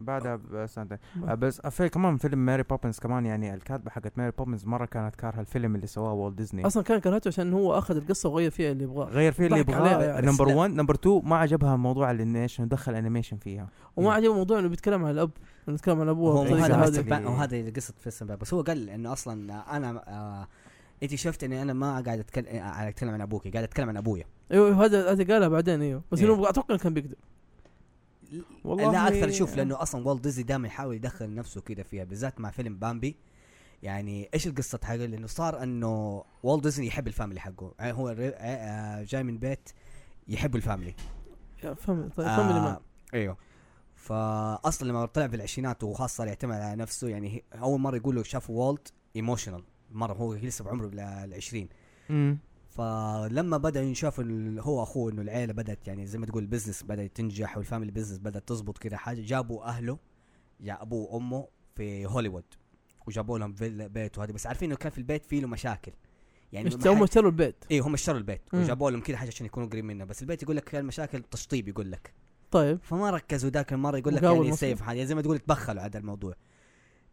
[SPEAKER 5] بعدها بسنتين آه، بس آه، في كمان فيلم ماري بابنز كمان يعني الكاتبه حقت ماري بابنز مره كانت كارهه الفيلم اللي سواه والت ديزني
[SPEAKER 4] إيه.
[SPEAKER 3] اصلا كان كرهته عشان هو اخذ القصه وغير فيها اللي يبغاه
[SPEAKER 5] غير فيه اللي
[SPEAKER 3] ضحك عليها
[SPEAKER 5] يبغاه
[SPEAKER 3] يعني.
[SPEAKER 5] نمبر
[SPEAKER 4] بس لا.
[SPEAKER 5] 1 نمبر 2 ما عجبها موضوع الانيميشن دخل انيميشن فيها
[SPEAKER 3] وما عجبه موضوع انه بيتكلم عن الاب انه بيتكلم عن ابوه
[SPEAKER 4] آه، هو مو
[SPEAKER 3] بطريقه
[SPEAKER 4] هذا
[SPEAKER 5] هذه.
[SPEAKER 4] مستر
[SPEAKER 3] هذه
[SPEAKER 4] بان هو هذا اللي قصه فيستن بان بس هو قال انه اصلا انا آه، اكتشفت اني انا ما قاعد اتكلم قاعد اتكلم عن ابوك قاعد اتكلم عن ابويا
[SPEAKER 3] ايوه هذا هذا قالها بعدين ايوه بس
[SPEAKER 4] إيه.
[SPEAKER 3] انه اتوقع إنه كان بيكذب
[SPEAKER 5] والله
[SPEAKER 4] لا
[SPEAKER 3] يعني
[SPEAKER 4] اكثر شوف لانه اصلا والت ديزني دائما يحاول يدخل نفسه كذا فيها بالذات مع فيلم بامبي يعني ايش القصه حقه لانه صار انه والت ديزني يحب الفاميلي حقه يعني هو الر- آه، آه، جاي من بيت يحب الفاميلي
[SPEAKER 3] يا فهم أه، طيب فهم اللي
[SPEAKER 4] آه
[SPEAKER 3] ما
[SPEAKER 4] ايوه فاصلا لما طلع في العشرينات وخاصه اللي يعتمد على نفسه يعني هي- اول مره يقولوا شافوا والت ايموشنال مره هو لسه بعمره آه، العشرين
[SPEAKER 5] مم.
[SPEAKER 4] فلما بدا ينشاف ال- هو اخوه انه العيله بدات يعني زي ما تقول البزنس بدا تنجح والفاميلي بزنس بدات تزبط كده حاجه جابوا اهله يا ابوه وامه في هوليوود وجابوا لهم فيلا بيت وهذه بس عارفين انه كان في البيت فيه له مشاكل يعني
[SPEAKER 3] اشت- هم اشتروا البيت
[SPEAKER 4] ايه هم اشتروا البيت
[SPEAKER 3] مم.
[SPEAKER 4] وجابوا لهم كده حاجه عشان يكونوا قريب منه بس البيت يقول لك كان مشاكل تشطيب يقول لك
[SPEAKER 3] طيب
[SPEAKER 4] فما ركزوا ذاك المره يقول لك
[SPEAKER 3] مقاول
[SPEAKER 4] يعني
[SPEAKER 3] مصري.
[SPEAKER 4] سيف حاجه زي ما تقول تبخلوا على هذا الموضوع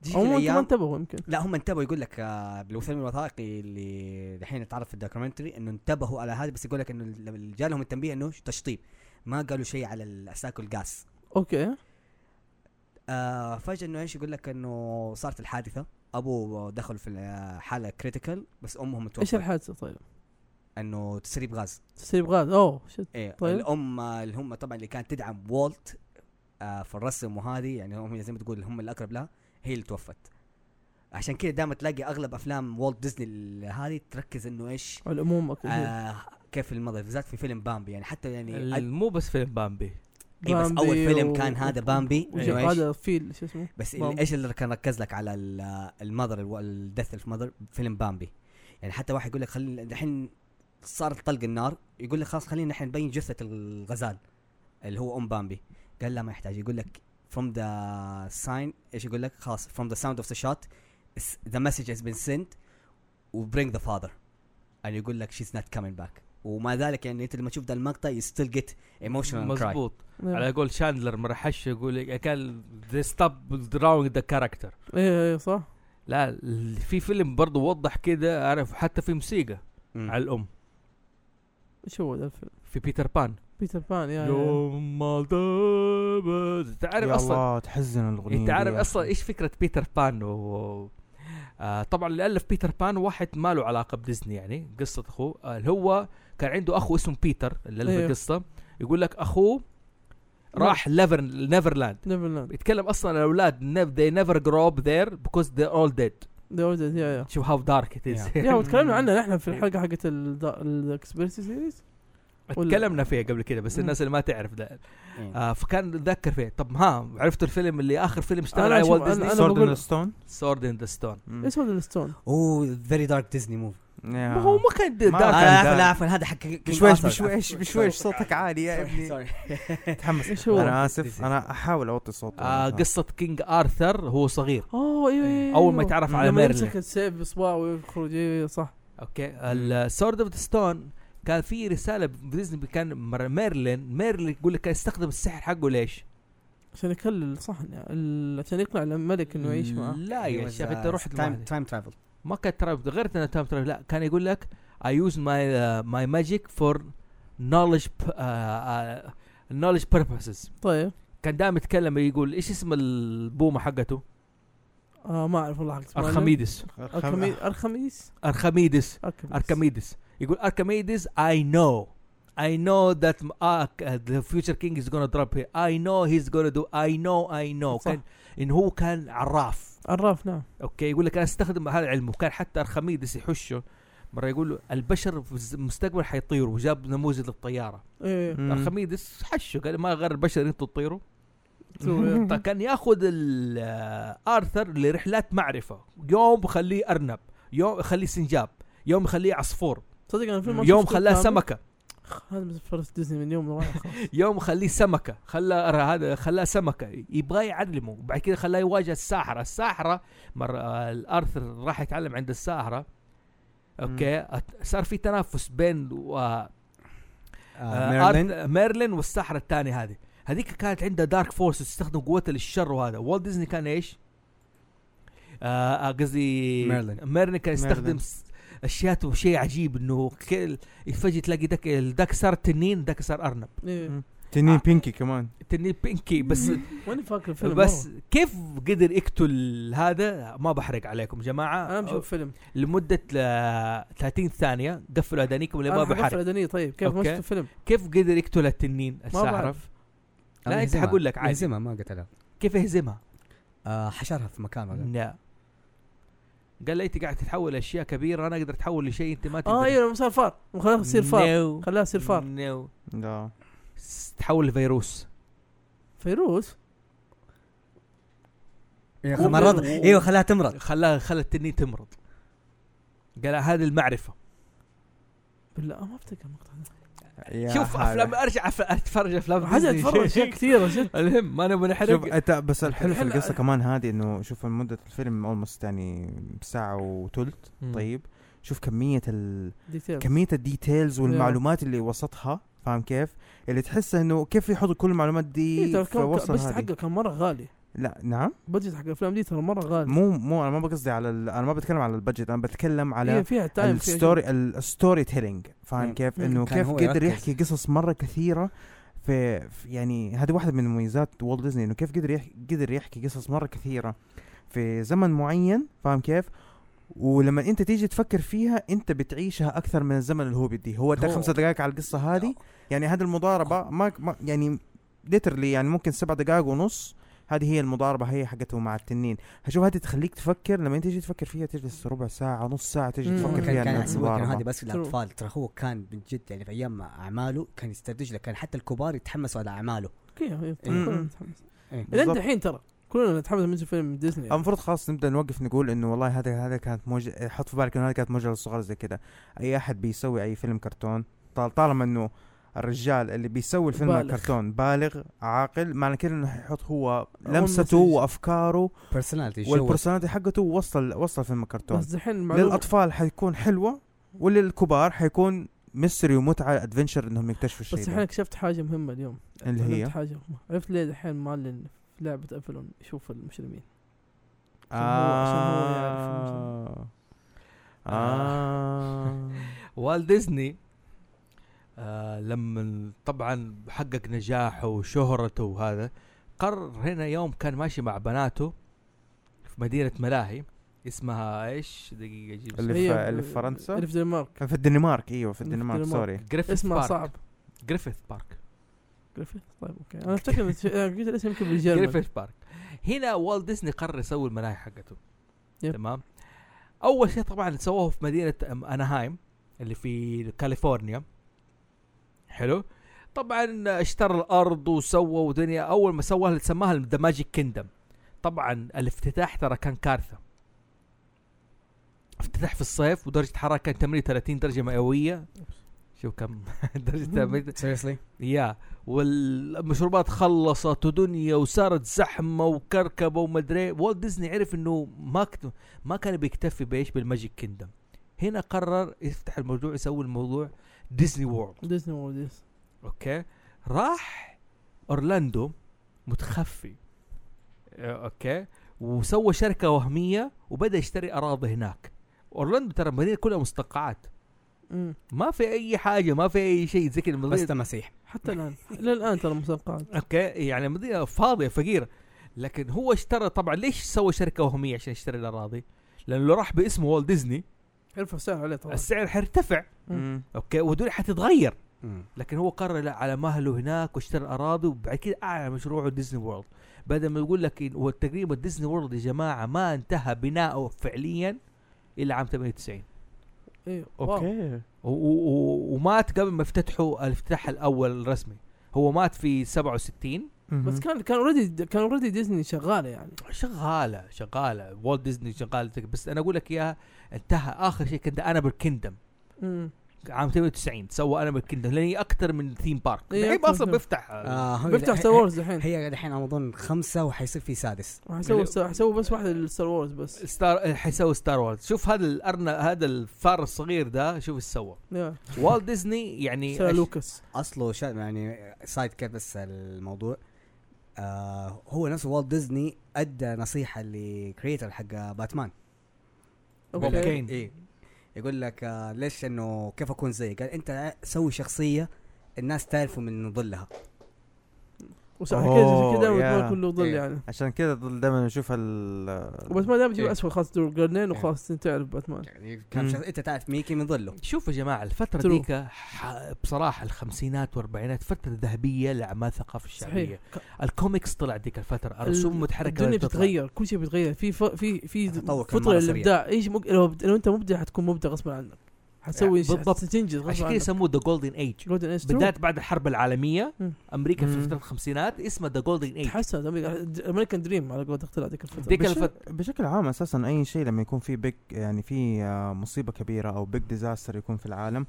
[SPEAKER 4] جيت
[SPEAKER 3] هم ما
[SPEAKER 4] الايام
[SPEAKER 3] انتبهوا يمكن
[SPEAKER 4] لا هم انتبهوا يقول لك آه، بالفيلم الوثائقي اللي دحين اتعرف في الدوكيومنتري انه انتبهوا على هذا بس يقول لك انه ال- ال- جالهم التنبيه انه تشطيب ما قالوا شيء على الاساك والغاز
[SPEAKER 3] اوكي
[SPEAKER 4] آه فجاه انه ايش يقول لك انه صارت الحادثه ابوه دخل في ال- حاله كريتيكال بس امهم
[SPEAKER 3] ايش
[SPEAKER 4] توفت
[SPEAKER 3] الحادثه طيب؟
[SPEAKER 4] انه تسريب غاز
[SPEAKER 3] تسريب غاز اوه شت
[SPEAKER 4] ايه
[SPEAKER 3] طيب.
[SPEAKER 4] طيب. الام آه، اللي هم طبعا اللي كانت تدعم والت آه في الرسم وهذه يعني هم زي ما تقول هم الاقرب لها هي اللي توفت عشان كذا دائما تلاقي اغلب افلام والت ديزني ال- هذه تركز انه ايش
[SPEAKER 3] على الاموم أكيد.
[SPEAKER 4] آه كيف المضي بالذات في فيلم بامبي يعني حتى يعني
[SPEAKER 1] ال- مو بس فيلم بامبي
[SPEAKER 4] إيه بس اول
[SPEAKER 3] بامبي
[SPEAKER 4] فيلم
[SPEAKER 3] و-
[SPEAKER 4] كان هذا
[SPEAKER 3] و-
[SPEAKER 4] بامبي
[SPEAKER 3] وش-
[SPEAKER 4] إنه إيش؟
[SPEAKER 3] هذا فيل شو اسمه؟
[SPEAKER 4] بس
[SPEAKER 3] بامبي.
[SPEAKER 4] ال- ايش اللي كان ركز لك على المذر الدث اوف مذر فيلم بامبي يعني حتى واحد يقول لك خلينا دحين صارت طلق النار يقول لك خلاص خلينا نحن نبين جثه الغزال اللي هو ام بامبي قال لا ما يحتاج يقول لك from the sign ايش يقول لك خلاص from the sound of the shot is- the message has been sent و bring the father يعني يقول لك she's not coming back وما ذلك يعني انت لما تشوف ذا المقطع you still get emotional and cry
[SPEAKER 1] مزبوط
[SPEAKER 5] إيه.
[SPEAKER 1] على قول شاندلر ما رحش يقول كان they stop drawing the character
[SPEAKER 3] ايه ايه صح
[SPEAKER 1] لا ال- في فيلم برضو وضح كده عارف حتى في موسيقى
[SPEAKER 4] مم.
[SPEAKER 1] على الام
[SPEAKER 3] ايش هو ذا الفيلم؟
[SPEAKER 1] في بيتر بان
[SPEAKER 3] بيتر بان يا يا.
[SPEAKER 1] يوم ما ذهبت تعرف إيه،
[SPEAKER 5] يا
[SPEAKER 1] اصلا
[SPEAKER 5] الله تحزن الاغنيه
[SPEAKER 1] انت
[SPEAKER 5] دي
[SPEAKER 1] عارف
[SPEAKER 5] يا
[SPEAKER 1] اصلا
[SPEAKER 5] أخي.
[SPEAKER 1] ايش فكره بيتر بان و... آه طبعا اللي الف بيتر بان واحد ما له علاقه بديزني يعني قصه اخوه آه اللي هو كان عنده اخو اسمه بيتر اللي الف
[SPEAKER 5] إيه.
[SPEAKER 3] أيوه.
[SPEAKER 1] القصه يقول لك اخوه راح ليفر نيفرلاند
[SPEAKER 3] نيفرلاند
[SPEAKER 1] بيتكلم اصلا عن الاولاد they never grow up there because they're all dead
[SPEAKER 3] ذا اوردر يا يا
[SPEAKER 1] شوف هاو دارك it is
[SPEAKER 3] يا وتكلمنا عنه نحن في الحلقه حقت الكسبيرسي سيريز ولا-
[SPEAKER 1] تكلمنا فيها قبل كده بس
[SPEAKER 3] مم.
[SPEAKER 1] الناس اللي ما تعرف ده
[SPEAKER 4] إيه.
[SPEAKER 1] آه فكان اتذكر فيه طب ها عرفتوا الفيلم اللي اخر فيلم اشتغل
[SPEAKER 3] أنا
[SPEAKER 1] عليه
[SPEAKER 3] أشوف-
[SPEAKER 1] والت ديزني
[SPEAKER 3] أنا
[SPEAKER 5] سورد
[SPEAKER 3] بقول-
[SPEAKER 5] ان ستون
[SPEAKER 1] سورد ان ذا ستون
[SPEAKER 3] ايش هو الستون؟
[SPEAKER 4] اوه فيري دارك ديزني موفي
[SPEAKER 1] ما هو ما كان
[SPEAKER 5] ما-
[SPEAKER 4] آه،
[SPEAKER 1] دارك
[SPEAKER 5] كان
[SPEAKER 4] عفوا
[SPEAKER 5] ده.
[SPEAKER 4] لا عفوا هذا حق King
[SPEAKER 5] بشويش
[SPEAKER 4] Arthur.
[SPEAKER 5] بشويش بشويش صوتك عالي يا
[SPEAKER 4] Sorry،
[SPEAKER 5] ابني
[SPEAKER 4] sorry.
[SPEAKER 5] تحمس
[SPEAKER 3] إيش هو؟
[SPEAKER 5] انا اسف انا احاول اوطي صوتي
[SPEAKER 1] آه قصة كينج آرثر هو صغير
[SPEAKER 3] اوه ايوه ايوه
[SPEAKER 1] أول ما
[SPEAKER 3] أيوه.
[SPEAKER 1] يتعرف على
[SPEAKER 3] لما
[SPEAKER 1] ميرلين
[SPEAKER 3] يمسك السيف بصباعه ويخرج إيه، إيه، صح
[SPEAKER 1] اوكي السورد اوف ستون كان في رسالة بديزني كان مر- ميرلين ميرلين يقول لك كان يستخدم السحر حقه ليش؟
[SPEAKER 3] عشان يكلل صحن يعني ال- عشان يقنع الملك انه يعيش معه
[SPEAKER 1] لا يا شيخ انت رحت لوحدك.
[SPEAKER 4] تايم ترافل
[SPEAKER 1] ما كان تراب غير انها تايم تراب لا كان يقول لك I use my uh, my magic for knowledge p- uh, uh, knowledge purposes
[SPEAKER 3] طيب
[SPEAKER 1] كان دائما يتكلم يقول ايش اسم البومه حقته؟
[SPEAKER 3] آه ما اعرف والله حق اسمه.
[SPEAKER 1] ارخميدس
[SPEAKER 3] ارخميدس ارخميدس
[SPEAKER 1] ارخميدس
[SPEAKER 3] ارخميدس
[SPEAKER 1] اركميدس يقول اركميدس I know I know that m- uh, uh, the future king is gonna drop here I know he's gonna do I know I know
[SPEAKER 3] صح.
[SPEAKER 1] كان ان هو كان عراف
[SPEAKER 3] عراف نعم
[SPEAKER 1] اوكي يقول لك انا استخدم هذا علمه كان حتى ارخميدس يحشه مره يقول له البشر في الز- المستقبل حيطيروا وجاب نموذج للطياره
[SPEAKER 3] ايه
[SPEAKER 1] ارخميدس حشه قال ما غير البشر انتوا تطيروا
[SPEAKER 3] تسوي.
[SPEAKER 1] فكان طيب، ياخذ ال- آه، ارثر لرحلات معرفه يوم بخليه ارنب يوم يخليه سنجاب يوم يخليه عصفور
[SPEAKER 3] تصدق انا الفيلم ما
[SPEAKER 1] يوم
[SPEAKER 3] شفته
[SPEAKER 1] خلاه
[SPEAKER 3] كامل.
[SPEAKER 1] سمكه
[SPEAKER 3] هذا من فرس ديزني من يوم راح
[SPEAKER 1] يوم خليه سمكه خلاه أرى هذا خلاه سمكه يبغى يعلمه بعد كذا خلاه يواجه الساحره الساحره مره آه، الارثر راح يتعلم عند الساحره اوكي أت- صار في تنافس بين و- آه،
[SPEAKER 5] آه،
[SPEAKER 4] ميرلين
[SPEAKER 1] آرث- ميرلين والساحره الثانيه هذه هذيك كانت عندها دارك فورس تستخدم قوتها للشر وهذا والت ديزني كان ايش؟ آه، آه، قصدي
[SPEAKER 4] ميرلين.
[SPEAKER 1] ميرلين كان يستخدم
[SPEAKER 5] ميرلين.
[SPEAKER 1] س- اشياء شيء عجيب انه كل- فجاه تلاقي دك داك صار تنين داك صار ارنب
[SPEAKER 3] إيه.
[SPEAKER 5] تنين بينكي كمان
[SPEAKER 1] تنين بينكي بس
[SPEAKER 3] ماني فاكر الفيلم
[SPEAKER 1] بس
[SPEAKER 3] مرة.
[SPEAKER 1] كيف قدر يقتل هذا ما بحرق عليكم جماعه
[SPEAKER 3] انا بشوف فيلم
[SPEAKER 1] لمده آه، 30 ثانيه قفلوا اذانيكم اللي ما
[SPEAKER 3] انا حقفل
[SPEAKER 1] بحرق
[SPEAKER 3] أدنية، طيب كيف ما
[SPEAKER 1] أوكي.
[SPEAKER 3] شفت الفيلم
[SPEAKER 1] كيف قدر يقتل التنين الساحره
[SPEAKER 3] بعرف.
[SPEAKER 1] لا، أنت حقول لك عادي.
[SPEAKER 4] يهزمها ما قتلها
[SPEAKER 1] كيف يهزمها؟
[SPEAKER 4] آه، حشرها في مكانها
[SPEAKER 1] لا قال لي انت قاعد تتحول لاشياء كبيره انا اقدر اتحول لشيء انت ما تقدر
[SPEAKER 3] اه ايوه لما صار فار خلاها تصير فار خلاها تصير فار
[SPEAKER 1] نو
[SPEAKER 5] لا
[SPEAKER 1] تحول لفيروس
[SPEAKER 3] فيروس
[SPEAKER 4] يا
[SPEAKER 1] و-
[SPEAKER 4] أخي مرض
[SPEAKER 1] و-
[SPEAKER 4] ايوه خلاها تمرض
[SPEAKER 1] خلاها خلى التنين تمرض قال هذه المعرفه
[SPEAKER 3] بالله ما افتكر المقطع ده
[SPEAKER 5] يا
[SPEAKER 1] شوف
[SPEAKER 5] هذا.
[SPEAKER 1] افلام ارجع أف- اتفرج افلام
[SPEAKER 3] حاجه
[SPEAKER 1] ديزني.
[SPEAKER 3] اتفرج اشياء كثيره جد
[SPEAKER 1] المهم ما نبغى
[SPEAKER 5] شوف
[SPEAKER 1] نحرق
[SPEAKER 5] انت بس الحلو في
[SPEAKER 3] الحلو-
[SPEAKER 5] القصه كمان هذه انه شوف مده الفيلم اولموست يعني ساعه وثلث
[SPEAKER 1] مم.
[SPEAKER 5] طيب شوف كميه ال...
[SPEAKER 3] ديتيلز.
[SPEAKER 5] كميه الديتيلز والمعلومات اللي وسطها فاهم كيف؟ اللي تحس انه كيف يحطوا كل المعلومات
[SPEAKER 3] إيه،
[SPEAKER 5] دي
[SPEAKER 3] ترى
[SPEAKER 5] في
[SPEAKER 3] كان-
[SPEAKER 5] وسط
[SPEAKER 3] بس
[SPEAKER 5] هذه
[SPEAKER 3] حقه كان مره غالي
[SPEAKER 5] لا نعم
[SPEAKER 3] بجت حق الافلام دي ترى مره غالي
[SPEAKER 5] مو مو انا ما بقصدي على ال... انا ما بتكلم على البادجت انا بتكلم على
[SPEAKER 3] هي إيه، فيها تايم فيها
[SPEAKER 5] الستوري الستوري تيلينج فاهم
[SPEAKER 4] مم.
[SPEAKER 5] كيف
[SPEAKER 3] مم.
[SPEAKER 5] انه
[SPEAKER 4] كان
[SPEAKER 5] كيف
[SPEAKER 4] هو
[SPEAKER 5] قدر
[SPEAKER 4] يركز.
[SPEAKER 5] يحكي قصص مره كثيره في في- يعني هذه واحده من مميزات والت ديزني انه كيف قدر يحكي قدر يحكي قصص مره كثيره في زمن معين فاهم كيف ولما انت تيجي تفكر فيها انت بتعيشها اكثر من الزمن اللي هو بديه هو ده
[SPEAKER 1] هو-
[SPEAKER 5] خمسة دقائق على القصه هذه يعني هذه المضاربه ما, ما يعني ليترلي يعني ممكن سبع دقائق ونص هذه هي المضاربه هي حقته مع التنين هشوف هذه تخليك تفكر لما انت تيجي تفكر فيها تجلس ربع ساعه نص ساعه تجي
[SPEAKER 3] مم.
[SPEAKER 5] تفكر
[SPEAKER 4] كان
[SPEAKER 5] فيها
[SPEAKER 4] كان
[SPEAKER 5] إنها
[SPEAKER 4] يحسبوا انه
[SPEAKER 5] مضاربة.
[SPEAKER 4] هذه بس للاطفال ترى هو كان من جد يعني في ايام اعماله كان يستدرج لك كان حتى الكبار يتحمسوا على اعماله
[SPEAKER 3] كيف إيه،
[SPEAKER 5] مم.
[SPEAKER 3] كلنا نتحمس
[SPEAKER 4] إيه.
[SPEAKER 3] الى
[SPEAKER 5] بالضبط.
[SPEAKER 3] الحين ترى كلنا نتحمس نشوف فيلم من ديزني
[SPEAKER 5] المفروض خلاص نبدا نوقف نقول انه والله هذا هذا كانت موجه حط في بالك انه هذا كانت موجه للصغار زي كذا اي احد بيسوي اي فيلم كرتون طال طالما انه الرجال اللي بيسوي الفيلم
[SPEAKER 3] بالغ.
[SPEAKER 5] الكرتون بالغ عاقل معنى كده انه حيحط هو
[SPEAKER 3] أول
[SPEAKER 5] لمسته
[SPEAKER 3] مسج.
[SPEAKER 5] وافكاره
[SPEAKER 4] بيرسوناليتي شو
[SPEAKER 5] والبرسوناليتي حقته وصل وصل الفيلم الكرتون
[SPEAKER 3] بس دحين المعلومة-
[SPEAKER 5] للاطفال حيكون حلوه وللكبار حيكون ميستري ومتعه ادفنشر انهم يكتشفوا الشيء
[SPEAKER 3] بس الحين
[SPEAKER 5] ده.
[SPEAKER 3] اكتشفت حاجه مهمه اليوم
[SPEAKER 5] اللي هي؟
[SPEAKER 3] علمت حاجه مهمة. عرفت ليه الحين معلن في لعبه افلون يشوف المجرمين عشان هو- عشان هو يعرف
[SPEAKER 5] آه. آه.
[SPEAKER 1] والت ديزني آه لما طبعا حقق نجاحه وشهرته وهذا قرر هنا يوم كان ماشي مع بناته في مدينة ملاهي اسمها ايش؟ دقيقة اجيب
[SPEAKER 5] اللي
[SPEAKER 1] اسمها.
[SPEAKER 5] في-
[SPEAKER 3] هي-
[SPEAKER 5] اللي في فرنسا؟
[SPEAKER 3] اللي في الدنمارك
[SPEAKER 5] كان آه. في الدنمارك ايوه في
[SPEAKER 3] في
[SPEAKER 5] الدنمارك
[SPEAKER 3] الدنمارك.
[SPEAKER 5] سوري
[SPEAKER 1] جريفيث
[SPEAKER 3] اسمه
[SPEAKER 1] بارك.
[SPEAKER 3] صعب
[SPEAKER 1] جريفيث بارك
[SPEAKER 3] جريفيث طيب اوكي انا افتكر أنا قلت الاسم يمكن بالجرمن
[SPEAKER 1] جريفيث بارك هنا والت ديزني قرر يسوي الملاهي حقته
[SPEAKER 3] يب.
[SPEAKER 1] تمام اول شيء طبعا سووه في مدينه أم- اناهايم اللي في كاليفورنيا حلو طبعا اشترى الارض وسوى ودنيا اول ما سواها سماها ذا ماجيك كيندم طبعا الافتتاح ترى كان كارثه افتتاح في الصيف ودرجه حراره كانت 38 درجه مئويه شوف كم درجه مئوية.
[SPEAKER 4] سيريسلي
[SPEAKER 1] يا والمشروبات خلصت ودنيا وصارت زحمه وكركبه ومدري والت ديزني عرف انه ما كت... ما كان بيكتفي بايش بالماجيك كيندم هنا قرر يفتح الموضوع يسوي الموضوع ديزني وورلد
[SPEAKER 3] ديزني وورلد يس.
[SPEAKER 1] اوكي راح اورلاندو متخفي آه، اوكي وسوى شركه وهميه وبدا يشتري اراضي هناك اورلاندو ترى المدينه كلها مستنقعات
[SPEAKER 3] أمم.
[SPEAKER 1] ما في اي حاجه ما في اي شيء زي كذا المدينة
[SPEAKER 4] بس تماسيح
[SPEAKER 3] حتى الان الى الان ترى مسابقات
[SPEAKER 1] اوكي يعني مدينه فاضيه فقيره لكن هو اشترى طبعا ليش سوى شركه وهميه عشان يشتري الاراضي؟ لانه لو راح باسمه والت ديزني
[SPEAKER 3] يرفع السعر عليه طبعا
[SPEAKER 1] السعر حيرتفع
[SPEAKER 3] مم.
[SPEAKER 1] اوكي والدنيا حتتغير لكن هو قرر لا على مهله هناك واشترى الاراضي وبعد كده اعلن مشروعه ديزني وورلد بدل ما يقول لك إن- هو تقريبا ديزني وورلد يا جماعه ما انتهى بناؤه فعليا الا عام 98
[SPEAKER 3] ايوه اوكي
[SPEAKER 5] اوكي
[SPEAKER 1] و- و- و- ومات قبل ما يفتتحوا الافتتاح الاول الرسمي هو مات في 67
[SPEAKER 3] بس كان كان اوريدي كان اوريدي ديزني شغاله يعني
[SPEAKER 1] شغاله شغاله والت ديزني شغاله بس انا اقول لك اياها انتهى اخر شيء كنت انا بالكندم
[SPEAKER 3] أمم.
[SPEAKER 1] عام 98 سوى انا بالكندم لان هي اكثر من ثيم بارك
[SPEAKER 3] إيه،
[SPEAKER 1] الحين
[SPEAKER 3] أكتر
[SPEAKER 1] اصلا
[SPEAKER 3] من-
[SPEAKER 1] بيفتح
[SPEAKER 3] آه. بيفتح ستار وورز الحين
[SPEAKER 4] آه، هي الحين اظن خمسه وحيصير في سادس
[SPEAKER 3] وحيسوي حيسوي بس واحده للستار وورز بس
[SPEAKER 1] ستار آه، حيسوي ستار وورز شوف هذا الارنا هذا الفار الصغير ده شوف ايش سوى
[SPEAKER 3] يا
[SPEAKER 1] والت ديزني يعني
[SPEAKER 3] سير
[SPEAKER 1] أش-
[SPEAKER 3] لوكاس
[SPEAKER 4] اصله شا يعني سايد كيف بس الموضوع آه هو نفسه والت ديزني ادى نصيحه لكريتر حق باتمان
[SPEAKER 1] بوب
[SPEAKER 3] اوكي
[SPEAKER 1] كين
[SPEAKER 4] إيه. يقول لك آه ليش انه كيف اكون زي قال انت سوي شخصيه الناس تعرفه من ظلها
[SPEAKER 3] وصح
[SPEAKER 5] أوه،
[SPEAKER 3] كذا كذا
[SPEAKER 5] يا.
[SPEAKER 3] وباتمان كله ظل
[SPEAKER 4] إيه.
[SPEAKER 3] يعني
[SPEAKER 5] عشان كذا دائما نشوف ال
[SPEAKER 3] وباتمان دائما يجيب
[SPEAKER 4] إيه.
[SPEAKER 3] اسود خلاص دور قرنين وخلاص تعرف باتمان
[SPEAKER 4] يعني كان
[SPEAKER 5] مم.
[SPEAKER 4] شخص... انت تعرف ميكي من ظله
[SPEAKER 1] شوف يا جماعه الفتره
[SPEAKER 3] True.
[SPEAKER 1] ذيك ح- بصراحه الخمسينات والاربعينات فتره ذهبيه لاعمال الثقافه الشعبيه
[SPEAKER 3] صحيح
[SPEAKER 1] الكوميكس طلع ذيك الفتره الرسوم متحركه
[SPEAKER 3] الدنيا
[SPEAKER 1] بدأت تطلع.
[SPEAKER 3] بتتغير كل شيء بيتغير في ف... في في
[SPEAKER 4] التطور كان
[SPEAKER 3] فطره
[SPEAKER 4] مرة سريع.
[SPEAKER 3] للابداع ايش مب... لو, بد... لو انت مبدع حتكون مبدع غصبا عنك حتسوي
[SPEAKER 1] بالضبط.
[SPEAKER 3] تنجز غصب
[SPEAKER 1] عشان كذا
[SPEAKER 3] عنك.
[SPEAKER 1] يسموه ذا جولدن ايج
[SPEAKER 3] جولدن ايج
[SPEAKER 1] بدايه بعد الحرب العالميه
[SPEAKER 3] مم.
[SPEAKER 1] امريكا في
[SPEAKER 5] مم.
[SPEAKER 1] فتره الخمسينات اسمه ذا جولدن ايج
[SPEAKER 3] تحسن امريكان دريم على قولة اختراع ذيك الفتره
[SPEAKER 1] إيه. ديك
[SPEAKER 5] بش-
[SPEAKER 1] الفت-
[SPEAKER 5] بشكل عام اساسا اي شيء لما يكون في بيج يعني في آه، مصيبه كبيره او بيج ديزاستر يكون في العالم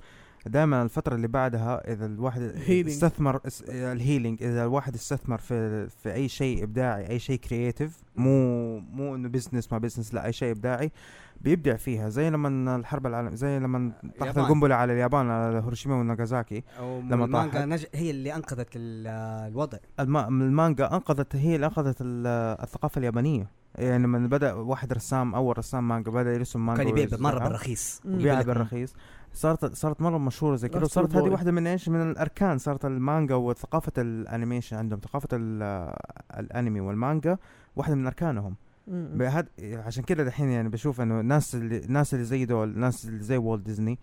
[SPEAKER 5] دائما الفتره اللي بعدها اذا الواحد
[SPEAKER 3] Healing.
[SPEAKER 5] استثمر اس- الهيلينج اذا الواحد استثمر في في اي شيء ابداعي اي شيء كرييتيف مو مو انه بزنس ما بزنس لا اي شيء ابداعي بيبدع فيها زي لما الحرب العالميه زي لما طاحت
[SPEAKER 4] اليابان.
[SPEAKER 5] القنبله على اليابان على هيروشيما وناغازاكي لما
[SPEAKER 4] لما المانجا
[SPEAKER 5] طاحت.
[SPEAKER 4] نج... هي اللي انقذت ال- الوضع
[SPEAKER 5] الم- المانجا انقذت هي اللي انقذت ال- الثقافه اليابانيه يعني لما بدا واحد رسام اول رسام مانجا بدا يرسم مانجا
[SPEAKER 4] كان يبيع مره
[SPEAKER 5] ويرسمها.
[SPEAKER 4] بالرخيص
[SPEAKER 3] مم.
[SPEAKER 5] وبيعها
[SPEAKER 4] يقول لك
[SPEAKER 5] بالرخيص صارت صارت مره مشهوره زي كذا
[SPEAKER 3] Astro
[SPEAKER 5] وصارت هذه
[SPEAKER 3] Boy.
[SPEAKER 5] واحده من ايش من الاركان صارت المانجا وثقافه الانيميشن عندهم ثقافه ال- الانمي والمانجا واحده من اركانهم
[SPEAKER 3] مم.
[SPEAKER 5] بهد... عشان كذا دحين يعني بشوف انه الناس اللي الناس اللي زي دول الناس اللي زي والت ديزني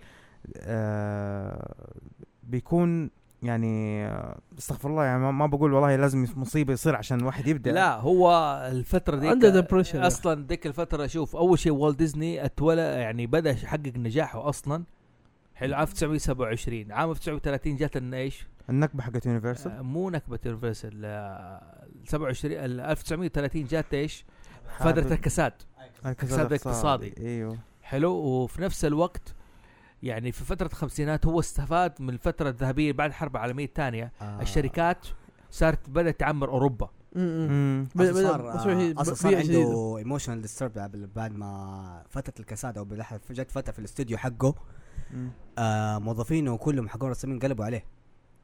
[SPEAKER 5] آه بيكون يعني آه، استغفر الله يعني ما- ما بقول والله لازم مصيبه يصير عشان الواحد يبدا
[SPEAKER 1] لا هو الفتره ديك
[SPEAKER 3] عنده depression.
[SPEAKER 1] اصلا ديك الفتره شوف اول شيء والت ديزني اتولى يعني بدا يحقق نجاحه اصلا حلو عام 1927 عام 1930 جات لنا ايش؟
[SPEAKER 5] النكبه حقت يونيفرسال
[SPEAKER 1] آه، مو نكبه يونيفرسال آه، 27 ال- 1930 جات ايش؟
[SPEAKER 5] حرب-
[SPEAKER 1] فتره الكساد
[SPEAKER 5] الكساد
[SPEAKER 1] الاقتصادي.
[SPEAKER 5] ايوه
[SPEAKER 1] حلو وفي نفس الوقت يعني في فتره الخمسينات هو استفاد من الفتره الذهبيه بعد الحرب العالميه الثانيه
[SPEAKER 4] آه.
[SPEAKER 1] الشركات صارت بدات تعمر اوروبا
[SPEAKER 3] مم.
[SPEAKER 5] مم.
[SPEAKER 3] بدأ-
[SPEAKER 4] أصلاً
[SPEAKER 3] بدأ-
[SPEAKER 4] صار
[SPEAKER 3] بس هو هي-
[SPEAKER 4] آه، اصلا
[SPEAKER 3] بيئة
[SPEAKER 4] صار
[SPEAKER 3] جديدة.
[SPEAKER 4] عنده ايموشنال ديسترب بعد ما فتت الكساد او بالأحرى جت فتره في الاستوديو حقه
[SPEAKER 5] مم.
[SPEAKER 4] آه موظفينه كلهم حقون رسامين قلبوا عليه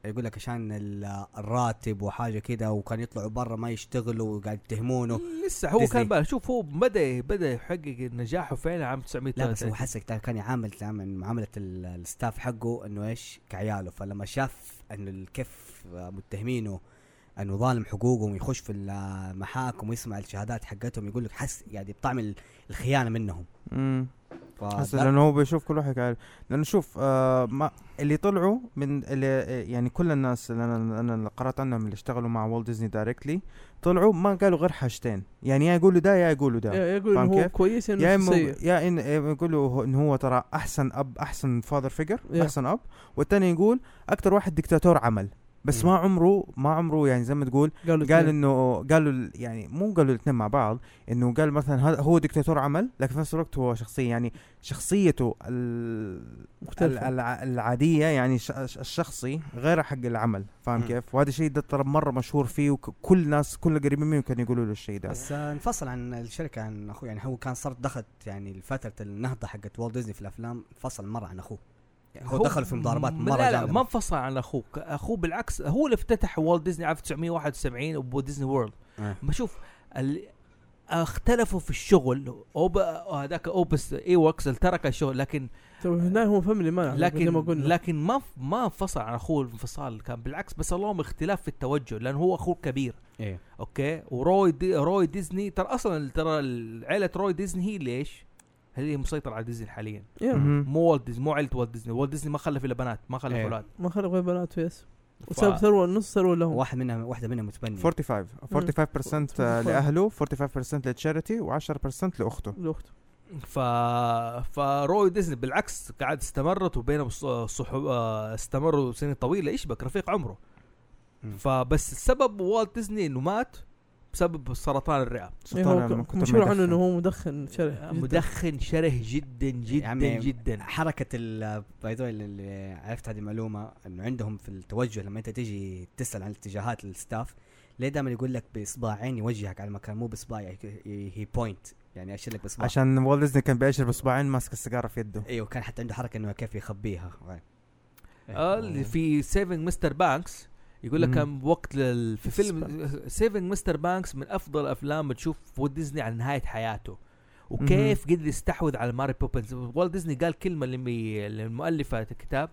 [SPEAKER 4] يقول لك عشان ال- الراتب وحاجه كده وكان يطلعوا برا ما يشتغلوا وقاعد يتهمونه
[SPEAKER 1] لسه هو
[SPEAKER 4] ديزني.
[SPEAKER 1] كان بقى شوف هو بدا بدا يحقق نجاحه فعلا عام
[SPEAKER 4] لا
[SPEAKER 3] طيب،
[SPEAKER 4] بس هو
[SPEAKER 1] 1930
[SPEAKER 4] حسك تا- كان يعامل تعامل معامله ال- الستاف حقه انه ايش كعياله فلما شاف انه ال- كيف آه، متهمينه انه ظالم حقوقهم ويخش في المحاكم ويسمع الشهادات حقتهم يقول لك حس يعني بطعم ال- الخيانه منهم
[SPEAKER 5] مم.
[SPEAKER 4] ف-
[SPEAKER 5] هسه
[SPEAKER 4] ده-
[SPEAKER 5] لانه هو بيشوف كل واحد قاعد لانه شوف آه ما اللي طلعوا من اللي يعني كل الناس اللي انا انا اللي قرات عنهم اللي اشتغلوا مع والت ديزني دايركتلي طلعوا ما قالوا غير حاجتين يعني يا يقولوا ده يا يقولوا ده
[SPEAKER 3] يا- يقول
[SPEAKER 5] فاهم
[SPEAKER 3] انه هو
[SPEAKER 5] كيف؟
[SPEAKER 3] كويس
[SPEAKER 5] يا
[SPEAKER 3] انه
[SPEAKER 5] اما
[SPEAKER 3] سيء
[SPEAKER 5] يا ان إما يقولوا هو- ان هو ترى احسن اب احسن فاذر فيجر
[SPEAKER 3] Yeah.
[SPEAKER 5] احسن اب والثاني يقول اكثر واحد دكتاتور عمل بس
[SPEAKER 4] مم.
[SPEAKER 5] ما عمره ما عمره يعني زي ما تقول
[SPEAKER 3] قالوا
[SPEAKER 5] قال
[SPEAKER 3] اثنين.
[SPEAKER 5] انه قالوا ال- يعني مو قالوا الاثنين مع بعض انه قال مثلا هذا هو دكتاتور عمل لكن في نفس الوقت هو شخصيه يعني شخصيته ال- ال-
[SPEAKER 3] مختلفة
[SPEAKER 5] الع- العاديه يعني ش- ش- الشخصي غير حق العمل فاهم
[SPEAKER 4] مم.
[SPEAKER 5] كيف؟ وهذا الشيء ده ترى مره مشهور فيه وكل الناس كل القريبين منه كانوا يقولوا له الشيء ده
[SPEAKER 4] بس آه، انفصل عن الشركه عن اخوه يعني هو كان صارت دخلت يعني فتره النهضه حقت والت ديزني في الافلام انفصل مره عن اخوه يعني هو دخل في مضاربات
[SPEAKER 1] م-
[SPEAKER 4] مره
[SPEAKER 1] لا لا
[SPEAKER 4] جامدة.
[SPEAKER 1] ما انفصل عن اخوك اخوه بالعكس هو اللي افتتح والت ديزني عام 1971 وبو ديزني وورلد
[SPEAKER 4] آه.
[SPEAKER 1] ما شوف ال... اختلفوا في الشغل أوب... هذاك اوبس اي وركس اللي ترك الشغل لكن
[SPEAKER 3] طب هنا هو فاميلي مان لكن زي ما
[SPEAKER 1] لكن
[SPEAKER 3] قلنا
[SPEAKER 1] لكن ما ف- ما انفصل عن اخوه الانفصال كان بالعكس بس اللهم اختلاف في التوجه لانه هو اخوه كبير
[SPEAKER 4] إيه.
[SPEAKER 1] اوكي وروي دي روي ديزني ترى اصلا ترى عائله روي ديزني هي ليش؟ هي مسيطره على ديزني حاليا
[SPEAKER 3] يا،
[SPEAKER 5] مهم.
[SPEAKER 1] مو والت ديزني مو عائله والت ديزني والت ديزني ما خلف الا بنات ما خلف
[SPEAKER 4] إيه.
[SPEAKER 1] اولاد
[SPEAKER 3] ما خلق غير بنات فيس
[SPEAKER 1] ف-
[SPEAKER 3] وساب ثروة نص ثروة لهم
[SPEAKER 4] واحد منها واحده منها متبنيه
[SPEAKER 5] 45 45%
[SPEAKER 3] مم.
[SPEAKER 5] لاهله 45% لتشاريتي و10% لاخته
[SPEAKER 3] لأخته
[SPEAKER 1] ف فروي ديزني بالعكس قعد استمرت وبينهم ص- صحو... آه، استمروا سنين طويله ايش بك رفيق عمره
[SPEAKER 4] مم.
[SPEAKER 1] فبس السبب والت ديزني انه مات بسبب سرطان الرئه
[SPEAKER 3] إيه،
[SPEAKER 5] سرطان
[SPEAKER 3] هو
[SPEAKER 5] لما
[SPEAKER 3] ك-
[SPEAKER 5] كنت
[SPEAKER 3] مشهور
[SPEAKER 5] مدخن.
[SPEAKER 3] عنه انه هو مدخن شره
[SPEAKER 1] آه، مدخن شره جدا جدا
[SPEAKER 4] عمي،
[SPEAKER 1] جدا
[SPEAKER 4] حركه ال باي ذا اللي عرفت هذه المعلومه انه عندهم في التوجه لما انت تيجي تسال عن الاتجاهات الستاف ليه دائما يقول لك باصبعين يوجهك على المكان مو يعني باصبع هي بوينت يعني اشير لك باصبع
[SPEAKER 5] عشان والت ديزني كان بيشرب اصبعين ماسك السيجاره في يده
[SPEAKER 4] ايوه كان حتى عنده حركه انه كيف يخبيها إيه.
[SPEAKER 1] آه، اللي في سيفنج مستر بانكس يقول لك
[SPEAKER 5] مم.
[SPEAKER 1] كان وقت لل... في فيلم سيفنج مستر بانكس من افضل افلام تشوف والت ديزني عن نهايه حياته وكيف قدر يستحوذ على ماري بوبنز والت ديزني قال كلمه لمي... للمؤلفه الكتاب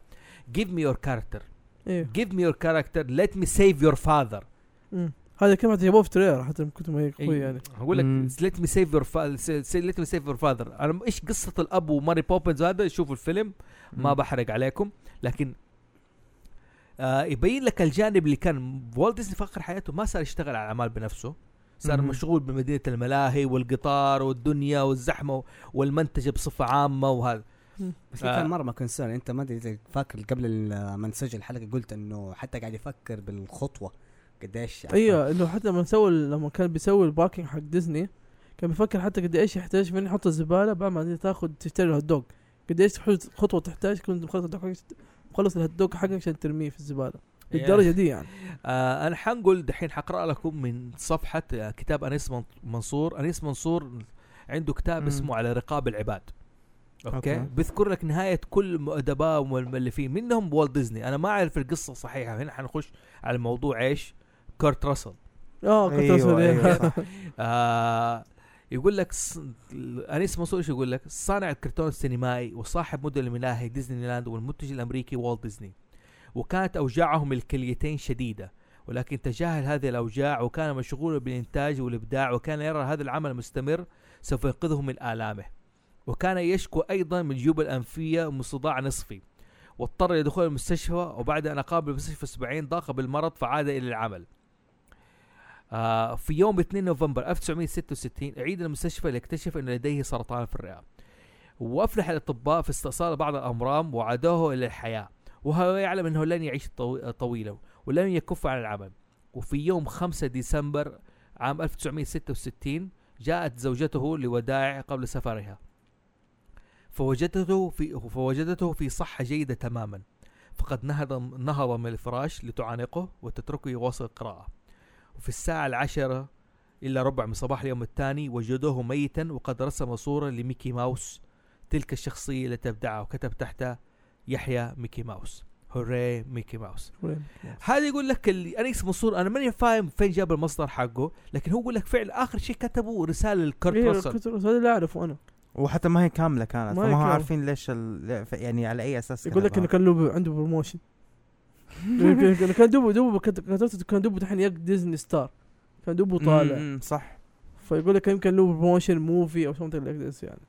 [SPEAKER 1] give me your character
[SPEAKER 3] ايه
[SPEAKER 1] give me your character let me save your father
[SPEAKER 3] مم. هذا كلمة جابوه في تريلر حتى من كنت ما هي
[SPEAKER 1] إيه.
[SPEAKER 3] قوية يعني
[SPEAKER 1] اقول لك
[SPEAKER 5] مم.
[SPEAKER 1] let me save your father let me save your father انا م- ايش قصه الاب وماري بوبنز هذا شوفوا الفيلم ما بحرق عليكم لكن آه يبين لك الجانب اللي كان والت ديزني في اخر حياته ما صار يشتغل على الاعمال بنفسه صار
[SPEAKER 5] مهم.
[SPEAKER 1] مشغول بمدينه الملاهي والقطار والدنيا والزحمه والمنتجه بصفه عامه وهذا
[SPEAKER 4] بس آه. كان مره ما كونسيرن انت ما ادري إذا فاكر قبل ما نسجل الحلقه قلت انه حتى قاعد يفكر بالخطوه قديش يعني.
[SPEAKER 3] ايوه انه حتى لما سوى لما كان بيسوي الباركينج حق ديزني كان بيفكر حتى قد ايش يحتاج من يحط الزباله بعد ما تاخذ تشتري الهوت دوج قد ايش خطوه تحتاج كنت مخلص الهوت دوج حقك- مخلص الهوت دوج حقك عشان ترميه في الزباله للدرجه دي يعني
[SPEAKER 1] آه انا حنقول دحين حقرا لكم من صفحه آه، كتاب انيس من- منصور انيس منصور عنده كتاب
[SPEAKER 5] مم.
[SPEAKER 1] اسمه على رقاب العباد اوكي
[SPEAKER 5] أوكي.
[SPEAKER 1] بيذكر لك نهايه كل ادباء والمؤلفين منهم والت ديزني انا ما اعرف القصه صحيحه هنا حنخش على موضوع ايش كورت راسل
[SPEAKER 3] اه كنت
[SPEAKER 5] ايوه
[SPEAKER 3] أسأل إيه.
[SPEAKER 5] ايوه صح
[SPEAKER 1] آه يقول لك ص... انيس منصور ايش يقول لك؟ صانع الكرتون السينمائي وصاحب مدن الملاهي ديزني لاند والمنتج الامريكي والت ديزني. وكانت اوجاعهم الكليتين شديده ولكن تجاهل هذه الاوجاع وكان مشغولا بالانتاج والابداع وكان يرى هذا العمل المستمر سوف ينقذه من الامه. وكان يشكو ايضا من جيوب الانفيه من صداع نصفي. واضطر لدخول المستشفى وبعد ان اقام بالمستشفى اسبوعين ضاق بالمرض فعاد الى العمل. آه، في يوم 2 نوفمبر 1966 عيد المستشفى ليكتشف أن لديه سرطان في الرئة وأفلح الأطباء في استئصال بعض الأمرام وعادوه إلى الحياة وهو يعلم أنه لن يعيش طو- طويلا ولن يكف عن العمل وفي يوم 5 ديسمبر عام 1966 جاءت زوجته لوداع قبل سفرها فوجدته في فوجدته في صحة جيدة تماما فقد نهض نهض من الفراش لتعانقه وتتركه يواصل القراءة وفي الساعة العشرة إلا ربع من صباح اليوم الثاني وجدوه ميتا وقد رسم صورة لميكي ماوس تلك الشخصية التي أبدعها وكتب تحتها يحيى ميكي ماوس هوري ميكي ماوس
[SPEAKER 3] يعني.
[SPEAKER 1] هذا يقول لك اللي أنيس منصور أنا ماني فاهم فين جاب المصدر حقه لكن هو يقول لك فعل آخر شيء كتبه رسالة لكرت
[SPEAKER 3] إيه،
[SPEAKER 1] راسل
[SPEAKER 3] كنت هذا لا اعرفه انا
[SPEAKER 5] وحتى ما هي كامله كانت
[SPEAKER 3] ما هي
[SPEAKER 5] فما هم
[SPEAKER 3] كاملة.
[SPEAKER 5] عارفين ليش ال... يعني على اي اساس
[SPEAKER 3] يقول لك انه
[SPEAKER 5] كتبها.
[SPEAKER 3] كان له عنده بروموشن يقول لك كان دوبه دوبه كت- كتبته كان دوبه دحين يق ديزني ستار كان دوبه طالع
[SPEAKER 5] مم، صح
[SPEAKER 3] فيقول لك يمكن له بروموشن موفي او something like this يعني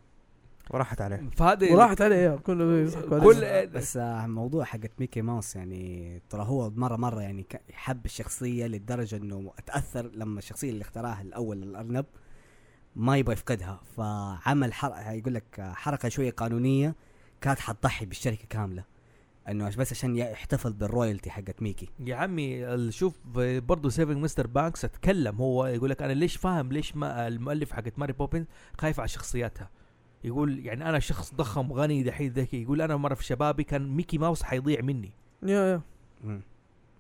[SPEAKER 5] وراحت عليه
[SPEAKER 1] فهذا
[SPEAKER 3] وراحت عليه اياه كله يضحكوا عليه.
[SPEAKER 1] طيب. كل-
[SPEAKER 4] بس آه، موضوع حقت ميكي ماوس يعني ترى هو مره مره يعني ك- حب الشخصيه للدرجه انه اتاثر لما الشخصيه اللي اختراها الاول الارنب ما يبغى يفقدها فعمل حركه يقول لك آه، حركه شويه قانونيه كانت حتضحي بالشركه كامله انه بس عشان يحتفل بالرويالتي حقت ميكي
[SPEAKER 1] يا عمي ال- شوف برضه سيفنج مستر بانكس اتكلم هو يقول لك انا ليش فاهم ليش ما المؤلف حقت ماري بوبين خايف على شخصياتها يقول يعني انا شخص ضخم غني دحين ذكي يقول انا مره في شبابي كان ميكي ماوس حيضيع مني
[SPEAKER 3] يا يا
[SPEAKER 4] مم.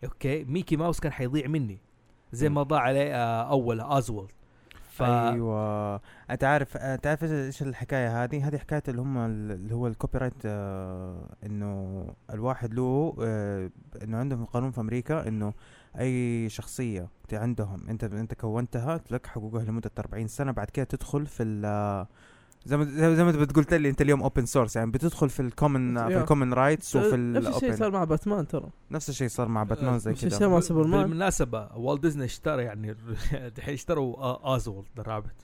[SPEAKER 1] اوكي ميكي ماوس كان حيضيع مني زي ما ضاع عليه آه، اول ازول ف
[SPEAKER 5] ايوه انت عارف انت عارف إيش- ايش الحكايه هذه هذه حكايه اللي هم ال- اللي هو الكوبي رايت آه، انه الواحد له آه، انه عندهم قانون في امريكا انه اي شخصيه ت- عندهم انت انت كونتها لك حقوقها لمده 40 سنه بعد كده تدخل في ال زي ما زي زي ما انت قلت لي انت اليوم اوبن سورس يعني بتدخل في الكومن في
[SPEAKER 3] Yeah.
[SPEAKER 5] الكومن رايتس وفي ال
[SPEAKER 3] نفس الشيء
[SPEAKER 5] open.
[SPEAKER 3] صار مع باتمان ترى
[SPEAKER 5] نفس الشيء صار مع باتمان زي
[SPEAKER 3] آه، نفس الشيء
[SPEAKER 5] كذا
[SPEAKER 3] صار مع سوبرمان
[SPEAKER 1] بالمناسبه والت ديزني اشترى يعني دحين اشتروا آه، ازول الرابط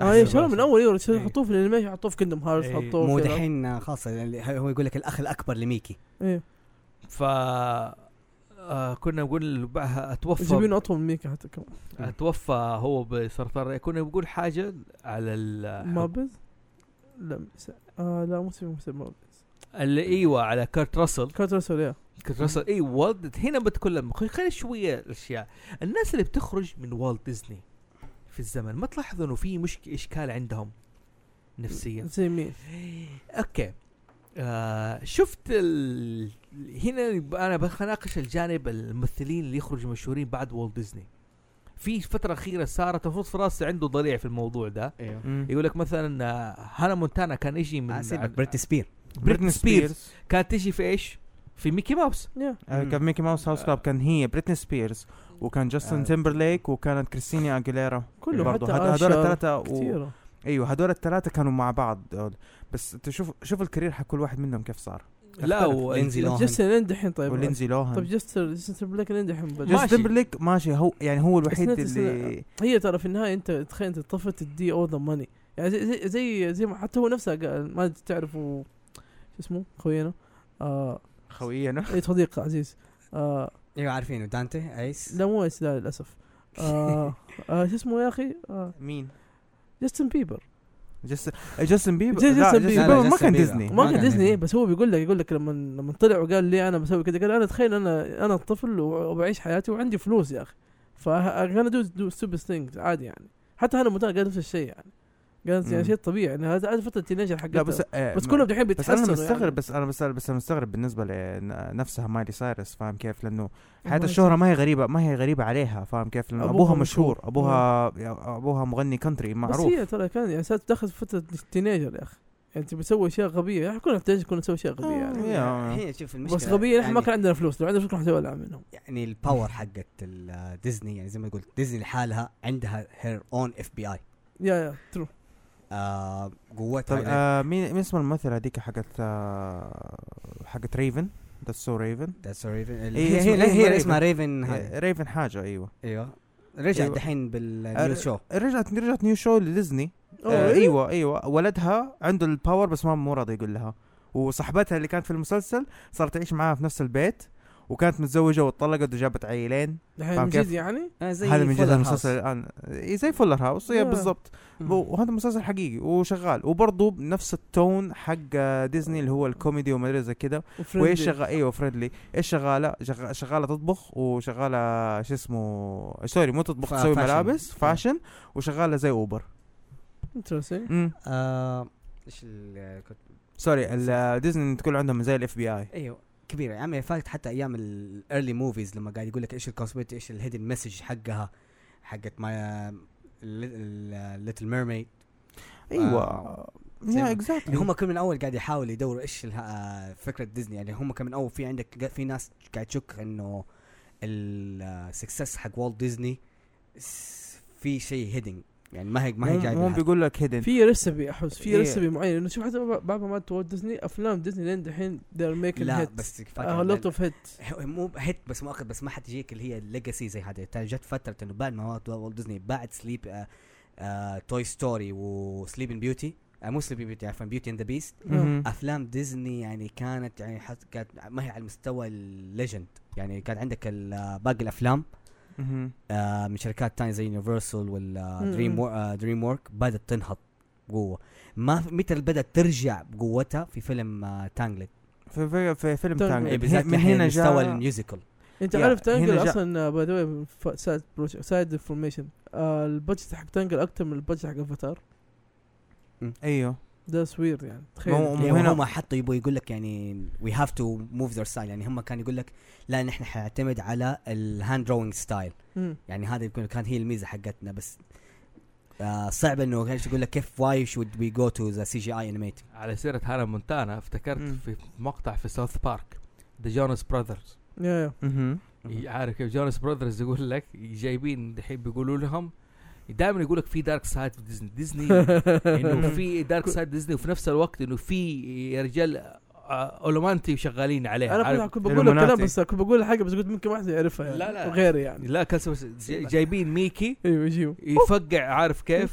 [SPEAKER 3] اه اي
[SPEAKER 1] أحسن
[SPEAKER 3] شالوه من
[SPEAKER 1] باتمان.
[SPEAKER 3] اول ايوه شالوه
[SPEAKER 1] إيه.
[SPEAKER 3] حطوه في الانيميشن حطوه في كندم هارت
[SPEAKER 1] إيه.
[SPEAKER 3] حطوه
[SPEAKER 4] مو
[SPEAKER 3] في-
[SPEAKER 4] دحين آه، خاصه يعني هو يقول لك الاخ الاكبر لميكي
[SPEAKER 3] ايه
[SPEAKER 1] ف آه، كنا نقول بعها اتوفى
[SPEAKER 3] جايبينه اطول من ميكا حتى كمان
[SPEAKER 1] توفى هو بسرطان الرئه كنا بنقول حاجه على ال
[SPEAKER 3] مابز لا مس- آه لا مو سيبه مسلم مابز
[SPEAKER 1] اللي ايوه على كارت راسل
[SPEAKER 3] كارت راسل يا
[SPEAKER 1] كارت راسل اي والت هنا بتكلم خ- خلي شويه الاشياء الناس اللي بتخرج من والت ديزني في الزمن ما تلاحظوا انه في مشكله اشكال عندهم نفسيا
[SPEAKER 3] زي مين
[SPEAKER 1] اوكي آه شفت ال... هنا انا بناقش الجانب الممثلين اللي يخرجوا مشهورين بعد والت ديزني في فتره اخيره صارت المفروض فراس عنده ضليع في الموضوع ده
[SPEAKER 4] ايوه
[SPEAKER 5] مم.
[SPEAKER 1] يقول لك مثلا آه، هانا مونتانا كان يجي
[SPEAKER 5] آه،
[SPEAKER 4] آه،
[SPEAKER 1] من
[SPEAKER 4] بريت سبير
[SPEAKER 1] بريتني سبيرز كانت تجي في ايش؟ في ميكي ماوس
[SPEAKER 3] يا
[SPEAKER 5] آه،
[SPEAKER 1] مم.
[SPEAKER 5] كان ميكي ماوس هاوس كلاب كان هي بريتني سبيرز وكان جاستن
[SPEAKER 4] آه.
[SPEAKER 5] تيمبرليك وكانت كريستينا اجيليرا
[SPEAKER 3] كله
[SPEAKER 5] برضو
[SPEAKER 3] حتى
[SPEAKER 5] هد-
[SPEAKER 3] آشر
[SPEAKER 5] هذول الثلاثه و...
[SPEAKER 3] كثيرة
[SPEAKER 5] ايوه هذول الثلاثه كانوا مع بعض دول. بس انت شوف شوف الكارير حق كل واحد منهم كيف صار
[SPEAKER 1] لا
[SPEAKER 5] اختلف.
[SPEAKER 1] و-
[SPEAKER 4] لينزي لوهان
[SPEAKER 3] جاستن لين دحين طيب
[SPEAKER 5] ولينزي
[SPEAKER 3] طيب
[SPEAKER 5] لوهان
[SPEAKER 3] جاستر جاستر بلاك لين دحين بدأ.
[SPEAKER 1] ماشي.
[SPEAKER 5] جاستن تيمبرليك ماشي هو يعني هو الوحيد
[SPEAKER 3] نفس
[SPEAKER 5] اللي
[SPEAKER 3] هي ترى في النهايه انت تخيل انت طفت الدي او ذا ماني يعني زي زي زي, زي ما حتى هو نفسه قال ما تعرفوا شو اسمه خوينا آه
[SPEAKER 5] خوينا
[SPEAKER 3] اي صديق عزيز آه
[SPEAKER 4] ايوه عارفينه دانتي ايس
[SPEAKER 3] لا مو إيش لا للاسف آه آه شو اسمه يا اخي آه
[SPEAKER 5] مين؟
[SPEAKER 3] جاستن بيبر
[SPEAKER 5] جس... جاستن بيبر
[SPEAKER 3] جاستن
[SPEAKER 5] لا،
[SPEAKER 3] بيبر.
[SPEAKER 5] بيبر ما
[SPEAKER 4] لا، جاستن
[SPEAKER 5] كان
[SPEAKER 4] بيبر.
[SPEAKER 5] ديزني
[SPEAKER 4] ما
[SPEAKER 3] ما كان
[SPEAKER 4] كان
[SPEAKER 3] ديزني إيه،
[SPEAKER 4] ديزني.
[SPEAKER 3] بس هو بيقول لك يقول لك لما لما طلع وقال لي انا بسوي كذا قال انا تخيل انا انا طفل وبعيش حياتي وعندي فلوس يا اخي فانا دو دو ستوبس ثينجز عادي يعني حتى انا متى قال نفس الشيء يعني قال
[SPEAKER 5] مم.
[SPEAKER 3] يعني شيء طبيعي يعني هذا هذا فتره التينيجر حقتها
[SPEAKER 5] لا بس آه،
[SPEAKER 3] بس
[SPEAKER 5] ما-
[SPEAKER 3] كلهم دحين
[SPEAKER 5] بس
[SPEAKER 3] بيتحسنوا
[SPEAKER 5] انا مستغرب
[SPEAKER 3] يعني.
[SPEAKER 5] بس انا بس بس انا مستغرب بالنسبه لنفسها مايلي سايرس فاهم كيف لانه حياه
[SPEAKER 3] مايلي
[SPEAKER 5] الشهره ما هي غريبه ما هي غريبه عليها فاهم كيف لانه
[SPEAKER 3] أبوها
[SPEAKER 5] ابوها
[SPEAKER 3] مشهور. آه.
[SPEAKER 5] مشهور ابوها ابوها مغني كنتري
[SPEAKER 3] بس
[SPEAKER 5] معروف
[SPEAKER 3] هي ترى كان يعني صارت دخلت فتره التينيجر يا اخي يعني انت بتسوي اشياء غبيه يعني كلنا تينيجر كنا نسوي اشياء غبيه يعني
[SPEAKER 5] آه، يا.
[SPEAKER 4] الحين شوف المشكله
[SPEAKER 3] بس غبيه نحن ما
[SPEAKER 4] يعني-
[SPEAKER 3] كان عندنا فلوس لو عندنا فلوس كنا حنسوي العاب منهم
[SPEAKER 4] يعني الباور حقت ال- ديزني يعني زي ما قلت ديزني لحالها عندها هير اون اف بي اي
[SPEAKER 3] يا يا ترو
[SPEAKER 5] طب
[SPEAKER 4] قوتها إنها
[SPEAKER 5] آه، مين مين اسم الممثله هذيك حقت آه، حقت ريفن ذا سو ريفن
[SPEAKER 4] That's a Raven. ال-
[SPEAKER 5] إيه،
[SPEAKER 4] هي
[SPEAKER 5] اسمها-
[SPEAKER 4] هي هي-
[SPEAKER 5] اسمها
[SPEAKER 4] هي اسمها ريفن هذه
[SPEAKER 5] ريفن حاجه ايوه
[SPEAKER 4] ايوه رجعت
[SPEAKER 5] أيوة.
[SPEAKER 4] دحين بالنيو
[SPEAKER 5] أر-
[SPEAKER 4] شو
[SPEAKER 5] رجعت رجعت نيو شو لديزني
[SPEAKER 3] أوه،
[SPEAKER 5] آه،
[SPEAKER 3] إيه؟
[SPEAKER 5] ايوه ايوه ولدها عنده الباور بس ما مو راضي يقول لها وصاحبتها اللي كانت في المسلسل صارت تعيش معاها في نفس البيت وكانت متزوجه واتطلقت وجابت عيلين
[SPEAKER 3] دحين
[SPEAKER 5] فاهم
[SPEAKER 3] من
[SPEAKER 5] كيف؟
[SPEAKER 3] جد يعني
[SPEAKER 4] آه، زي
[SPEAKER 5] هذا من جد
[SPEAKER 4] Fuller
[SPEAKER 5] المسلسل
[SPEAKER 4] House.
[SPEAKER 5] الان إيه، زي فولر هاوس هي
[SPEAKER 3] آه.
[SPEAKER 5] بالضبط
[SPEAKER 3] مم.
[SPEAKER 5] وهذا مسلسل حقيقي وشغال وبرضه بنفس التون حق ديزني اللي هو الكوميدي وما ادري زي كذا وهي
[SPEAKER 3] وفريندلي.
[SPEAKER 5] شغال ايوه فريندلي ايش شغاله شغ- شغاله تطبخ وشغاله شو اسمه سوري مو تطبخ
[SPEAKER 4] فا-
[SPEAKER 5] تسوي
[SPEAKER 4] فاشن.
[SPEAKER 5] ملابس فاشن وشغاله زي اوبر
[SPEAKER 3] Interesting.
[SPEAKER 5] امم
[SPEAKER 4] آه، ايش ال- كنت
[SPEAKER 5] سوري ال- ديزني تقول عندهم زي الاف بي اي
[SPEAKER 4] ايوه كبيره يا عمي فاكت حتى ايام الايرلي موفيز لما قاعد يقول لك ايش الكوسميت ايش الهيدن مسج حقها حقت uh, ما ليتل ميرميد أيوة.
[SPEAKER 5] ايوه
[SPEAKER 4] زي
[SPEAKER 5] يا
[SPEAKER 4] ما-
[SPEAKER 5] اكزاكتلي
[SPEAKER 4] يعني هم كانوا من اول قاعد يحاولوا يدوروا ايش اله- فكره ديزني يعني هم كانوا من اول في عندك في ناس قاعد تشك انه السكسس حق والت ديزني س- في شيء هيدنج يعني ما هي ما هي
[SPEAKER 5] مو
[SPEAKER 4] جايبه
[SPEAKER 5] بيقول لك هيدن
[SPEAKER 3] في ريسبي احس في
[SPEAKER 5] إيه.
[SPEAKER 3] ريسبي معين انه شوف حتى بعد بعد ما توالت ديزني افلام ديزني لين دحين ذير ميكن
[SPEAKER 4] لا
[SPEAKER 3] هيت
[SPEAKER 4] بس
[SPEAKER 3] ا لوت اوف هيت
[SPEAKER 4] هو- مو هيت بس مؤقت بس ما حتجيك اللي هي الليجاسي زي هذه ترى جت فتره انه بعد ما وقت والت ديزني بعد آه، سليب توي ستوري وسليبن بيوتي آه، مو سليبن بيوتي عفوا بيوتي اند ذا بيست
[SPEAKER 5] مهم.
[SPEAKER 4] افلام ديزني يعني كانت يعني حت كانت ما هي على المستوى الليجند يعني كان عندك ال- باقي الافلام
[SPEAKER 5] مهم.
[SPEAKER 4] آه، من شركات تانية زي يونيفرسال
[SPEAKER 3] مم.
[SPEAKER 4] ولا دريم و- آه، دريم ورك بدات تنهض بقوه ما في- متى بدات ترجع بقوتها في فيلم آه، تانجلد
[SPEAKER 5] في في, في فيلم
[SPEAKER 3] تانجلد.
[SPEAKER 5] تانجلد.
[SPEAKER 4] إيه، بالذات
[SPEAKER 5] من هنا
[SPEAKER 4] مستوى
[SPEAKER 5] جاء
[SPEAKER 4] الميوزيكال
[SPEAKER 3] انت
[SPEAKER 5] يا،
[SPEAKER 3] عارف uh, تانجل
[SPEAKER 5] هنا جاء-
[SPEAKER 3] اصلا باي ذا واي سايد بروجكت سايد انفورميشن البادجت Uh, حق تانجل اكثر من البادجت حق افاتار
[SPEAKER 5] ايوه
[SPEAKER 3] ده سوير يعني
[SPEAKER 5] مو-
[SPEAKER 3] تخيل
[SPEAKER 5] مو-
[SPEAKER 4] يعني
[SPEAKER 5] هنا-
[SPEAKER 4] هم حطوا يبغوا يقول لك يعني وي هاف تو موف ذير ستايل يعني هم كان يقول لك لا نحن حنعتمد على الهاند دروينج ستايل
[SPEAKER 3] مم.
[SPEAKER 4] يعني هذا يكون كان هي الميزه حقتنا بس آه صعب انه كان يقول لك كيف واي شود وي جو تو ذا سي جي اي انيميت
[SPEAKER 1] على سيره هانا مونتانا افتكرت
[SPEAKER 5] مم.
[SPEAKER 1] في مقطع في ساوث بارك ذا جونس براذرز
[SPEAKER 3] يا يا
[SPEAKER 5] مهم.
[SPEAKER 1] عارف كيف جونس براذرز يقول لك جايبين دحين بيقولوا لهم دائما يقول لك في دارك سايد في ديزني ديزني انه في دارك سايد ديزني وفي نفس الوقت انه في يا رجال اولومانتي شغالين
[SPEAKER 5] إيه،
[SPEAKER 1] عليها
[SPEAKER 3] انا
[SPEAKER 1] عارف
[SPEAKER 3] كنت- كنت بقول الكلام
[SPEAKER 5] Illuminati.
[SPEAKER 3] بس كنت بقول الحاجه بس قلت ممكن واحد يعرفها يعني
[SPEAKER 1] لا، لا.
[SPEAKER 3] وغيري يعني
[SPEAKER 1] لا كان سوى- جاي- جايبين ميكي
[SPEAKER 5] إيه.
[SPEAKER 3] ايوه يجيو
[SPEAKER 1] يفقع عارف كيف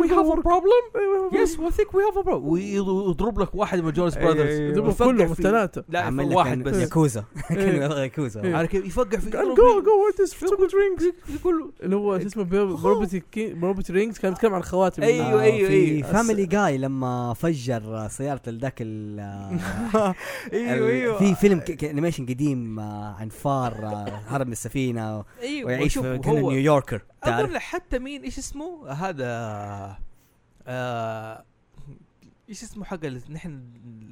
[SPEAKER 1] وي هاف ا بروبلم يس وي ثينك وي هاف ا بروبلم ويضرب لك واحد من جونس
[SPEAKER 5] أيوة،
[SPEAKER 1] براذرز
[SPEAKER 5] أيوة.
[SPEAKER 3] يضربوا
[SPEAKER 1] يفقع
[SPEAKER 3] كلهم
[SPEAKER 1] إيه، في-
[SPEAKER 3] الثلاثه
[SPEAKER 1] لا
[SPEAKER 4] عمل لك
[SPEAKER 1] واحد
[SPEAKER 4] واحد
[SPEAKER 1] بس
[SPEAKER 4] ياكوزا
[SPEAKER 3] إيه.
[SPEAKER 4] كانوا ياكوزا آه،
[SPEAKER 1] عارف كيف يفقع في
[SPEAKER 3] قال
[SPEAKER 1] يضرب
[SPEAKER 3] جو جو وات از
[SPEAKER 1] يضرب-
[SPEAKER 3] درينكس
[SPEAKER 1] يقول
[SPEAKER 3] اللي هو شو اسمه بروبرتي بروبرتي رينجز كان يتكلم عن خواتم
[SPEAKER 1] أيوة.
[SPEAKER 4] آه،
[SPEAKER 1] أيوه،
[SPEAKER 4] في
[SPEAKER 1] أيوه.
[SPEAKER 4] فاميلي جاي لما فجر سياره ذاك ال
[SPEAKER 1] أيوه،
[SPEAKER 5] ايوه ايوه
[SPEAKER 4] في فيلم ك- ك- انيميشن قديم آه، عن فار آه، هرب من السفينه
[SPEAKER 1] ايوه
[SPEAKER 4] ويعيش في
[SPEAKER 1] وشوف
[SPEAKER 4] كانه
[SPEAKER 1] هو-
[SPEAKER 4] نيويوركر تعرف
[SPEAKER 1] اظن حتى مين ايش اسمه هذا آه ايش اسمه حق ال- نحن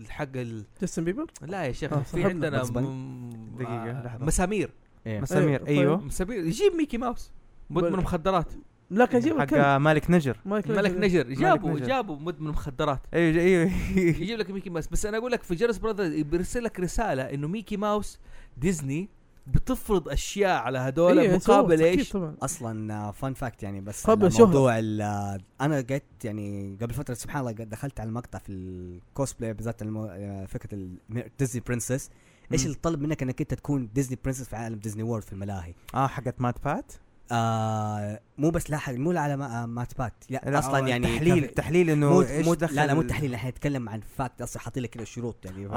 [SPEAKER 1] حق ال...
[SPEAKER 3] جاستن بيبر
[SPEAKER 1] لا يا شيخ
[SPEAKER 3] آه،
[SPEAKER 1] في
[SPEAKER 3] صاحبنا
[SPEAKER 1] عندنا
[SPEAKER 4] بكس باني.
[SPEAKER 1] م-
[SPEAKER 5] دقيقة،
[SPEAKER 1] آه،
[SPEAKER 5] لحظة.
[SPEAKER 1] مسامير
[SPEAKER 4] إيه.
[SPEAKER 1] طيب،
[SPEAKER 5] مسامير
[SPEAKER 3] أيوة.
[SPEAKER 5] ايوه
[SPEAKER 1] مسامير يجيب ميكي ماوس مدمن
[SPEAKER 3] بل-
[SPEAKER 1] مخدرات
[SPEAKER 3] لا كان جيب
[SPEAKER 5] حق
[SPEAKER 3] الكلب
[SPEAKER 5] مالك نجر
[SPEAKER 3] مايكل
[SPEAKER 1] ملك نجر جابوا
[SPEAKER 5] نجر.
[SPEAKER 1] جابوا مدمن مخدرات
[SPEAKER 5] ايوه ايوه
[SPEAKER 1] يجيب لك ميكي ماوس بس انا اقول لك في جرس براذرز بيرسل لك رساله انه ميكي ماوس ديزني بتفرض اشياء على هذول
[SPEAKER 3] أيوة،
[SPEAKER 1] مقابل
[SPEAKER 3] أكيد
[SPEAKER 1] ايش؟
[SPEAKER 3] طبعا
[SPEAKER 4] اصلا فان فاكت يعني بس
[SPEAKER 3] قبل
[SPEAKER 4] على
[SPEAKER 3] شهرة.
[SPEAKER 4] موضوع ال- انا قعدت يعني قبل فتره سبحان الله قد دخلت على المقطع في الكوسبلاي بالذات المو... آه، فكره ال- ديزني برنسس ايش
[SPEAKER 5] مم.
[SPEAKER 4] اللي طلب منك انك انت تكون ديزني برنسس في عالم ديزني وورد في الملاهي
[SPEAKER 5] اه حقت مات بات
[SPEAKER 4] آه مو بس لاحق مو على ما- آه، مات بات لا,
[SPEAKER 5] لا آه،
[SPEAKER 4] اصلا يعني
[SPEAKER 5] تحليل
[SPEAKER 4] كان-
[SPEAKER 5] تحليل انه
[SPEAKER 4] مو
[SPEAKER 5] إيش
[SPEAKER 4] مو
[SPEAKER 5] دخل
[SPEAKER 4] لا لا مو
[SPEAKER 5] ال-
[SPEAKER 4] تحليل احنا نتكلم عن فاكت اصلا حاطين لك كده شروط يعني
[SPEAKER 5] اه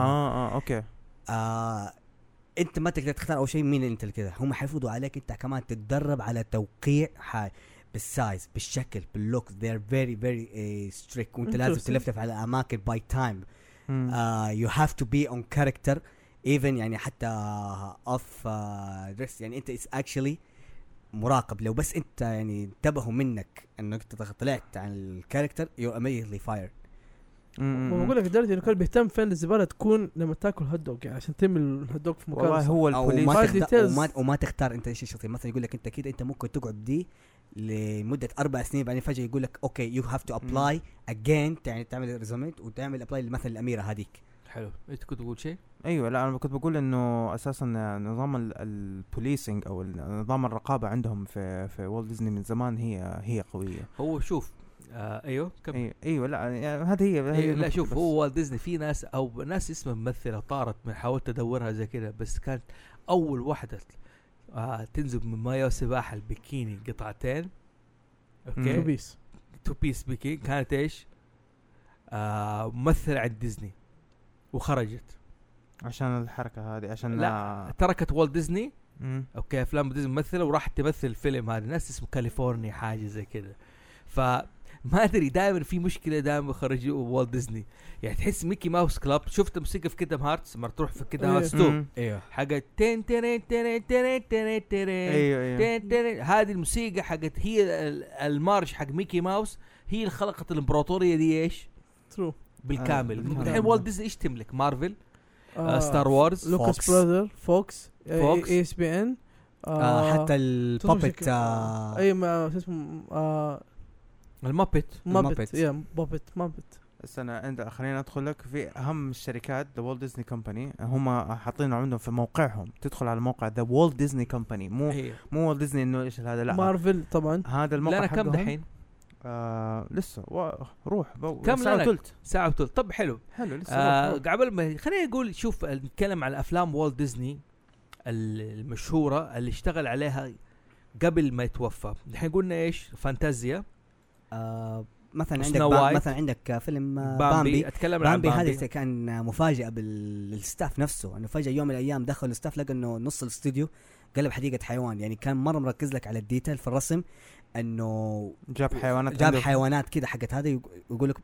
[SPEAKER 5] اه اوكي
[SPEAKER 4] آه انت ما تقدر تختار اول شيء مين انت اللي كذا هم حيفرضوا عليك انت كمان تتدرب على توقيع حاجة بالسايز بالشكل باللوك they're very very ستريك وانت لازم
[SPEAKER 3] Interesting.
[SPEAKER 4] تلفلف على اماكن باي تايم
[SPEAKER 5] مم.
[SPEAKER 4] يو هاف تو بي اون كاركتر ايفن يعني حتى اوف دريس يعني انت اتس اكشلي مراقب لو بس انت يعني انتبهوا منك انك انت طلعت عن الكاركتر يو immediately فاير
[SPEAKER 5] مم.
[SPEAKER 3] ما بقول لك لدرجه انه كان بيهتم فين الزباله تكون لما تاكل هوت دوج يعني عشان ترمي الهوت دوج في مكانه
[SPEAKER 5] والله
[SPEAKER 3] صح.
[SPEAKER 5] هو
[SPEAKER 4] او
[SPEAKER 5] البوليس
[SPEAKER 4] ما
[SPEAKER 3] More
[SPEAKER 4] تختار
[SPEAKER 3] details.
[SPEAKER 4] وما, وما تختار انت ايش الشخصيه مثلا يقول لك انت كده انت ممكن تقعد دي لمده اربع سنين بعدين فجاه يقول لك اوكي يو هاف تو ابلاي اجين يعني تعمل ريزومنت وتعمل ابلاي مثلا الاميره هذيك
[SPEAKER 1] حلو انت كنت تقول شيء
[SPEAKER 5] ايوه لا انا كنت بقول انه اساسا نظام البوليسنج او ال- نظام الرقابه عندهم في في والت ديزني من زمان هي هي قويه
[SPEAKER 1] هو شوف آه ايوه كمل
[SPEAKER 5] أيوة, ايوه لا يعني هذه هي هذه
[SPEAKER 1] أيوة لا
[SPEAKER 5] النقطة
[SPEAKER 1] شوف
[SPEAKER 5] بس.
[SPEAKER 1] هو والت ديزني في ناس او ناس اسمها ممثله طارت من حاولت ادورها زي كذا بس كانت اول واحده آه تنزل من مايو سباحه البكيني قطعتين
[SPEAKER 5] مم.
[SPEAKER 1] اوكي
[SPEAKER 3] تو بيس
[SPEAKER 1] تو بيس بيكي كانت ايش؟ آه ممثلة عند ديزني وخرجت
[SPEAKER 5] عشان الحركه هذه عشان
[SPEAKER 1] لا. تركت والت ديزني
[SPEAKER 5] مم.
[SPEAKER 1] اوكي افلام ديزني ممثلة وراحت تمثل الفيلم هذا ناس اسمه كاليفورنيا حاجة زي كذا ف ما ادري دائما في مشكله دائما خرجوا والت ديزني يعني تحس ميكي ماوس كلاب شفت موسيقى في كيدم هارتس مرة تروح في كيدم
[SPEAKER 3] إيه.
[SPEAKER 1] هارتس 2
[SPEAKER 5] مم.
[SPEAKER 4] ايوه
[SPEAKER 1] حقت تن تن تن تن تن تن
[SPEAKER 5] ايوه ايوه
[SPEAKER 1] تن تن هذه الموسيقى حقت هي ال- المارش حق ميكي ماوس هي اللي خلقت الامبراطوريه دي ايش؟
[SPEAKER 3] ترو
[SPEAKER 1] بالكامل
[SPEAKER 5] بالكامل.
[SPEAKER 1] الحين والت ديزني ايش تملك مارفل آه ستار وورز
[SPEAKER 4] Fox.
[SPEAKER 3] لوكاس براذر فوكس
[SPEAKER 1] Fox.
[SPEAKER 3] اي اس بي ان
[SPEAKER 4] آه حتى
[SPEAKER 3] تضرب
[SPEAKER 4] البابت
[SPEAKER 3] شكل-
[SPEAKER 4] آه
[SPEAKER 3] اي ما شو اسمه آه
[SPEAKER 1] المابت
[SPEAKER 3] مابت
[SPEAKER 4] Muppets.
[SPEAKER 3] يا مابت مابت
[SPEAKER 5] استنى انت خليني ادخل لك في اهم الشركات ذا والت ديزني كومباني هم حاطين عندهم في موقعهم تدخل على موقع ذا والت ديزني كومباني مو
[SPEAKER 1] هي
[SPEAKER 5] مو والت ديزني انه ايش هذا لا
[SPEAKER 3] مارفل طبعا
[SPEAKER 5] هذا الموقع
[SPEAKER 1] لنا إيه. كم
[SPEAKER 5] حقهم-
[SPEAKER 1] دحين؟
[SPEAKER 5] آه لسه و... روح بو...
[SPEAKER 1] كم
[SPEAKER 5] ساعة
[SPEAKER 1] لنا؟
[SPEAKER 5] وثلث
[SPEAKER 1] ساعة وثلث طب حلو
[SPEAKER 5] حلو لسه
[SPEAKER 1] آه
[SPEAKER 5] روح، روح.
[SPEAKER 1] قبل ما خلينا نقول شوف نتكلم عن افلام والت ديزني ال- المشهورة اللي اشتغل عليها قبل ما يتوفى الحين قلنا ايش فانتازيا
[SPEAKER 4] آه مثلا عندك
[SPEAKER 1] وسنو
[SPEAKER 4] بام
[SPEAKER 1] وايت.
[SPEAKER 4] مثلا عندك آه، فيلم آه،
[SPEAKER 1] بامبي,
[SPEAKER 4] بامبي
[SPEAKER 1] اتكلم عن
[SPEAKER 4] بامبي
[SPEAKER 1] بامبي
[SPEAKER 4] هذا كان مفاجأة بالستاف نفسه انه فجأة يوم من الايام دخل الستاف لقى انه نص الاستوديو قلب حديقة حيوان يعني كان مرة مركز لك على الديتيل في الرسم انه
[SPEAKER 5] جاب حيوانات
[SPEAKER 4] جاب
[SPEAKER 5] عنده.
[SPEAKER 4] حيوانات كده حقت هذا ويقول لك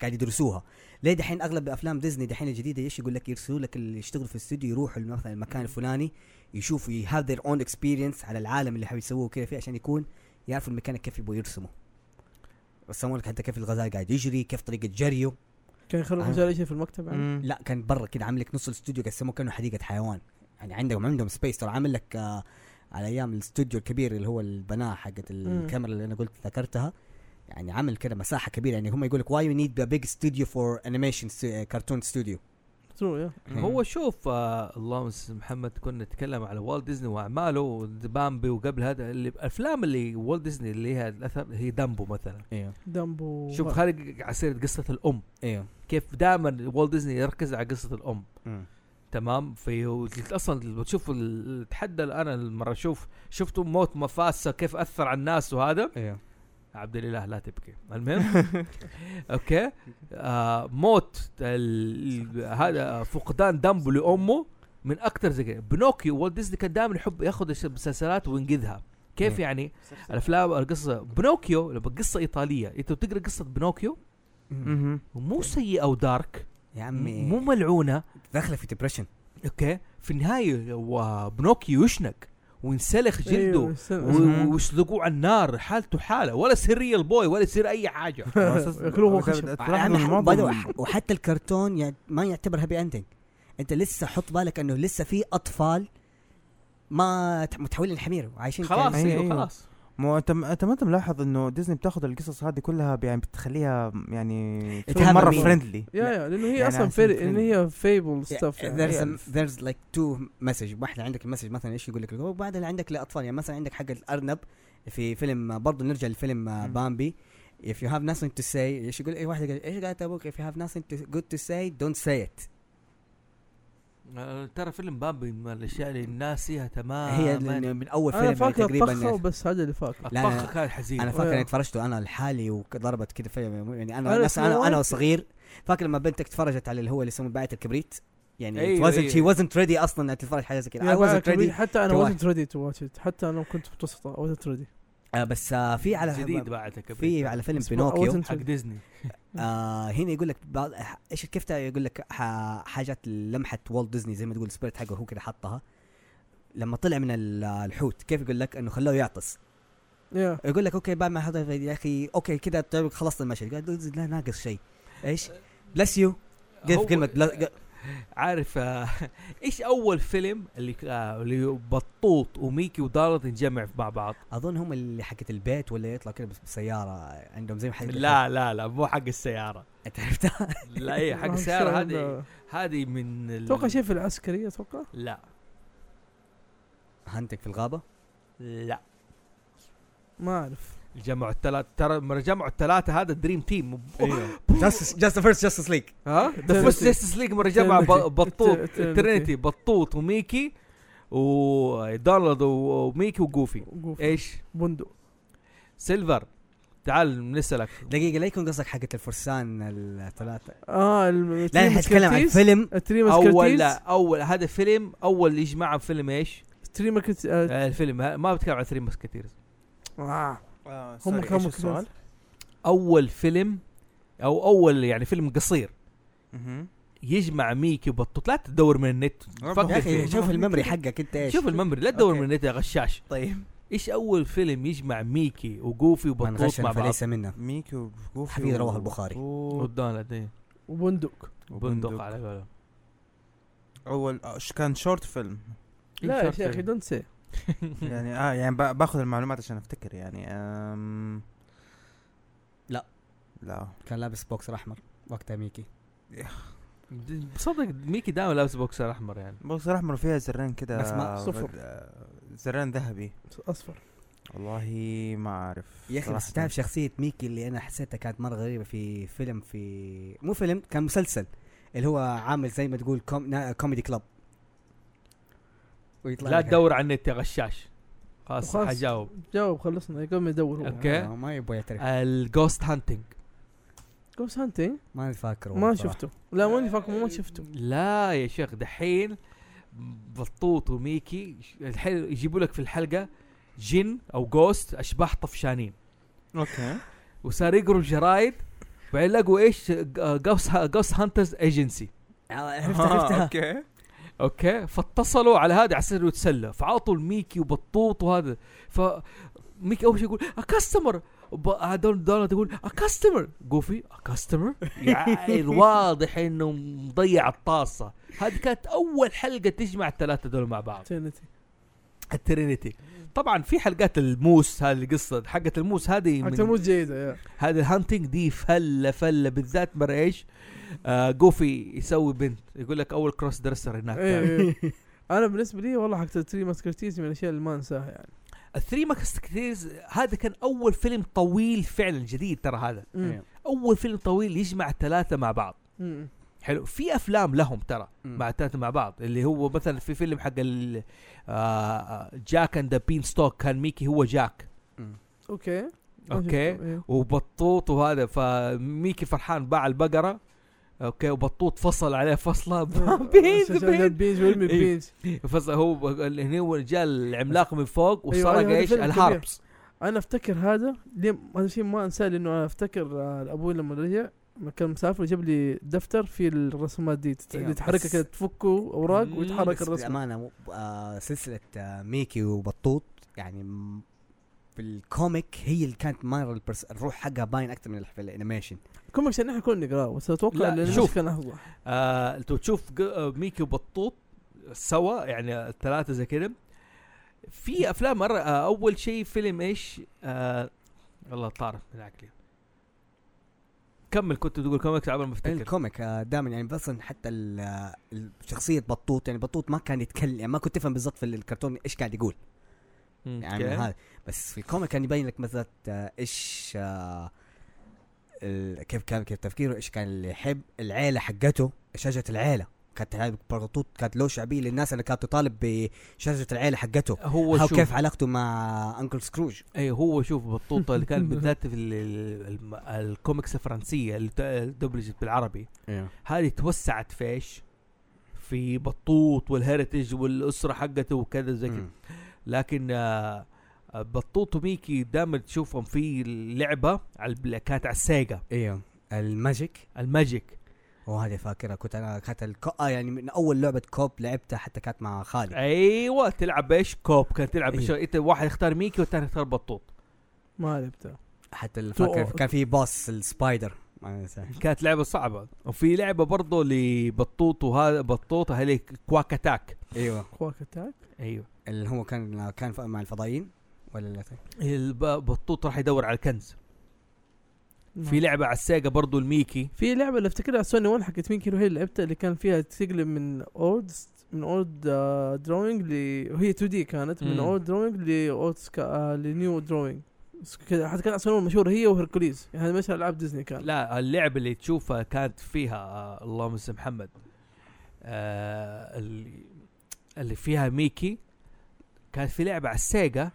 [SPEAKER 4] قاعد يدرسوها ليه دحين اغلب افلام ديزني دحين الجديده ايش يقول لك يرسلوا لك اللي يشتغلوا في الاستوديو يروحوا مثلا المكان الفلاني يشوفوا هاف ذير اون اكسبيرينس على العالم اللي حيسووه يسووه كذا فيه عشان يكون يعرفوا المكان كيف يبغوا يرسموا رسموا لك حتى كيف الغزال قاعد يجري كيف طريقه جريه
[SPEAKER 3] كان يخرج
[SPEAKER 4] آه.
[SPEAKER 3] مجال شيء في المكتب يعني
[SPEAKER 5] مم.
[SPEAKER 4] لا كان برا كده عامل لك نص الاستوديو قسموه كانه حديقه حيوان يعني عندهم عندهم سبيس ترى عامل لك آه على ايام الاستوديو الكبير اللي هو البناء حقت الكاميرا اللي انا قلت ذكرتها يعني عامل كده مساحه كبيره يعني هم يقول لك واي يو نيد بيج ستوديو فور انيميشن كرتون ستوديو
[SPEAKER 3] ترو يا
[SPEAKER 1] هو شوف آه اللهم صل على محمد كنا نتكلم على والت ديزني واعماله بامبي وقبل هذا اللي- الافلام اللي والت ديزني اللي لها الاثر هي دامبو مثلا
[SPEAKER 4] ايوه
[SPEAKER 3] دامبو
[SPEAKER 1] شوف خلينا على سيره قصه الام
[SPEAKER 4] ايوه
[SPEAKER 1] كيف دائما والت ديزني يركز على قصه الام تمام في اصلا تشوف ال- تحدى انا المره اشوف شفت موت مفاسه كيف اثر على الناس وهذا
[SPEAKER 4] ايوه
[SPEAKER 1] عبد الاله لا تبكي المهم اوكي آه موت ال- هذا فقدان دمبو لامه من اكثر زي كده بنوكيو والت ديزني كان دائما يحب ياخذ المسلسلات وينقذها كيف
[SPEAKER 4] إيه.
[SPEAKER 1] يعني الافلام القصه بنوكيو لما قصه ايطاليه انت بتقرا قصه بنوكيو
[SPEAKER 5] مهم.
[SPEAKER 1] مو سيئه ودارك
[SPEAKER 4] يا
[SPEAKER 1] مو
[SPEAKER 4] عمي
[SPEAKER 1] ملعونه
[SPEAKER 4] داخله في ديبرشن
[SPEAKER 1] اوكي في النهايه هو بنوكيو يشنق وينسلخ
[SPEAKER 3] أيوة،
[SPEAKER 4] أيوه.
[SPEAKER 1] جلده و-
[SPEAKER 5] مهم.
[SPEAKER 1] ويسلقوه على النار حالته حاله ولا يصير ريال بوي ولا يصير اي حاجه
[SPEAKER 3] ياكلوه هو خشب.
[SPEAKER 5] تلاحظ إنه معظم-
[SPEAKER 4] وحتى الكرتون يعني ما يعتبر هابي اندنج انت لسه حط بالك انه لسه في اطفال ما تح- متحولين لحمير وعايشين
[SPEAKER 1] خلاص
[SPEAKER 5] أيوة،
[SPEAKER 1] ايوه
[SPEAKER 4] أيوه.
[SPEAKER 5] أيوة.
[SPEAKER 1] خلاص
[SPEAKER 5] مو انت انت ما انت ملاحظ انه ديزني بتاخذ القصص هذه كلها ب- يعني بتخليها يعني
[SPEAKER 4] It
[SPEAKER 5] تكون
[SPEAKER 4] have
[SPEAKER 5] مره
[SPEAKER 4] a meaning.
[SPEAKER 5] فريندلي
[SPEAKER 3] يا يا لانه هي
[SPEAKER 5] يعني
[SPEAKER 3] اصلا
[SPEAKER 5] عشان
[SPEAKER 3] فيري
[SPEAKER 5] فيلم.
[SPEAKER 3] ان هي فيبل ستاف
[SPEAKER 4] there's
[SPEAKER 5] يعني.
[SPEAKER 4] a, there's like two message واحد عندك المسج مثلا ايش يقول لك وبعد اللي عندك لاطفال يعني مثلا عندك حق الارنب في فيلم برضه نرجع لفيلم آه،
[SPEAKER 5] مم.
[SPEAKER 4] بامبي if you have nothing to say ايش يقول اي واحد قال ايش قالت ابوك if you have nothing to, good to say don't say it
[SPEAKER 1] آه، ترى فيلم بامبي من الاشياء اللي ناسيها تماما
[SPEAKER 4] هي لأن من اول
[SPEAKER 3] انا
[SPEAKER 4] فيلم
[SPEAKER 3] فاكر الطخه
[SPEAKER 4] تقريبا
[SPEAKER 3] وبس هذا اللي فاكر
[SPEAKER 4] لا،
[SPEAKER 1] الطخ
[SPEAKER 4] لا.
[SPEAKER 1] كان حزين
[SPEAKER 4] انا فاكر
[SPEAKER 3] أيوة.
[SPEAKER 4] اني تفرجته انا لحالي وضربت كذا فيلم يعني انا
[SPEAKER 3] أنا
[SPEAKER 4] نفسي انا
[SPEAKER 3] Snow
[SPEAKER 4] انا
[SPEAKER 3] White.
[SPEAKER 4] صغير فاكر لما بنتك تفرجت على اللي هو اللي يسموه بعت الكبريت يعني
[SPEAKER 1] أيوة،
[SPEAKER 4] it wasn't
[SPEAKER 1] أيوة.
[SPEAKER 4] she wasn't ready اصلا انها تتفرج حاجه زي كده I
[SPEAKER 3] يا
[SPEAKER 4] wasn't
[SPEAKER 3] باكر،
[SPEAKER 4] ready
[SPEAKER 3] يعني حتى انا
[SPEAKER 4] to
[SPEAKER 3] wasn't ready to watch it حتى انا كنت متوسطه I wasn't ready
[SPEAKER 4] آه بس آه في على
[SPEAKER 1] جديد بعد
[SPEAKER 4] في على فيلم
[SPEAKER 3] بس
[SPEAKER 4] بينوكيو
[SPEAKER 3] أوتن-
[SPEAKER 1] حق ديزني
[SPEAKER 4] آه هنا يقول لك بعض ايش الكفتة يقول لك ح- حاجات لمحة والت ديزني زي ما تقول سبيرت حقه هو كده حطها لما طلع من ال- الحوت كيف يقول لك انه خلوه يعطس
[SPEAKER 3] يا
[SPEAKER 4] يقول لك اوكي بعد ما حط يا اخي اوكي كده طيب خلصنا المشهد قال ديزني لا ناقص شيء ايش بلس يو قال في
[SPEAKER 1] هو-
[SPEAKER 4] كلمة بلا-
[SPEAKER 1] عارف آه، ايش اول فيلم اللي آه، اللي بطوط وميكي ودارت نجمع مع بعض
[SPEAKER 4] اظن هم اللي حقت البيت ولا يطلع كده بس- بسيارة عندهم زي ما حد
[SPEAKER 1] لا لا لا مو حق السياره
[SPEAKER 4] انت عرفتها
[SPEAKER 1] لا اي حق
[SPEAKER 3] ما أعرف
[SPEAKER 1] السياره
[SPEAKER 3] شو
[SPEAKER 1] هذه
[SPEAKER 3] عنده.
[SPEAKER 1] هذه من ال-
[SPEAKER 3] اتوقع شيء في العسكريه اتوقع
[SPEAKER 1] لا
[SPEAKER 4] هانتك في الغابة
[SPEAKER 1] لا
[SPEAKER 3] ما اعرف
[SPEAKER 1] جمعوا الثلاثه ترى لما جمعوا الثلاثه هذا دريم تيم
[SPEAKER 4] جاستس جاست فيرست جاستس ليج
[SPEAKER 3] ها
[SPEAKER 1] ذا فيرست جاستس ليج مره جمع ب-
[SPEAKER 3] Eternity.
[SPEAKER 1] بطوط
[SPEAKER 3] Eternity.
[SPEAKER 1] ترينيتي بطوط وميكي ودونالد و- وميكي وجوفي ايش؟
[SPEAKER 3] بندق
[SPEAKER 1] سيلفر تعال نسالك
[SPEAKER 4] دقيقة لا يكون قصدك حقت الفرسان الثلاثة
[SPEAKER 3] اه
[SPEAKER 4] لا احنا نتكلم عن فيلم
[SPEAKER 3] التريمس
[SPEAKER 1] اول
[SPEAKER 3] كرتيز
[SPEAKER 1] لا اول هذا فيلم اول يجمع عن فيلم ايش؟
[SPEAKER 3] تريمر كرتيز آه،
[SPEAKER 1] آه، الفيلم ه- ما بتكلم عن ثري ماسكتيرز
[SPEAKER 3] آه.
[SPEAKER 5] آه،
[SPEAKER 3] هم
[SPEAKER 5] سوري،
[SPEAKER 3] كانوا
[SPEAKER 5] إيش
[SPEAKER 3] كذا.
[SPEAKER 5] السؤال؟
[SPEAKER 1] اول فيلم او اول يعني فيلم قصير
[SPEAKER 5] مهم.
[SPEAKER 1] يجمع ميكي وبطوط لا تدور من النت
[SPEAKER 5] يا
[SPEAKER 4] يا
[SPEAKER 1] فكر
[SPEAKER 4] اخي
[SPEAKER 1] فيه.
[SPEAKER 4] شوف الميموري حقك انت ايش
[SPEAKER 1] شوف الممبر لا تدور
[SPEAKER 5] أوكي.
[SPEAKER 1] من النت يا غشاش
[SPEAKER 5] طيب
[SPEAKER 1] ايش اول فيلم يجمع ميكي وجوفي
[SPEAKER 4] من
[SPEAKER 1] وبطوط مع
[SPEAKER 4] غشنا
[SPEAKER 1] بعض
[SPEAKER 4] فليس منا
[SPEAKER 5] ميكي وجوفي
[SPEAKER 4] حفيد رواه
[SPEAKER 5] و-
[SPEAKER 4] البخاري.
[SPEAKER 5] و-
[SPEAKER 1] ودونالد إيه.
[SPEAKER 3] وبندق
[SPEAKER 1] بندق
[SPEAKER 5] وبندق.
[SPEAKER 1] على قولهم
[SPEAKER 5] اول آه، ش- كان شورت فيلم
[SPEAKER 1] إيه،
[SPEAKER 3] لا يا شيخ دونت سي
[SPEAKER 5] يعني اه يعني ب- باخذ المعلومات عشان افتكر يعني أم...
[SPEAKER 4] لا.
[SPEAKER 5] لا
[SPEAKER 4] كان لابس بوكسر احمر وقتها ميكي
[SPEAKER 3] يعني
[SPEAKER 1] صدق ميكي دائما لابس بوكسر احمر يعني
[SPEAKER 5] بوكس احمر فيها زرين كده
[SPEAKER 4] بس ما-
[SPEAKER 5] آه،
[SPEAKER 3] صفر.
[SPEAKER 5] بد- آه، زرين ذهبي
[SPEAKER 3] اصفر
[SPEAKER 5] والله ما اعرف
[SPEAKER 4] يا اخي بس
[SPEAKER 5] صراحة.
[SPEAKER 4] تعرف شخصية ميكي اللي انا حسيتها كانت مرة غريبة في فيلم في مو فيلم كان مسلسل اللي هو عامل زي ما تقول كوم... نا... كوميدي كلاب ويطلع
[SPEAKER 1] لا
[SPEAKER 4] لك-
[SPEAKER 1] تدور على النت يا غشاش خلاص
[SPEAKER 3] وخلاص.
[SPEAKER 1] حجاوب
[SPEAKER 3] جاوب خلصنا يقوم يدور هو
[SPEAKER 1] أوكي. أه.
[SPEAKER 4] آه، ما يبغى يعترف
[SPEAKER 1] الجوست هانتنج
[SPEAKER 3] جوست هانتنج
[SPEAKER 4] ما فاكره
[SPEAKER 3] ما
[SPEAKER 4] صراحة.
[SPEAKER 3] شفته لا ماني فاكر ما شفته
[SPEAKER 1] لا يا شيخ دحين بطوط وميكي ش- الحين يجيبوا لك في الحلقه جن او جوست اشباح طفشانين
[SPEAKER 5] اوكي
[SPEAKER 1] وصار يقروا الجرايد بعدين لقوا ايش جوست جوست هانترز ايجنسي
[SPEAKER 4] آه، عرفت
[SPEAKER 5] آه،
[SPEAKER 4] عرفتها
[SPEAKER 5] اوكي
[SPEAKER 1] اوكي فاتصلوا على هذا على اساس إنه يتسلى فعطوا الميكي وبطوط وهذا ف ميكي اول شيء يقول ا كاستمر دونالد يقول ا كاستمر جوفي ا كاستمر واضح انه مضيع الطاسه هذه كانت اول حلقه تجمع الثلاثه دول مع بعض
[SPEAKER 3] ترينيتي
[SPEAKER 1] الترينيتي طبعا في حلقات الموس هذه القصه حقه الموس هذه
[SPEAKER 3] حتى
[SPEAKER 1] من
[SPEAKER 3] مو جيده يا
[SPEAKER 1] هذا الهانتنج دي فله فله بالذات مره ايش آه جوفي يسوي بنت يقول لك اول كروس درسر هناك كان.
[SPEAKER 3] إيه، إيه. انا بالنسبه لي والله حق تريمس كرتيز من الاشياء اللي ما انساها يعني
[SPEAKER 1] الثري ماكستيرز هذا كان اول فيلم طويل فعلا جديد ترى هذا
[SPEAKER 3] مم.
[SPEAKER 1] اول فيلم طويل يجمع الثلاثه مع بعض
[SPEAKER 3] مم.
[SPEAKER 1] حلو في افلام لهم ترى
[SPEAKER 4] مم.
[SPEAKER 1] مع الثلاثه مع بعض اللي هو مثلا في فيلم حق ال- آه، جاك اند ذا بين ستوك كان ميكي هو جاك
[SPEAKER 3] اوكي ما
[SPEAKER 1] أوكي.
[SPEAKER 3] شفته، إيه.
[SPEAKER 1] وبطوط وهذا فميكي فرحان باع البقره اوكي وبطوط فصل عليه فصله
[SPEAKER 3] إيه.
[SPEAKER 1] بينز
[SPEAKER 3] عشان- عشان
[SPEAKER 1] بينز
[SPEAKER 3] بينز ويرمي
[SPEAKER 1] إيه.
[SPEAKER 3] بينز
[SPEAKER 1] فصل هو هنا هو جاء العملاق من فوق
[SPEAKER 3] أيوة،
[SPEAKER 1] وسرق
[SPEAKER 3] أيوة، هذا
[SPEAKER 1] ايش
[SPEAKER 3] فيلم كبير.
[SPEAKER 1] الهاربس
[SPEAKER 3] انا افتكر هذا ليه هذا الشيء ما انساه لانه انا افتكر آه، ابوي لما رجع لما كان مسافر جاب لي دفتر فيه الرسومات دي تت-
[SPEAKER 4] أيوة،
[SPEAKER 3] اللي تحركها
[SPEAKER 4] بس-
[SPEAKER 3] كده تفكه اوراق
[SPEAKER 1] مم،
[SPEAKER 3] ويتحرك
[SPEAKER 4] بس
[SPEAKER 1] يعني.
[SPEAKER 3] الرسمه
[SPEAKER 4] بامانه مو- آه سلسله آه ميكي وبطوط يعني م- في الكوميك هي اللي كانت مره البرس... الروح حقها باين اكثر من الح- في الانيميشن
[SPEAKER 3] كوميك عشان احنا كنا نقراه بس اتوقع
[SPEAKER 1] لا،
[SPEAKER 3] لأن الناس
[SPEAKER 1] شوف.
[SPEAKER 3] كان افضح
[SPEAKER 1] آه، انت تشوف ج- آه، ميكي وبطوط سوا يعني الثلاثه زي كده في افلام مره آه، اول شيء فيلم ايش آه والله طار من عقلي كمل كنت تقول كوميكس عبر ما افتكر
[SPEAKER 4] الكوميك آه دائما يعني اصلا حتى ال- آه، ال- شخصيه بطوط يعني بطوط ما كان يتكلم يعني ما كنت تفهم بالضبط في الكرتون ايش قاعد يقول
[SPEAKER 1] مم،
[SPEAKER 4] يعني من
[SPEAKER 1] أوكي.
[SPEAKER 4] هذا بس في الكوميك كان يبين لك مثلا آه، ايش آه ال- كيف كان كيف تفكيره ايش كان اللي يحب العيله حقته شجره العيله كانت هاي بطوط كانت له شعبيه للناس اللي كانت تطالب بشجره العيله حقته
[SPEAKER 1] هو
[SPEAKER 4] هاو
[SPEAKER 1] شوف
[SPEAKER 4] كيف علاقته مع انكل سكروج
[SPEAKER 1] اي هو شوف بطوطه اللي كان بالذات في ال- ال- الم- الكوميكس الفرنسيه اللي ت- دبلجت بالعربي هذه توسعت في ايش؟ في بطوط والهيرتج والاسره حقته وكذا زي كده
[SPEAKER 4] مم.
[SPEAKER 1] لكن آه، آه، بطوط وميكي دائما تشوفهم في لعبه على البلا- كانت على السيجا
[SPEAKER 4] ايوه الماجيك
[SPEAKER 1] الماجيك
[SPEAKER 4] وهذه فاكرها كنت انا كانت الكو... آه يعني من اول لعبه كوب لعبتها حتى كانت مع خالي
[SPEAKER 1] ايوه تلعب بايش كوب كانت تلعب
[SPEAKER 4] أيوة.
[SPEAKER 1] بايش انت واحد يختار ميكي والثاني يختار بطوط
[SPEAKER 3] ما لعبتها
[SPEAKER 4] حتى ال- فاكر
[SPEAKER 3] تو-
[SPEAKER 4] كان في بوس السبايدر ما أنساه.
[SPEAKER 1] كانت لعبه صعبه وفي لعبه برضه لبطوط وهذا بطوط هذيك كواك اتاك
[SPEAKER 4] ايوه
[SPEAKER 3] كواك اتاك
[SPEAKER 1] ايوه
[SPEAKER 4] اللي هو كان كان ف- مع الفضائيين ولا لا
[SPEAKER 1] البطوط راح يدور على الكنز
[SPEAKER 3] ما.
[SPEAKER 1] في لعبه على السيجا برضه الميكي
[SPEAKER 3] في لعبه اللي افتكرها على سوني 1 حقت مين كيلو هي اللي لعبتها اللي كان فيها تقلب من اورد من اورد دروينج ل وهي 2 دي كانت من
[SPEAKER 1] مم.
[SPEAKER 3] اورد دروينج لاورد آه، لنيو دروينج كذا حتى كان على سوني مشهور هي وهركوليز يعني هذا مثل العاب ديزني
[SPEAKER 4] نعم.
[SPEAKER 3] كان
[SPEAKER 1] لا اللعبه اللي تشوفها كانت فيها آه، اللهم اسم محمد آه اللي- اللي فيها ميكي كانت في لعبه على السيجا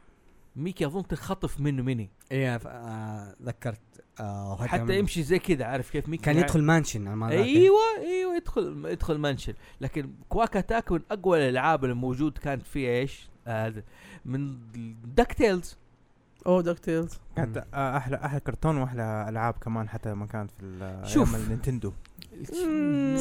[SPEAKER 1] ميكي اظن تخطف منه ميني
[SPEAKER 4] ايوه ف- آه، ذكرت آه، وهذا
[SPEAKER 1] حتى
[SPEAKER 4] من-
[SPEAKER 1] يمشي زي كذا عارف كيف ميكي
[SPEAKER 4] كان
[SPEAKER 3] يعني.
[SPEAKER 1] قاعد-
[SPEAKER 4] يدخل مانشن على ما أتذكر.
[SPEAKER 3] أيوة،
[SPEAKER 1] ايوه ايوه يدخل يدخل منشن لكن كواك اتاك من اقوى الالعاب اللي موجود كانت فيها ايش؟ آه من داك تيلز
[SPEAKER 3] او داك تيلز
[SPEAKER 5] كانت آه، احلى احلى كرتون واحلى العاب كمان حتى ما كانت في ال-
[SPEAKER 1] شوف.
[SPEAKER 5] أيام النينتندو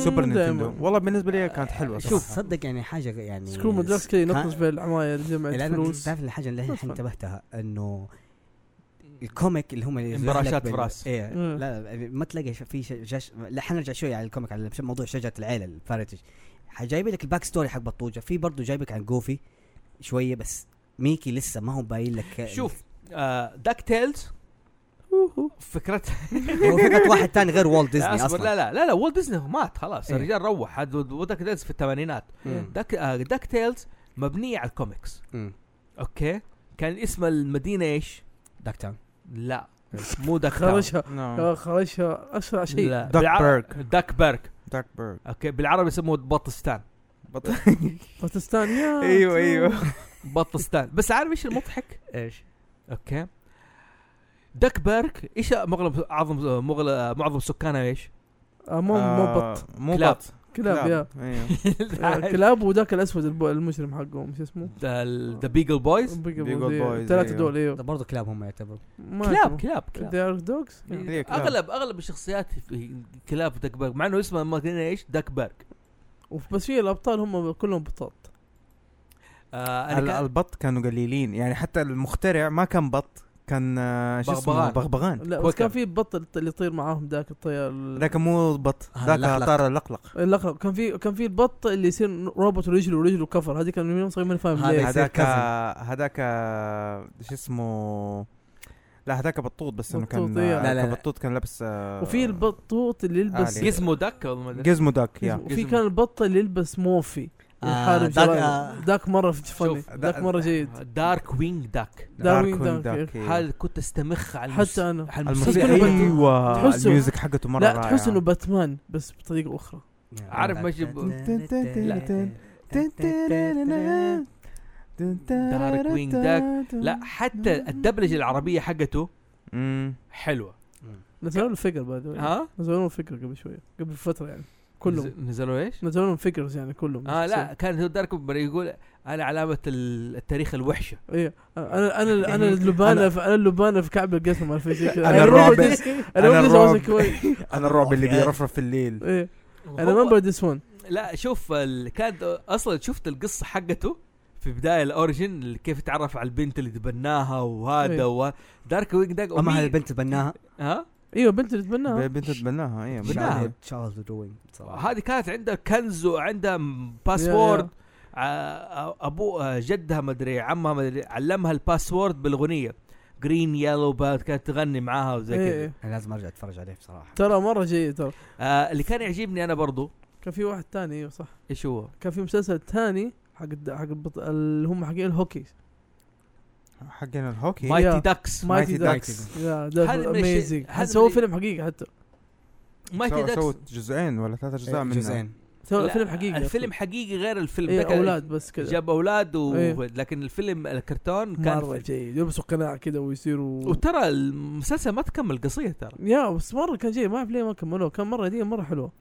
[SPEAKER 5] سوبر نينتندو والله بالنسبه لي كانت حلوه
[SPEAKER 4] بس
[SPEAKER 5] صراحة.
[SPEAKER 1] شوف.
[SPEAKER 4] صدق يعني حاجه يعني
[SPEAKER 3] سكرو مدرس كذا ينقص في العماير
[SPEAKER 4] اللي
[SPEAKER 3] جمع
[SPEAKER 4] انا
[SPEAKER 3] فلوس
[SPEAKER 4] تعرف الحاجه اللي الحين
[SPEAKER 3] أصلاً.
[SPEAKER 4] انتبهتها انه الكوميك اللي هم اللي يروح
[SPEAKER 1] انبراشات
[SPEAKER 4] لك بال-
[SPEAKER 1] في راس.
[SPEAKER 4] ايه
[SPEAKER 3] مم.
[SPEAKER 4] لا لا، ما تلاقي ش- في ش- جش... لا حنرجع شوي على الكوميك على موضوع شجره العيله الفارتج جايب لك الباك ستوري حق بطوجه في برضه جايبك عن جوفي شويه بس ميكي لسه ما هو باين لك
[SPEAKER 1] شوف آه داك تيلز
[SPEAKER 3] أوهو.
[SPEAKER 1] فكرتها
[SPEAKER 4] هو فكره واحد ثاني غير والت ديزني
[SPEAKER 1] أصبر،
[SPEAKER 4] اصلا
[SPEAKER 1] لا لا لا لا والت ديزني مات خلاص
[SPEAKER 4] إيه.
[SPEAKER 1] الرجال روح هذا وداك تيلز في الثمانينات
[SPEAKER 4] مم.
[SPEAKER 1] داك آه داك تيلز مبنيه على الكوميكس
[SPEAKER 4] مم.
[SPEAKER 1] اوكي كان اسم المدينه ايش؟
[SPEAKER 4] داك تاون
[SPEAKER 1] لا مو داك تاون.
[SPEAKER 3] خرجها
[SPEAKER 5] نعم
[SPEAKER 3] آه، خرجها اسرع شيء
[SPEAKER 1] لا
[SPEAKER 5] داك
[SPEAKER 1] بالعرب-
[SPEAKER 5] بيرك.
[SPEAKER 1] داك بيرك
[SPEAKER 5] داك بيرد
[SPEAKER 1] اوكي بالعربي يسموه بطستان
[SPEAKER 3] باكستان يا
[SPEAKER 5] ايوه ايوه
[SPEAKER 1] بطستان بس عارف ايش المضحك؟
[SPEAKER 4] ايش؟
[SPEAKER 1] اوكي داك بيرك ايش مغلب اعظم مغلب معظم سكانها ايش؟
[SPEAKER 3] آه، مو مو بط
[SPEAKER 5] آه، مو
[SPEAKER 1] كلاب.
[SPEAKER 5] بط
[SPEAKER 3] كلاب يا
[SPEAKER 5] ايوه
[SPEAKER 3] آه، كلاب وذاك الاسود الب- المجرم حقهم شو اسمه
[SPEAKER 1] ذا بيجل بويز
[SPEAKER 5] Big Old Boys،
[SPEAKER 3] ثلاثة
[SPEAKER 5] أيوه.
[SPEAKER 3] دول ايوه
[SPEAKER 4] ده برضه كلاب هم يعتبروا
[SPEAKER 3] ما
[SPEAKER 1] كلاب
[SPEAKER 3] يعرفوا.
[SPEAKER 1] كلاب كلاب
[SPEAKER 3] They are dogs
[SPEAKER 5] هي كلاب.
[SPEAKER 1] اغلب اغلب الشخصيات في كلاب داك بيرك مع انه اسمه ما قلنا ايش داك بيرك
[SPEAKER 3] وف- بس في الابطال هم كلهم بطاط
[SPEAKER 1] آه
[SPEAKER 5] ال-
[SPEAKER 1] انا كان
[SPEAKER 5] البط كانوا قليلين يعني حتى المخترع ما كان بط كان آه، شو اسمه
[SPEAKER 1] بغبغان.
[SPEAKER 5] بغبغان
[SPEAKER 3] لا بس
[SPEAKER 1] كوكب.
[SPEAKER 3] كان في بط اللي يطير معاهم ذاك الطيار ال-
[SPEAKER 5] ذاك مو بط
[SPEAKER 4] آه،
[SPEAKER 5] ذاك
[SPEAKER 4] لقلق.
[SPEAKER 5] طار اللقلق
[SPEAKER 3] لا كان في كان في البط اللي يصير روبوت ورجله ورجله كفر هذه كان من يوم صغير ماني فاهم
[SPEAKER 4] هذا
[SPEAKER 3] ليه
[SPEAKER 4] يصير
[SPEAKER 5] هذاك
[SPEAKER 4] cousin.
[SPEAKER 5] هذاك آه، شو اسمه لا هذاك بطوط بس انه كان
[SPEAKER 3] بطوط، إيه.
[SPEAKER 5] آه،
[SPEAKER 4] لا، لا، لا.
[SPEAKER 5] بطوط كان لابس آه،
[SPEAKER 3] وفي البطوط اللي يلبس
[SPEAKER 5] آلي.
[SPEAKER 1] جزمو داك ولا ما أدري.
[SPEAKER 5] جزمو داك يا
[SPEAKER 3] وفي كان البط اللي يلبس موفي
[SPEAKER 4] آه،
[SPEAKER 3] يحارب
[SPEAKER 4] ذاك-
[SPEAKER 3] آه
[SPEAKER 4] آه.
[SPEAKER 3] ذاك مره فني آه،
[SPEAKER 1] شوف،
[SPEAKER 3] ذاك مره جيد
[SPEAKER 1] دارك وينج داك
[SPEAKER 3] داروين
[SPEAKER 5] داركوين
[SPEAKER 3] داك،
[SPEAKER 5] داك، إيه.
[SPEAKER 1] هذا كنت استمخ على المس-
[SPEAKER 3] حتى انا
[SPEAKER 1] على
[SPEAKER 5] الموسيقى
[SPEAKER 3] تحس إنه
[SPEAKER 5] ايوه
[SPEAKER 3] تحسه-
[SPEAKER 5] الميوزك حقته مره
[SPEAKER 3] لا تحس
[SPEAKER 5] رائعة.
[SPEAKER 3] انه باتمان بس بطريقه اخرى
[SPEAKER 1] عارف ما يجيب-
[SPEAKER 4] لا.
[SPEAKER 1] دارك وينج داك. لا حتى الدبلجه العربيه حقته
[SPEAKER 5] مم.
[SPEAKER 1] حلوه
[SPEAKER 3] نزلوا لهم فيجر
[SPEAKER 4] آه.
[SPEAKER 3] بعد
[SPEAKER 1] ها
[SPEAKER 3] نزلوا لهم فيجر قبل شويه قبل فتره يعني
[SPEAKER 1] نز-
[SPEAKER 3] كلهم
[SPEAKER 1] نزلوا ايش؟
[SPEAKER 3] نزلوا لهم فيجرز يعني كلهم
[SPEAKER 1] اه لا كان هو دارك وينج يقول انا علامه ال- التاريخ الوحشه
[SPEAKER 3] ايه انا
[SPEAKER 1] يعني
[SPEAKER 3] انا انا اللبانه في انا اللبانه في كعب القسم عارف زي كذا
[SPEAKER 5] أنا الرعب.
[SPEAKER 3] انا
[SPEAKER 5] أنا
[SPEAKER 3] الرعب
[SPEAKER 5] الرعب. انا الرعب اللي بيرفرف في الليل
[SPEAKER 3] ايه انا
[SPEAKER 1] هو-
[SPEAKER 3] ريمبر ذيس ون
[SPEAKER 1] لا شوف ال... كان اصلا شفت القصه حقته في بدايه الاوريجن اللي كيف تعرف على البنت اللي تبناها
[SPEAKER 3] إيه.
[SPEAKER 1] وهذا و دارك وينج داك
[SPEAKER 4] اما هذه البنت تبناها
[SPEAKER 1] ها
[SPEAKER 3] ايوه بنت اللي تبناها
[SPEAKER 5] بنت تبناها ايوه
[SPEAKER 1] تبناها.
[SPEAKER 5] بناها.
[SPEAKER 4] شاهد شاهد دوينج
[SPEAKER 1] هذه كانت عندها كنز وعندها م- باسورد
[SPEAKER 3] يا-
[SPEAKER 1] ع- ابو آه، جدها مدري عمها مدري علمها الباسورد بالاغنيه جرين يالو باد كانت تغني معاها وزي
[SPEAKER 3] إيه،
[SPEAKER 1] كذا
[SPEAKER 3] إيه.
[SPEAKER 4] انا لازم ارجع اتفرج عليه بصراحه
[SPEAKER 3] ترى مره جيد ترى
[SPEAKER 1] آه اللي كان يعجبني انا برضو
[SPEAKER 3] كان في واحد ثاني ايوه صح
[SPEAKER 1] ايش هو؟
[SPEAKER 3] كان في مسلسل ثاني حق الد- حق البط... اللي هم حقين الهوكي
[SPEAKER 5] حقنا الهوكي
[SPEAKER 3] ما-
[SPEAKER 1] مايتي
[SPEAKER 3] يا.
[SPEAKER 1] داكس
[SPEAKER 3] مايتي
[SPEAKER 5] Mighty
[SPEAKER 3] داكس يا
[SPEAKER 1] هذا من
[SPEAKER 3] اميزنج
[SPEAKER 1] الشيء- هذا
[SPEAKER 3] سووا
[SPEAKER 1] من-
[SPEAKER 3] فيلم حقيقي حتى
[SPEAKER 1] مايتي
[SPEAKER 5] سو-
[SPEAKER 1] داكس
[SPEAKER 5] سوت جزئين ولا ثلاثة اجزاء
[SPEAKER 4] إيه،
[SPEAKER 5] منها
[SPEAKER 4] جزئين
[SPEAKER 3] سووا
[SPEAKER 1] لا،
[SPEAKER 3] فيلم حقيقي
[SPEAKER 1] الفيلم حقيقي غير الفيلم
[SPEAKER 3] إيه
[SPEAKER 1] ده كان-
[SPEAKER 3] اولاد بس كذا
[SPEAKER 1] جاب اولاد و...
[SPEAKER 3] إيه.
[SPEAKER 1] لكن الفيلم الكرتون كان
[SPEAKER 3] مره جيد يلبسوا قناع كذا ويصيروا
[SPEAKER 1] وترى المسلسل ما تكمل قصيه ترى
[SPEAKER 3] يا بس مره كان جيد ما اعرف ليه ما كملوه كان مره دي مره حلوه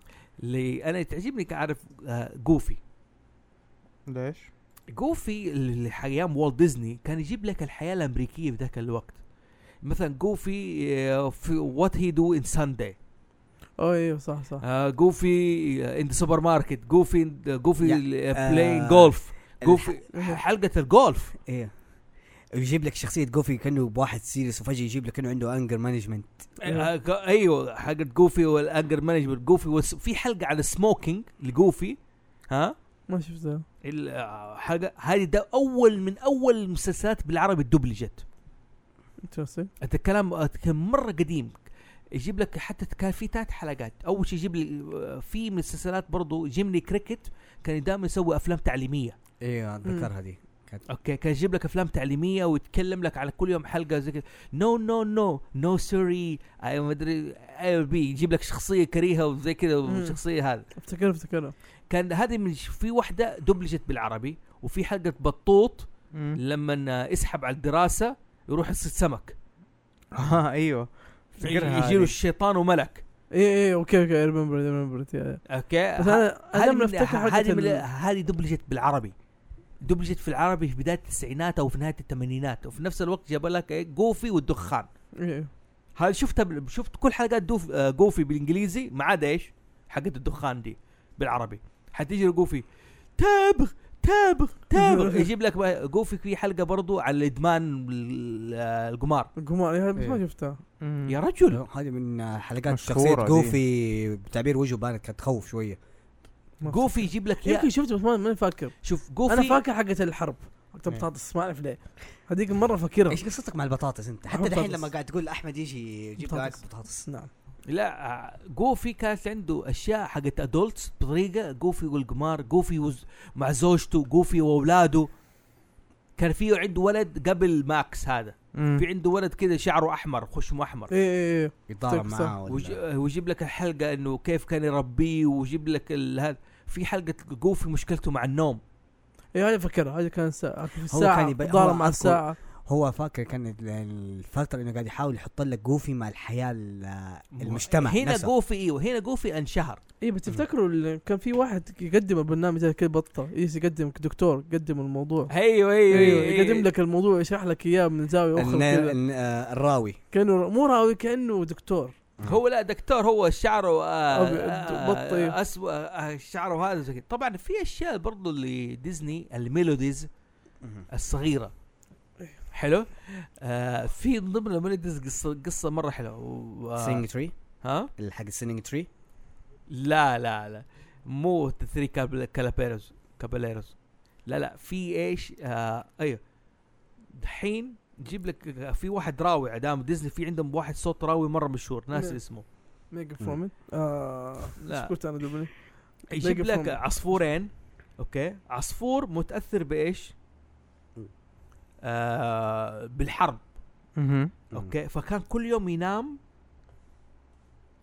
[SPEAKER 1] اللي انا تعجبني كعارف آه، جوفي
[SPEAKER 5] ليش؟
[SPEAKER 1] جوفي اللي ايام والت ديزني كان يجيب لك الحياه الامريكيه في ذاك الوقت مثلا جوفي آه، في وات هي دو ان سانداي
[SPEAKER 3] اوه ايوه صح
[SPEAKER 4] آه.
[SPEAKER 3] صح
[SPEAKER 1] آه، جوفي آه، ان ذا سوبر ماركت جوفي جوفي
[SPEAKER 4] يعني، آه،
[SPEAKER 1] بلاين جولف
[SPEAKER 4] الح-
[SPEAKER 1] جوفي حلقه الجولف
[SPEAKER 4] ايه يجيب لك شخصيه جوفي كانه بواحد سيريس وفجاه يجيب لك انه عنده انجر مانجمنت
[SPEAKER 1] آه، ك- ايوه حلقه جوفي والانجر مانجمنت جوفي والس- في حلقه على السموكينج لجوفي ها
[SPEAKER 3] ما شفتها
[SPEAKER 1] ال- آه، حاجه هذه ده اول من اول المسلسلات بالعربي الدبلجت
[SPEAKER 3] انترستنج
[SPEAKER 1] انت الكلام كان مره قديم يجيب لك حتى كان في ثلاث حلقات اول شيء يجيب لي آه، في مسلسلات برضو جيمني كريكت كان دائما يسوي افلام تعليميه
[SPEAKER 4] ايوه
[SPEAKER 3] أتذكرها
[SPEAKER 4] اتذكرها دي
[SPEAKER 1] اوكي كان يجيب لك افلام تعليميه ويتكلم لك على كل يوم حلقه زي كذا نو نو نو نو سوري اي ما ادري اي بي يجيب لك شخصيه كريهه وزي كذا
[SPEAKER 3] مم.
[SPEAKER 1] وشخصيه هذا
[SPEAKER 3] افتكر افتكر
[SPEAKER 1] كان هذه من في واحده دبلجت بالعربي وفي حلقه بطوط لما يسحب على الدراسه يروح يصيد سمك
[SPEAKER 5] اه ايوه افتكرها
[SPEAKER 1] يجي له
[SPEAKER 5] هذه.
[SPEAKER 1] الشيطان وملك
[SPEAKER 3] اي اي اوكي اوكي ريمبر ريمبر
[SPEAKER 1] اوكي
[SPEAKER 3] بس انا انا
[SPEAKER 1] هذه
[SPEAKER 3] لما
[SPEAKER 1] من-
[SPEAKER 3] افتكر
[SPEAKER 1] هذه
[SPEAKER 3] حلقه
[SPEAKER 1] من-
[SPEAKER 3] ال-
[SPEAKER 1] هذه دبلجت بالعربي دبلجت في العربي في بدايه التسعينات او في نهايه الثمانينات وفي نفس الوقت جاب لك إيه، جوفي والدخان
[SPEAKER 3] إيه، إيه.
[SPEAKER 1] هل شفتها بال- شفت كل حلقات دوف آه، جوفي بالانجليزي ما عدا ايش؟ حقت الدخان دي بالعربي حتيجي جوفي تابغ تابغ تابغ يجيب لك بقى- جوفي في حلقه برضو على ادمان ال- آه، القمار
[SPEAKER 3] القمار إيه، بس ما
[SPEAKER 4] إيه.
[SPEAKER 3] شفتها
[SPEAKER 1] يا رجل
[SPEAKER 4] هذه من حلقات
[SPEAKER 5] مشهورة
[SPEAKER 4] شخصيه
[SPEAKER 5] دي.
[SPEAKER 4] جوفي بتعبير وجهه بانت كانت تخوف شويه
[SPEAKER 3] ما
[SPEAKER 1] جوفي يجيب لك
[SPEAKER 3] يمكن
[SPEAKER 1] يا
[SPEAKER 3] شفته بس ما- ماني فاكر
[SPEAKER 1] شوف
[SPEAKER 3] انا
[SPEAKER 1] جوفي
[SPEAKER 3] فاكر حقه الحرب حقت
[SPEAKER 4] إيه.
[SPEAKER 3] البطاطس ما اعرف ليه هذيك مره فاكرها
[SPEAKER 4] ايش قصتك مع البطاطس انت حتى
[SPEAKER 3] بطاطس.
[SPEAKER 4] الحين لما قاعد تقول احمد يجي يجيب معك
[SPEAKER 3] بطاطس.
[SPEAKER 4] بطاطس
[SPEAKER 3] نعم
[SPEAKER 1] لا آه، جوفي كانت عنده اشياء حقت ادولتس بطريقه جوفي والقمار جوفي وز مع زوجته جوفي واولاده كان في عنده ولد قبل ماكس هذا في
[SPEAKER 3] إيه،
[SPEAKER 1] عنده ولد كذا شعره احمر خشمه احمر
[SPEAKER 3] اي اي اي
[SPEAKER 4] يتضارب
[SPEAKER 3] صح.
[SPEAKER 4] معاه ولا-
[SPEAKER 1] ويج- آه، ويجيب لك الحلقه انه كيف كان يربيه ويجيب لك ال- هذا في حلقه جوفي مشكلته مع النوم
[SPEAKER 3] اي إيه، هذه فاكرها هذه كان ساعه في
[SPEAKER 4] هو
[SPEAKER 3] الساعه
[SPEAKER 4] كان يبي-
[SPEAKER 3] ضارب
[SPEAKER 4] هو
[SPEAKER 3] مع
[SPEAKER 4] أذكر-
[SPEAKER 3] الساعه
[SPEAKER 4] هو فاكر كان ال- الفتره انه قاعد يحاول يحط لك جوفي مع الحياه ال- المجتمع
[SPEAKER 1] هنا
[SPEAKER 4] نفسه.
[SPEAKER 1] جوفي ايوه هنا جوفي انشهر
[SPEAKER 3] اي إيه، بس تفتكروا اللي كان في واحد يقدم البرنامج هذا كذا بطه يجلس يقدم دكتور يقدم الموضوع
[SPEAKER 1] ايوه ايوه
[SPEAKER 3] ايوه يقدم لك الموضوع يشرح لك اياه من زاويه اخرى
[SPEAKER 4] الن-
[SPEAKER 3] كذا.
[SPEAKER 4] الن- آه، الراوي
[SPEAKER 3] كانه مو راوي كانه دكتور
[SPEAKER 1] إيه. هو لا دكتور هو شعره آه
[SPEAKER 3] أبيض، بط، أيوه.
[SPEAKER 1] آه اسود آه شعره هذا زي كده. طبعا في اشياء برضو اللي ديزني الميلوديز الصغيره حلو آه في من ضمن الميلوديز قصه قصه مره حلوه و- آه،
[SPEAKER 4] سينج تري
[SPEAKER 1] ها
[SPEAKER 4] حق السينج تري
[SPEAKER 1] لا لا لا مو ثري كابل- كالابيروز كاباليروز لا لا في ايش آه ايوه دحين جيب لك في واحد راوي دام ديزني في عندهم واحد صوت راوي مره مشهور ناس
[SPEAKER 3] نعم.
[SPEAKER 1] اسمه
[SPEAKER 3] ميجا فرومن آه
[SPEAKER 1] لا.
[SPEAKER 3] ايش قلت انا دوبلي
[SPEAKER 1] يجيب
[SPEAKER 3] ميجا
[SPEAKER 1] لك
[SPEAKER 3] فروم.
[SPEAKER 1] عصفورين اوكي عصفور متاثر بايش؟ آه بالحرب اوكي فكان كل يوم ينام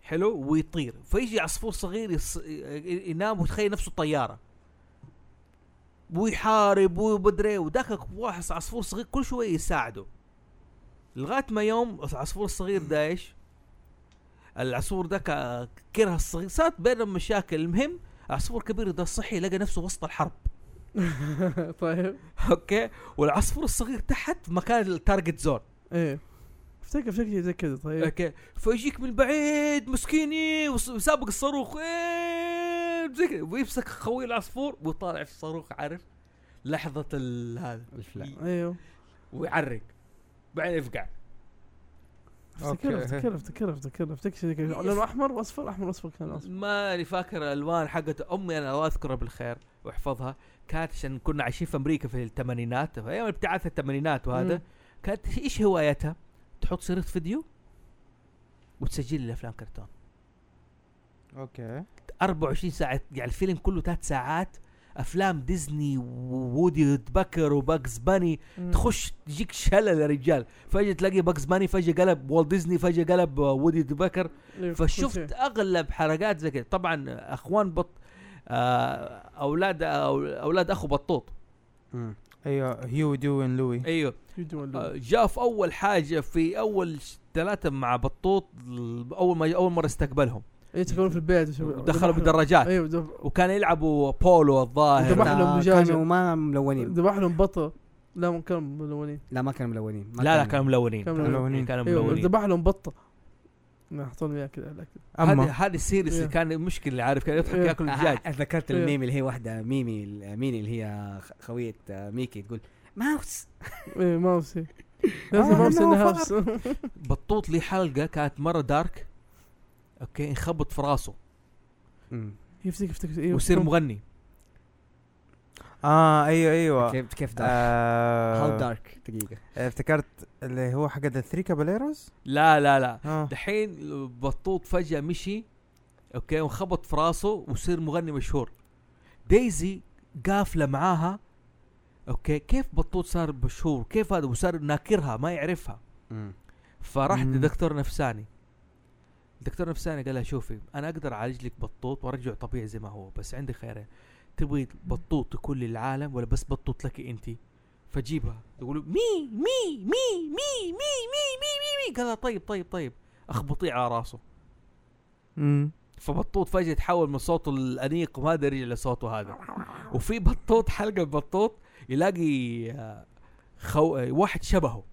[SPEAKER 1] حلو ويطير فيجي عصفور صغير يص... ي- ينام وتخيل نفسه طياره ويحارب وبدري وذاك واحد عصفور صغير كل شويه يساعده لغايه ما يوم العصفور الصغير ده ايش؟ العصفور ده ك- كره الصغير صارت بينهم مشاكل المهم العصفور الكبير ده صحي لقى نفسه وسط الحرب
[SPEAKER 3] طيب
[SPEAKER 1] اوكي والعصفور الصغير تحت في مكان التارجت زون
[SPEAKER 3] ايه افتكر افتكر شيء زي كذا طيب
[SPEAKER 1] اوكي فيجيك من بعيد مسكيني وص- وسابق الصاروخ إيه، زي كذا، ويمسك خوي العصفور ويطالع في الصاروخ عارف لحظة ال- هذا
[SPEAKER 3] ايوه
[SPEAKER 1] ويعرق بعدين يفقع
[SPEAKER 3] افتكر افتكر افتكر افتكر افتكر شيء زي كذا لونه احمر واصفر احمر واصفر كان اصفر
[SPEAKER 1] ماني فاكر الالوان حقت امي انا الله يذكرها بالخير واحفظها كانت عشان كنا عايشين في امريكا في الثمانينات في ايام ابتعاث الثمانينات وهذا
[SPEAKER 3] مم.
[SPEAKER 1] كانت ايش هوايتها؟ تحط سيرة فيديو وتسجل الافلام كرتون
[SPEAKER 5] اوكي
[SPEAKER 1] 24 ساعة يعني الفيلم كله ثلاث ساعات افلام ديزني وودي بكر وباكس باني
[SPEAKER 3] مم.
[SPEAKER 1] تخش تجيك شلل يا رجال فجاه تلاقي باكس باني فجاه قلب والت ديزني فجاه قلب آه، وودي بكر
[SPEAKER 3] إيه، كل
[SPEAKER 1] فشفت
[SPEAKER 3] شيء.
[SPEAKER 1] اغلب حلقات زي كده طبعا اخوان بط آه، اولاد آه، اولاد اخو بطوط
[SPEAKER 5] ايوه هيو دو ان لوي
[SPEAKER 4] إيه،
[SPEAKER 1] ايوه
[SPEAKER 3] فيديو
[SPEAKER 1] آه،
[SPEAKER 3] ولا-
[SPEAKER 1] جاء في اول حاجه في اول ثلاثه مع بطوط ال- اول ما اول مره استقبلهم
[SPEAKER 3] اي تكون إيه، في البيت وشو-
[SPEAKER 1] دخلوا
[SPEAKER 3] ذبحهم.
[SPEAKER 1] بدراجات
[SPEAKER 3] ايوه ذب-
[SPEAKER 1] وكان يلعبوا بولو الظاهر
[SPEAKER 3] ذبح لهم
[SPEAKER 4] آه،
[SPEAKER 3] دجاجة.
[SPEAKER 4] كانوا ما ملونين
[SPEAKER 3] ذبح لهم بطه لا مو كانوا ملونين
[SPEAKER 4] لا ما كانوا ملونين ما
[SPEAKER 1] لا لا كانوا ملونين إيه، أيوة،
[SPEAKER 3] كانوا
[SPEAKER 5] ملونين.
[SPEAKER 1] كانوا
[SPEAKER 3] ايوه
[SPEAKER 1] ملونين
[SPEAKER 3] ذبح لهم بطه ما حطوا لهم اياها كذا على الأكل.
[SPEAKER 1] هذه
[SPEAKER 5] اما
[SPEAKER 1] هذه السيريس اللي
[SPEAKER 3] إيه.
[SPEAKER 1] كان المشكله اللي عارف كان يضحك
[SPEAKER 3] إيه.
[SPEAKER 1] ياكل
[SPEAKER 4] آه،
[SPEAKER 1] دجاج
[SPEAKER 4] آه، ذكرت
[SPEAKER 3] إيه.
[SPEAKER 4] الميم اللي هي واحده ميمي ميني اللي هي خ- خويه آه، ميكي تقول ماوس
[SPEAKER 3] ايه ماوسي
[SPEAKER 5] آه،
[SPEAKER 3] لازم ماوسي
[SPEAKER 5] إنه
[SPEAKER 3] هاوس
[SPEAKER 1] بطوط لي حلقه كانت مره دارك اوكي انخبط في راسه
[SPEAKER 4] مم.
[SPEAKER 3] يفتك يفتك ايوه
[SPEAKER 1] ويصير مغني
[SPEAKER 5] اه ايوه ايوه
[SPEAKER 4] كيف كيف دارك هاو
[SPEAKER 5] آه
[SPEAKER 4] دارك دقيقه
[SPEAKER 5] افتكرت اللي هو حق الثري كاباليروز
[SPEAKER 1] لا لا لا
[SPEAKER 5] اه
[SPEAKER 1] دحين بطوط فجاه مشي اوكي وانخبط في راسه وصير مغني مشهور دايزي قافله معاها اوكي كيف بطوط صار مشهور كيف هذا وصار ناكرها ما يعرفها
[SPEAKER 4] مم.
[SPEAKER 1] فراح
[SPEAKER 5] مم.
[SPEAKER 1] لدكتور نفساني الدكتور نفساني قال لها شوفي انا اقدر اعالج لك بطوط وارجعه طبيعي زي ما هو بس عندي خيارين تبغي بطوط لكل العالم ولا بس بطوط لك انت فجيبها يقولوا مي مي مي مي مي مي مي مي قال لها طيب طيب طيب اخبطيه على راسه
[SPEAKER 5] مم.
[SPEAKER 1] فبطوط فجاه تحول من صوته الانيق وهذا يرجع لصوته هذا وفي بطوط حلقه بطوط يلاقي آه، خو... آه، واحد شبهه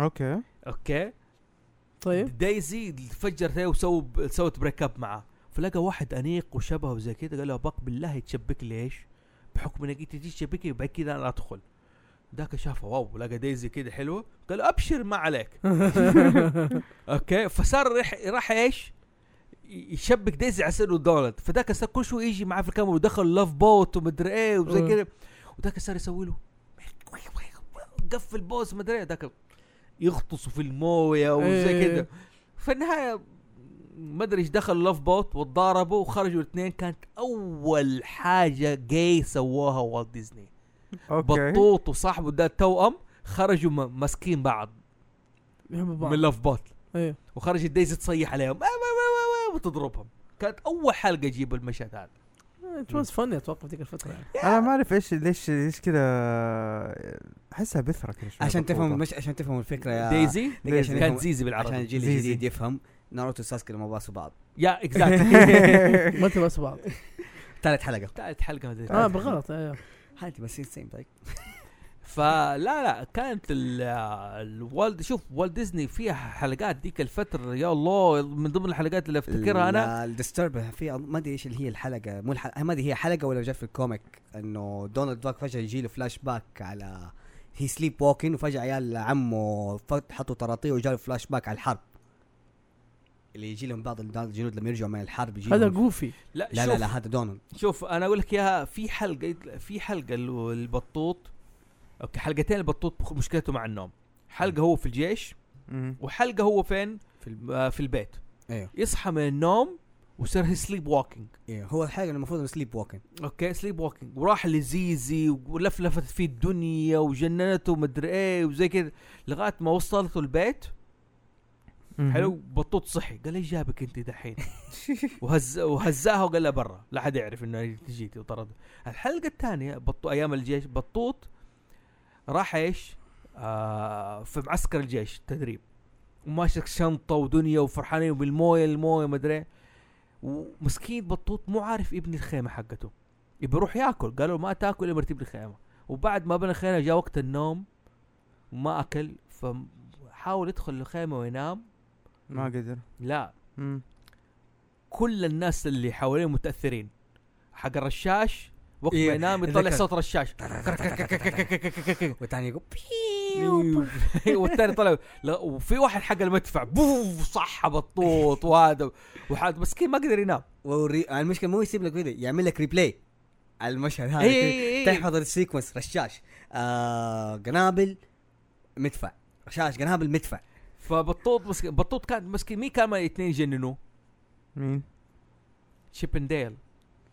[SPEAKER 5] اوكي
[SPEAKER 1] اوكي
[SPEAKER 3] طيب
[SPEAKER 1] دايزي فجرت هي وسووا سوت بريك اب معاه فلقى واحد انيق وشبهه وزي كذا قال له اباك بالله تشبك لي ايش؟ بحكم انك انت تجي تشبكي وبعد كذا انا ادخل ذاك شافه واو لقى دايزي كذا حلوه قال له ابشر ما عليك اوكي فصار راح راح ايش؟ يشبك دايزي على سير دولت فذاك صار كل شوي يجي معاه في الكاميرا ودخل لاف بوت ومدري ايه وزي
[SPEAKER 3] أه.
[SPEAKER 1] كذا وذاك صار يسوي له قفل بوس مدري ايه ذاك يغطسوا في المويه وزي
[SPEAKER 3] إيه.
[SPEAKER 1] كذا في النهايه ما ادري ايش دخل لاف بوت وتضاربوا وخرجوا الاثنين كانت اول حاجه جاي سووها والت ديزني
[SPEAKER 5] اوكي
[SPEAKER 1] بطوط وصاحبه ده التوأم خرجوا م- ماسكين بعض
[SPEAKER 3] يحبوا بعض
[SPEAKER 1] من لاف بوت
[SPEAKER 3] ايوه
[SPEAKER 1] وخرجت دايزي تصيح عليهم آه، آه، آه، آه، آه، وتضربهم كانت اول حلقه يجيب المشهد هذا
[SPEAKER 3] ات واز فن اتوقع في ذيك الفتره يعني
[SPEAKER 5] انا ما اعرف ايش ليش ليش كذا احسها بثره كذا شوية
[SPEAKER 4] عشان
[SPEAKER 5] بطوطة.
[SPEAKER 4] تفهم مش عشان تفهم الفكره يا
[SPEAKER 1] دايزي
[SPEAKER 4] دقيقة عشان
[SPEAKER 1] كانت
[SPEAKER 4] يفهم-
[SPEAKER 1] زيزي
[SPEAKER 4] عشان
[SPEAKER 1] بالعربي
[SPEAKER 4] الجيل
[SPEAKER 5] زي زي.
[SPEAKER 4] الجديد يفهم ناروتو وساسكي لما باسوا بعض
[SPEAKER 1] يا اكزاكتلي
[SPEAKER 3] ما تباس بعض
[SPEAKER 4] ثالث حلقه
[SPEAKER 1] ثالث حلقه ما ادري
[SPEAKER 4] آه،
[SPEAKER 3] اه بالغلط ايوه
[SPEAKER 4] هاتي بس سيم لايك
[SPEAKER 1] فلا لا كانت الوالد شوف والد ديزني فيها حلقات ذيك الفتره يا الله من ضمن الحلقات اللي افتكرها انا
[SPEAKER 4] الديسترب في ما ادري ايش اللي هي الحلقه مو الحلقه ما ادري هي حلقه ولا جت في الكوميك انه دونالد داك فجاه يجي له فلاش باك على هي سليب ووكين وفجاه عيال عمه فت- حطوا تراطيه وجاله فلاش باك على الحرب اللي يجي لهم بعض الجنود لما يرجعوا من الحرب يجي
[SPEAKER 3] هذا
[SPEAKER 4] لهم-
[SPEAKER 3] جوفي
[SPEAKER 1] لا,
[SPEAKER 4] لا
[SPEAKER 1] شوف
[SPEAKER 4] لا لا هذا دونالد
[SPEAKER 1] شوف انا اقول لك اياها في حلقه في حلقه ال- البطوط اوكي حلقتين البطوط بخ- مشكلته مع النوم حلقه هو في الجيش
[SPEAKER 5] مم.
[SPEAKER 1] وحلقه هو فين
[SPEAKER 4] في الب...
[SPEAKER 1] آه، في البيت
[SPEAKER 4] ايوه
[SPEAKER 1] يصحى من النوم وصار هي سليب ووكينج
[SPEAKER 4] ايوه هو الحلقه المفروض انه سليب ووكين
[SPEAKER 1] اوكي سليب ووكينج وراح لزيزي ولفلفت فيه الدنيا وجننته ومدري ايه وزي كذا لغايه ما وصلته البيت
[SPEAKER 5] مم.
[SPEAKER 1] حلو بطوط صحي قال ايش جابك انت دحين وهز وهزاها وقال لها برا لا حد يعرف انه جيتي وطرد الحلقه الثانيه بطو ايام الجيش بطوط راح ايش آه في معسكر الجيش تدريب وماسك شنطه ودنيا وفرحانين بالمويه المويه ما ادري إيه. ومسكين بطوط مو عارف يبني الخيمه حقته يبي يروح ياكل قالوا ما تاكل الا ما تبني الخيمه وبعد ما بنى الخيمه جاء وقت النوم وما اكل فحاول يدخل الخيمه وينام
[SPEAKER 5] ما قدر
[SPEAKER 1] لا
[SPEAKER 5] مم.
[SPEAKER 1] كل الناس اللي حواليه متاثرين حق الرشاش وقت ما
[SPEAKER 4] إيه،
[SPEAKER 1] ينام يطلع
[SPEAKER 4] ذكر.
[SPEAKER 1] صوت رشاش
[SPEAKER 4] والثاني يقول
[SPEAKER 1] أيوه، والثاني طلع لا، وفي واحد حق المدفع بوف صح بطوط وهذا وحاد مسكين ما قدر ينام
[SPEAKER 4] والري... المشكله مو يسيب لك فيديو يعمل لك ريبلاي على المشهد هذا
[SPEAKER 1] إي-
[SPEAKER 4] كده.
[SPEAKER 1] إي- إي.
[SPEAKER 4] تحفظ السيكونس رشاش آه قنابل مدفع رشاش قنابل مدفع
[SPEAKER 1] فبطوط مسكين بطوط كان مسكين مين كان الاثنين يجننوه؟
[SPEAKER 5] مين؟
[SPEAKER 1] شيبنديل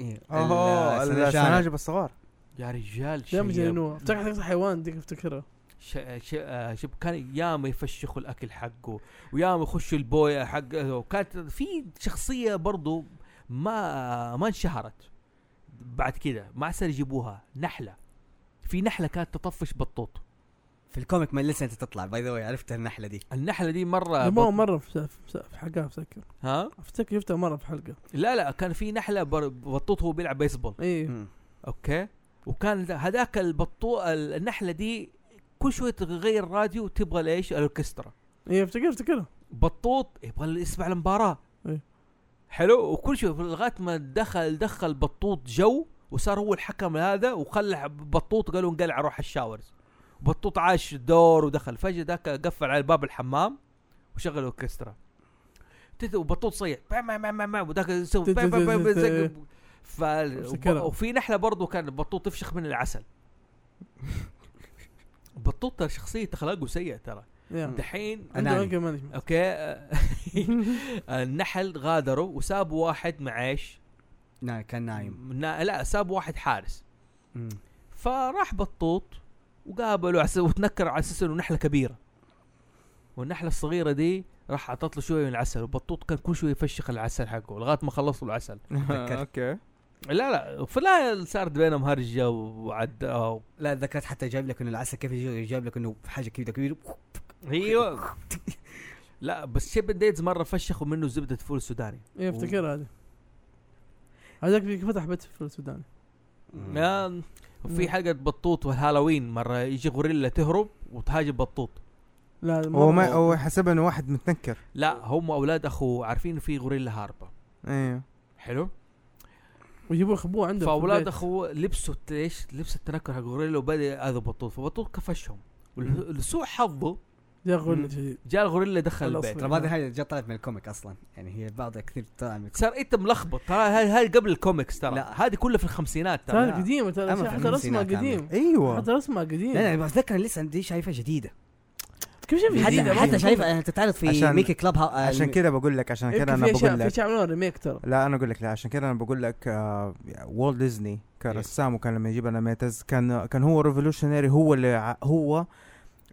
[SPEAKER 4] إيه.
[SPEAKER 5] اوه
[SPEAKER 4] ال- السنة
[SPEAKER 5] السناجب الصغار
[SPEAKER 1] يا رجال
[SPEAKER 3] دائما
[SPEAKER 1] شيب
[SPEAKER 3] جننوها افتكر حتى حيوان ديك افتكرها
[SPEAKER 1] ش... ش... آه، شوف كان ياما يفشخوا الاكل حقه وياما يخشوا البويه حقه وكانت في شخصيه برضو ما ما انشهرت بعد كده ما عسل يجيبوها نحله في نحله كانت تطفش بطوط
[SPEAKER 4] في الكوميك ما لسه انت تطلع باي ذا واي عرفت النحله دي
[SPEAKER 1] النحله دي مره
[SPEAKER 3] مو
[SPEAKER 1] آه، بط...
[SPEAKER 3] مره في في- في حلقه افتكر
[SPEAKER 1] ها
[SPEAKER 3] افتكر شفتها مره في حلقه
[SPEAKER 1] لا لا كان في نحله بر... بطوط هو بيلعب بيسبول
[SPEAKER 3] اي
[SPEAKER 4] مم.
[SPEAKER 1] اوكي وكان ذا- هذاك البطو ال- النحله دي كل شويه تغير الراديو تبغى ليش الاوركسترا
[SPEAKER 3] اي افتكر افتكرها
[SPEAKER 1] بطوط يبغى اللي يسمع المباراه
[SPEAKER 3] إيه.
[SPEAKER 1] حلو وكل شيء لغايه ما دخل دخل بطوط جو وصار هو الحكم هذا وخلى بطوط قالوا انقلع روح الشاورز بطوط عاش دور ودخل فجاه ذاك قفل على باب الحمام وشغل اوركسترا تت- وبطوط صيح با- ما- ما- ما- ما، وذاك يسوي با- با- با- با- زي- ف
[SPEAKER 3] أفتكرها.
[SPEAKER 1] وفي نحله برضو كان بطوط تفشخ من العسل بطوط ترى شخصيه اخلاقه سيئه ترى
[SPEAKER 3] يا.
[SPEAKER 1] دحين
[SPEAKER 3] عنده
[SPEAKER 4] أناني.
[SPEAKER 3] انجر مانجمنت
[SPEAKER 1] اوكي آه، النحل غادروا وسابوا واحد معيش
[SPEAKER 4] نا كان نايم
[SPEAKER 1] نا- لا سابوا واحد حارس
[SPEAKER 4] مم.
[SPEAKER 1] فراح بطوط وقابلوا عس... وتنكر على اساس انه نحله كبيره والنحله الصغيره دي راح اعطت له شويه من العسل وبطوط كان كل شويه يفشخ العسل حقه لغايه ما خلصوا العسل
[SPEAKER 5] اوكي
[SPEAKER 1] لا لا فلا صارت بينهم هرجه وعد أو-
[SPEAKER 4] لا ذكرت حتى جايب لك انه العسل كيف يجي- جايب لك انه في حاجه كبيره كبيره
[SPEAKER 1] ايوه لا بس شيب ديدز مره فشخوا منه زبده فول سوداني
[SPEAKER 3] اي افتكرها هذه إيه، هذاك اللي فتح بيت في السودان
[SPEAKER 1] آه، وفي
[SPEAKER 3] مم.
[SPEAKER 1] حلقه بطوط والهالوين مره يجي غوريلا تهرب وتهاجم بطوط
[SPEAKER 3] لا هذا
[SPEAKER 5] هو ما
[SPEAKER 3] مرة-
[SPEAKER 5] هو حسب انه واحد متنكر
[SPEAKER 1] لا هم اولاد اخوه عارفين في غوريلا هاربه
[SPEAKER 5] ايوه
[SPEAKER 1] حلو
[SPEAKER 3] ويجيبوا لك ابوه عنده في
[SPEAKER 1] فاولاد
[SPEAKER 3] البيت.
[SPEAKER 1] اخوه لبسوا ليش لبس التنكر حق غوريلا وبدا ياذوا بطوط فبطوط كفشهم
[SPEAKER 5] مم.
[SPEAKER 1] ولسوء حظه
[SPEAKER 3] جا
[SPEAKER 5] مم.
[SPEAKER 3] غول شديد
[SPEAKER 1] جاء الغوريلا دخل
[SPEAKER 3] الأصلي.
[SPEAKER 1] البيت
[SPEAKER 4] ترى هذه الحاجه جت طلعت من الكوميك اصلا يعني هي بعضها كثير طلع من الكوميك
[SPEAKER 1] صار انت ملخبط ترى هاي هاي قبل الكوميكس ترى
[SPEAKER 4] لا.
[SPEAKER 1] هذه كلها في الخمسينات ترى
[SPEAKER 4] لا.
[SPEAKER 3] ترى قديمة
[SPEAKER 4] أما في
[SPEAKER 3] ترى حتى رسمها
[SPEAKER 4] الخمسينات
[SPEAKER 3] قديم
[SPEAKER 5] ايوه
[SPEAKER 3] حتى رسمها قديم
[SPEAKER 4] لا انا بتذكر لسه دي شايفها جديده
[SPEAKER 3] كيف شايف
[SPEAKER 4] حتى
[SPEAKER 3] جديدة
[SPEAKER 4] حتى شايفها تتعرض في
[SPEAKER 5] عشان-
[SPEAKER 4] ميكي كلاب هاو- آه،
[SPEAKER 5] عشان كذا بقول لك عشان كذا انا
[SPEAKER 3] إيه، في
[SPEAKER 5] بقول
[SPEAKER 3] اشياء في
[SPEAKER 5] لك
[SPEAKER 3] اشياء عملوها ريميك ترى
[SPEAKER 5] لا انا اقول لك لا عشان كذا انا بقول لك آه والت ديزني كرسام وكان لما يجيب انيميترز كان كان هو ريفولوشنري هو اللي ع- هو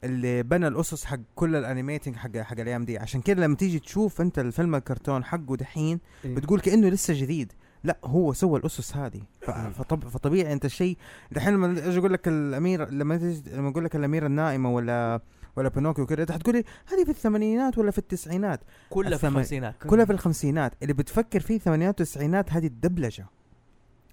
[SPEAKER 5] اللي بنى الاسس حق كل الانيميتنج حق حق الايام دي عشان كذا لما تيجي تشوف انت الفيلم الكرتون حقه دحين
[SPEAKER 4] إيه.
[SPEAKER 5] بتقول كانه لسه جديد لا هو سوى الاسس هذه ف- فطب فطبيعي انت الشيء دحين لما اجي اقول لك الامير لما تيجي- لما اقول لك الاميره النائمه ولا ولا بينوكيو كده انت حتقولي هذه في الثمانينات ولا في التسعينات
[SPEAKER 1] كلها في
[SPEAKER 5] الثمن-
[SPEAKER 1] الخمسينات
[SPEAKER 5] كلها في الخمسينات اللي بتفكر فيه الثمانينات والتسعينات هذه الدبلجه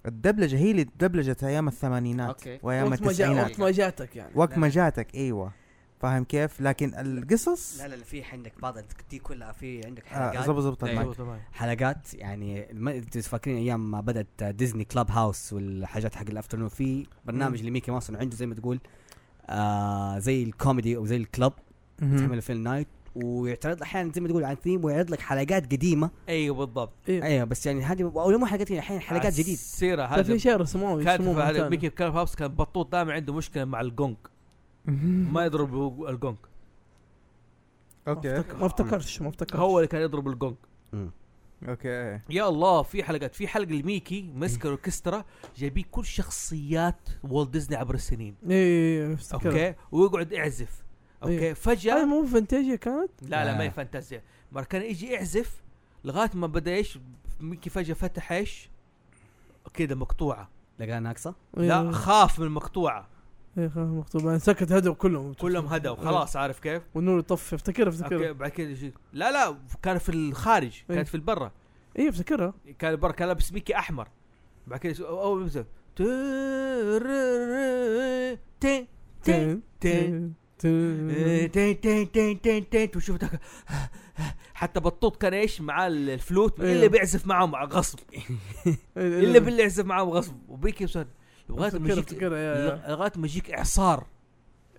[SPEAKER 5] الدبلجه هي اللي دبلجت ايام الثمانينات
[SPEAKER 4] أوكي.
[SPEAKER 5] وايام
[SPEAKER 3] وقت ما جاء
[SPEAKER 5] التسعينات
[SPEAKER 3] وقت ما جاتك يعني
[SPEAKER 5] وقت
[SPEAKER 4] لا
[SPEAKER 5] ما
[SPEAKER 4] لا.
[SPEAKER 5] جاتك ايوه فاهم كيف لكن القصص
[SPEAKER 4] لا لا لا، في عندك بعض دي كلها في عندك
[SPEAKER 5] آه،
[SPEAKER 4] حلقات
[SPEAKER 5] زبط زبط
[SPEAKER 4] أيوة.
[SPEAKER 5] المايك
[SPEAKER 1] أيوة طبعاً.
[SPEAKER 4] حلقات يعني ما انتوا فاكرين ايام ما بدات ديزني كلاب هاوس والحاجات حق الافترنون في برنامج لميكي ماوس إنه عنده زي ما تقول آه زي الكوميدي او زي الكلاب
[SPEAKER 5] مهم.
[SPEAKER 4] تعمله في النايت ويعترض احيانا زي ما تقول عن ثيم ويعرض لك حلقات قديمه
[SPEAKER 1] ايوه بالضبط
[SPEAKER 3] ايه
[SPEAKER 4] ايوه بس يعني هذه او مو حلقات قديمه احيانا حلقات جديده
[SPEAKER 1] السيره
[SPEAKER 3] ترى في
[SPEAKER 1] هذه
[SPEAKER 3] اشياء رسموها
[SPEAKER 1] كانت في
[SPEAKER 3] يرسموها
[SPEAKER 1] هذا
[SPEAKER 3] مرة ثانية.
[SPEAKER 1] ميكي كلاب هاوس كان بطوط دائما عنده مشكله مع الجونج ما يضرب الجونج
[SPEAKER 3] ما
[SPEAKER 5] اوكي
[SPEAKER 3] افتكر- ما افتكرش ما إيه، افتكرش
[SPEAKER 1] هو اللي كان يضرب الجونج
[SPEAKER 5] اوكي
[SPEAKER 1] يا الله في حلقات في حلقه لميكي مسك الاوركسترا جايبين كل شخصيات والت ديزني عبر السنين
[SPEAKER 3] ايه افتكر
[SPEAKER 1] اوكي ويقعد يعزف اوكي
[SPEAKER 3] أيوه.
[SPEAKER 1] فجاه
[SPEAKER 3] هاي مو فانتاجيا كانت
[SPEAKER 1] لا لا ما
[SPEAKER 4] آه.
[SPEAKER 1] هي فانتازيا مره كان يجي يعزف لغايه ما بدا ايش ميكي فجاه فتح ايش كده مقطوعه
[SPEAKER 4] لقاها ناقصه
[SPEAKER 3] أيوه.
[SPEAKER 1] لا خاف من المقطوعه
[SPEAKER 3] ايه خلاص مكتوب بعدين سكت هدوا كلهم
[SPEAKER 1] كلهم هدوا
[SPEAKER 3] أيوه.
[SPEAKER 1] خلاص عارف كيف
[SPEAKER 3] والنور يطفي افتكرها
[SPEAKER 1] اوكي
[SPEAKER 3] افتكرها
[SPEAKER 1] بعد كده يجي لا لا كان في الخارج
[SPEAKER 3] أيوه.
[SPEAKER 1] كانت في البره
[SPEAKER 3] ايه افتكرها
[SPEAKER 1] كان برا كان لابس ميكي احمر بعد كده يسوي- اول مثلا تي- تي- تي-
[SPEAKER 3] تين
[SPEAKER 1] تين.
[SPEAKER 3] تين تين
[SPEAKER 1] تي- تي- تي- تي- تي- وشوف ذاك- حتى بطوط كان ايش معاه الفلوت
[SPEAKER 3] أيوه.
[SPEAKER 1] اللي بيعزف معاهم غصب الا باللي يعزف معاهم غصب وبيكي يسوي- لغايه ما
[SPEAKER 3] إيه، افتكرها
[SPEAKER 1] يجيك
[SPEAKER 3] افتكرها يا- يا.
[SPEAKER 1] لغايه ما يجيك اعصار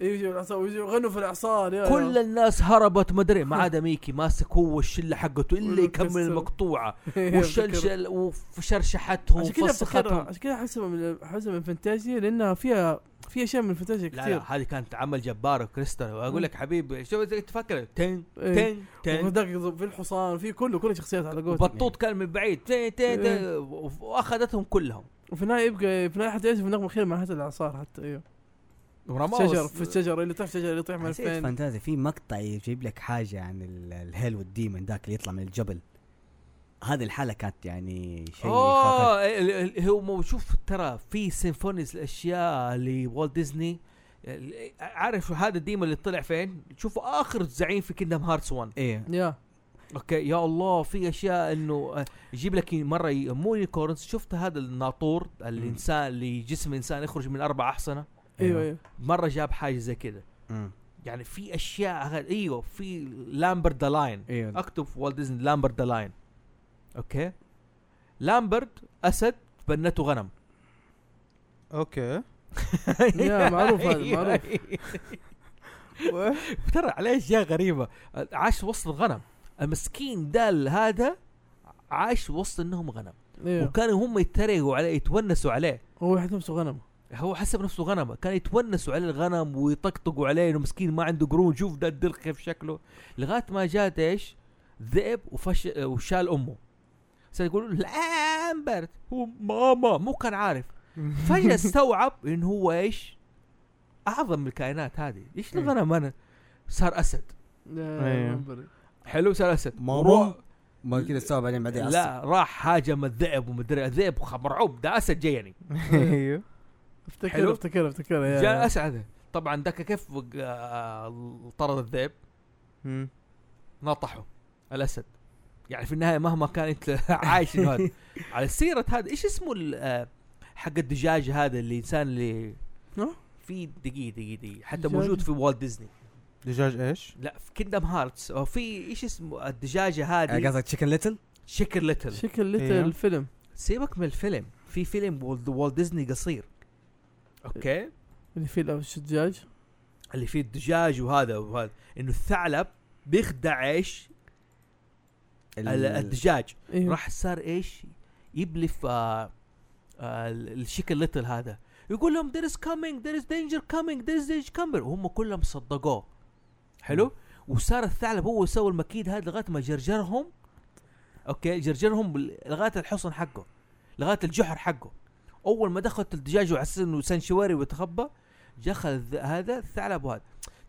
[SPEAKER 3] إيه، يجوا العصا ويجوا يغنوا في الاعصار يا
[SPEAKER 1] كل الناس هربت ما ادري ما عدا ميكي ماسك هو الشله حقته الا يكمل
[SPEAKER 3] والأوركسترا.
[SPEAKER 1] المقطوعه
[SPEAKER 3] إيه، افتكرها.
[SPEAKER 1] وشلشل وشرشحتهم
[SPEAKER 3] عشان كذا
[SPEAKER 1] وفسختهم
[SPEAKER 3] افتكرها عشان كذا احسبها من احسبها من فانتازيا لانها فيها في اشياء من فانتازيا
[SPEAKER 1] لا لا
[SPEAKER 3] كثير
[SPEAKER 1] هذه كانت عمل جبار كريستال واقول لك حبيبي شو بدك تفكر تن
[SPEAKER 3] إيه.
[SPEAKER 1] تن تن
[SPEAKER 3] وهذاك يضرب في الحصان في كله كل شخصيات على قولتك
[SPEAKER 1] بطوط كان من بعيد تن تن تن
[SPEAKER 3] إيه.
[SPEAKER 1] واخذتهم كلهم
[SPEAKER 3] وفي النهايه يبقى في النهايه حتى يعزف النغمه الخير مع هذا الاعصار حتى ايوه
[SPEAKER 1] ورماهم
[SPEAKER 3] شجر في الشجر اللي تحت شجر اللي يطيح من
[SPEAKER 4] حسيت
[SPEAKER 3] فين
[SPEAKER 4] فانتازي في مقطع يجيب لك حاجه عن ال- الهيل والديمن ذاك اللي يطلع من الجبل هذه الحاله كانت يعني شيء خرافي.
[SPEAKER 1] آه، اوه ال- ال- هو مو- شوف ترى في سيمفونيز الاشياء لوالت ديزني عارف هذا الديمون اللي طلع فين؟ تشوفه اخر زعيم في كيندم هارتس 1
[SPEAKER 4] ايه
[SPEAKER 3] يا
[SPEAKER 1] اوكي يا الله في اشياء انه آه، يجيب لك مره ي- مو يونيكورنز شفت هذا الناطور الانسان اللي جسم انسان يخرج من اربع احصنه
[SPEAKER 4] إيه.
[SPEAKER 3] ايوه
[SPEAKER 1] أيوه.
[SPEAKER 3] ايوه
[SPEAKER 1] مره جاب حاجه زي كذا
[SPEAKER 4] أيوة. مم.
[SPEAKER 1] يعني في اشياء هذا- ايوه في لامبرد ذا لاين
[SPEAKER 4] ايوه
[SPEAKER 1] اكتب في والت ديزني لامبرد ذا لاين اوكي لامبرد اسد بنته غنم
[SPEAKER 5] اوكي
[SPEAKER 3] أيوه. يا معروف هذا
[SPEAKER 1] أيوة،
[SPEAKER 3] معروف
[SPEAKER 1] أيوة. ترى عليه اشياء غريبه عاش وسط الغنم المسكين دال هذا عاش وسط انهم غنم
[SPEAKER 3] ايوه
[SPEAKER 1] وكانوا هم يتريقوا عليه يتونسوا عليه
[SPEAKER 3] هو يحد نفسه غنم
[SPEAKER 1] هو حسب نفسه غنم كان يتونسوا على الغنم ويطقطقوا عليه انه مسكين ما عنده قرون شوف ده الدرخ كيف شكله لغايه ما جات ايش ذئب وفش وشال امه صار يقولوا لامبرت هو ماما مو كان عارف فجاه استوعب انه هو ايش اعظم من الكائنات هذه ايش الغنم انا صار اسد
[SPEAKER 3] يا
[SPEAKER 1] أيوه.
[SPEAKER 5] أيوة.
[SPEAKER 3] منبري.
[SPEAKER 1] حلو صار اسد
[SPEAKER 4] مره ما كذا استوعب بعدين بعدين عصب.
[SPEAKER 1] لا راح هاجم الذئب ومدري الذئب خ- مرعوب ده اسد جاي يعني. حلو.
[SPEAKER 5] ايوه
[SPEAKER 3] افتكر افتكر افتكر
[SPEAKER 1] يعني
[SPEAKER 3] يا
[SPEAKER 1] جاء اسعد طبعا ذاك كيف آه، طرد الذئب
[SPEAKER 5] مم.
[SPEAKER 1] نطحه الاسد يعني في النهايه مهما كان انت عايش إنه هذا على سيره هذا ايش اسمه ال- آه، حق الدجاج هذا اللي انسان اللي
[SPEAKER 3] ها؟
[SPEAKER 1] في دقيقه دقيقه دقيقه حتى
[SPEAKER 3] دجاج؟
[SPEAKER 1] موجود في والت ديزني
[SPEAKER 5] دجاج ايش؟
[SPEAKER 1] لا في كيندم هارتس او في ايش اسمه الدجاجه هذه
[SPEAKER 4] قصدك تشيكن ليتل؟
[SPEAKER 1] شكر ليتل
[SPEAKER 3] شكل ليتل
[SPEAKER 1] أيوه.
[SPEAKER 5] أيوة.
[SPEAKER 3] الفيلم
[SPEAKER 1] سيبك من الفيلم في فيلم والت- والت ديزني قصير اوكي
[SPEAKER 3] اللي فيه الدجاج
[SPEAKER 1] اللي فيه الدجاج وهذا وهذا انه الثعلب بيخدع ايش ال- الدجاج
[SPEAKER 3] ايوه
[SPEAKER 1] راح صار ايش يبلف آه آه الشيك الليتل هذا يقول لهم there is coming there is danger coming there is danger coming وهم كلهم صدقوه حلو وصار الثعلب هو سوى المكيد هذا لغايه ما جرجرهم اوكي جرجرهم بال- لغايه الحصن حقه لغايه الجحر حقه اول ما دخلت الدجاج وحسيت انه سانشواري وتخبى دخل الذ- هذا الثعلب وهذا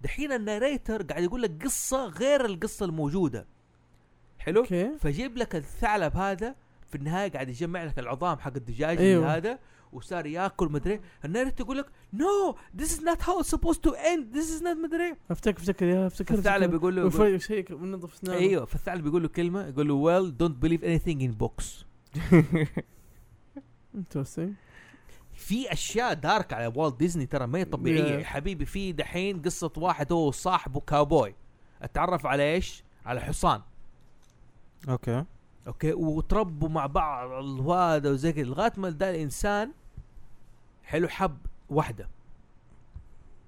[SPEAKER 1] دحين الناريتر قاعد يقول لك قصه غير القصه الموجوده حلو
[SPEAKER 3] اوكي
[SPEAKER 1] فجيب لك الثعلب هذا في النهايه قاعد يجمع لك العظام حق الدجاج
[SPEAKER 3] أيوة.
[SPEAKER 1] أيوة. هذا وصار ياكل مدري النايرت تقول لك نو ذيس از نوت هاو اتس سبوز تو اند ذيس از نوت مدري إيه."
[SPEAKER 3] افتكر افتكر يا افتكر
[SPEAKER 1] فالثعلب يقول له يقول-
[SPEAKER 3] وفرق شيء وننظف اسنانه
[SPEAKER 1] ايوه فالثعلب يقول له كلمه يقول له ويل دونت بليف اني ثينج ان بوكس
[SPEAKER 3] انترستنج
[SPEAKER 1] في اشياء دارك على والت ديزني ترى ما هي طبيعيه
[SPEAKER 3] Yeah.
[SPEAKER 1] يا حبيبي في دحين قصه واحد هو وصاحبه كاوبوي اتعرف على ايش؟ على حصان
[SPEAKER 5] اوكي
[SPEAKER 1] اوكي وتربوا مع بعض وهذا وزي كذا لغايه ما ده الانسان حلو حب واحده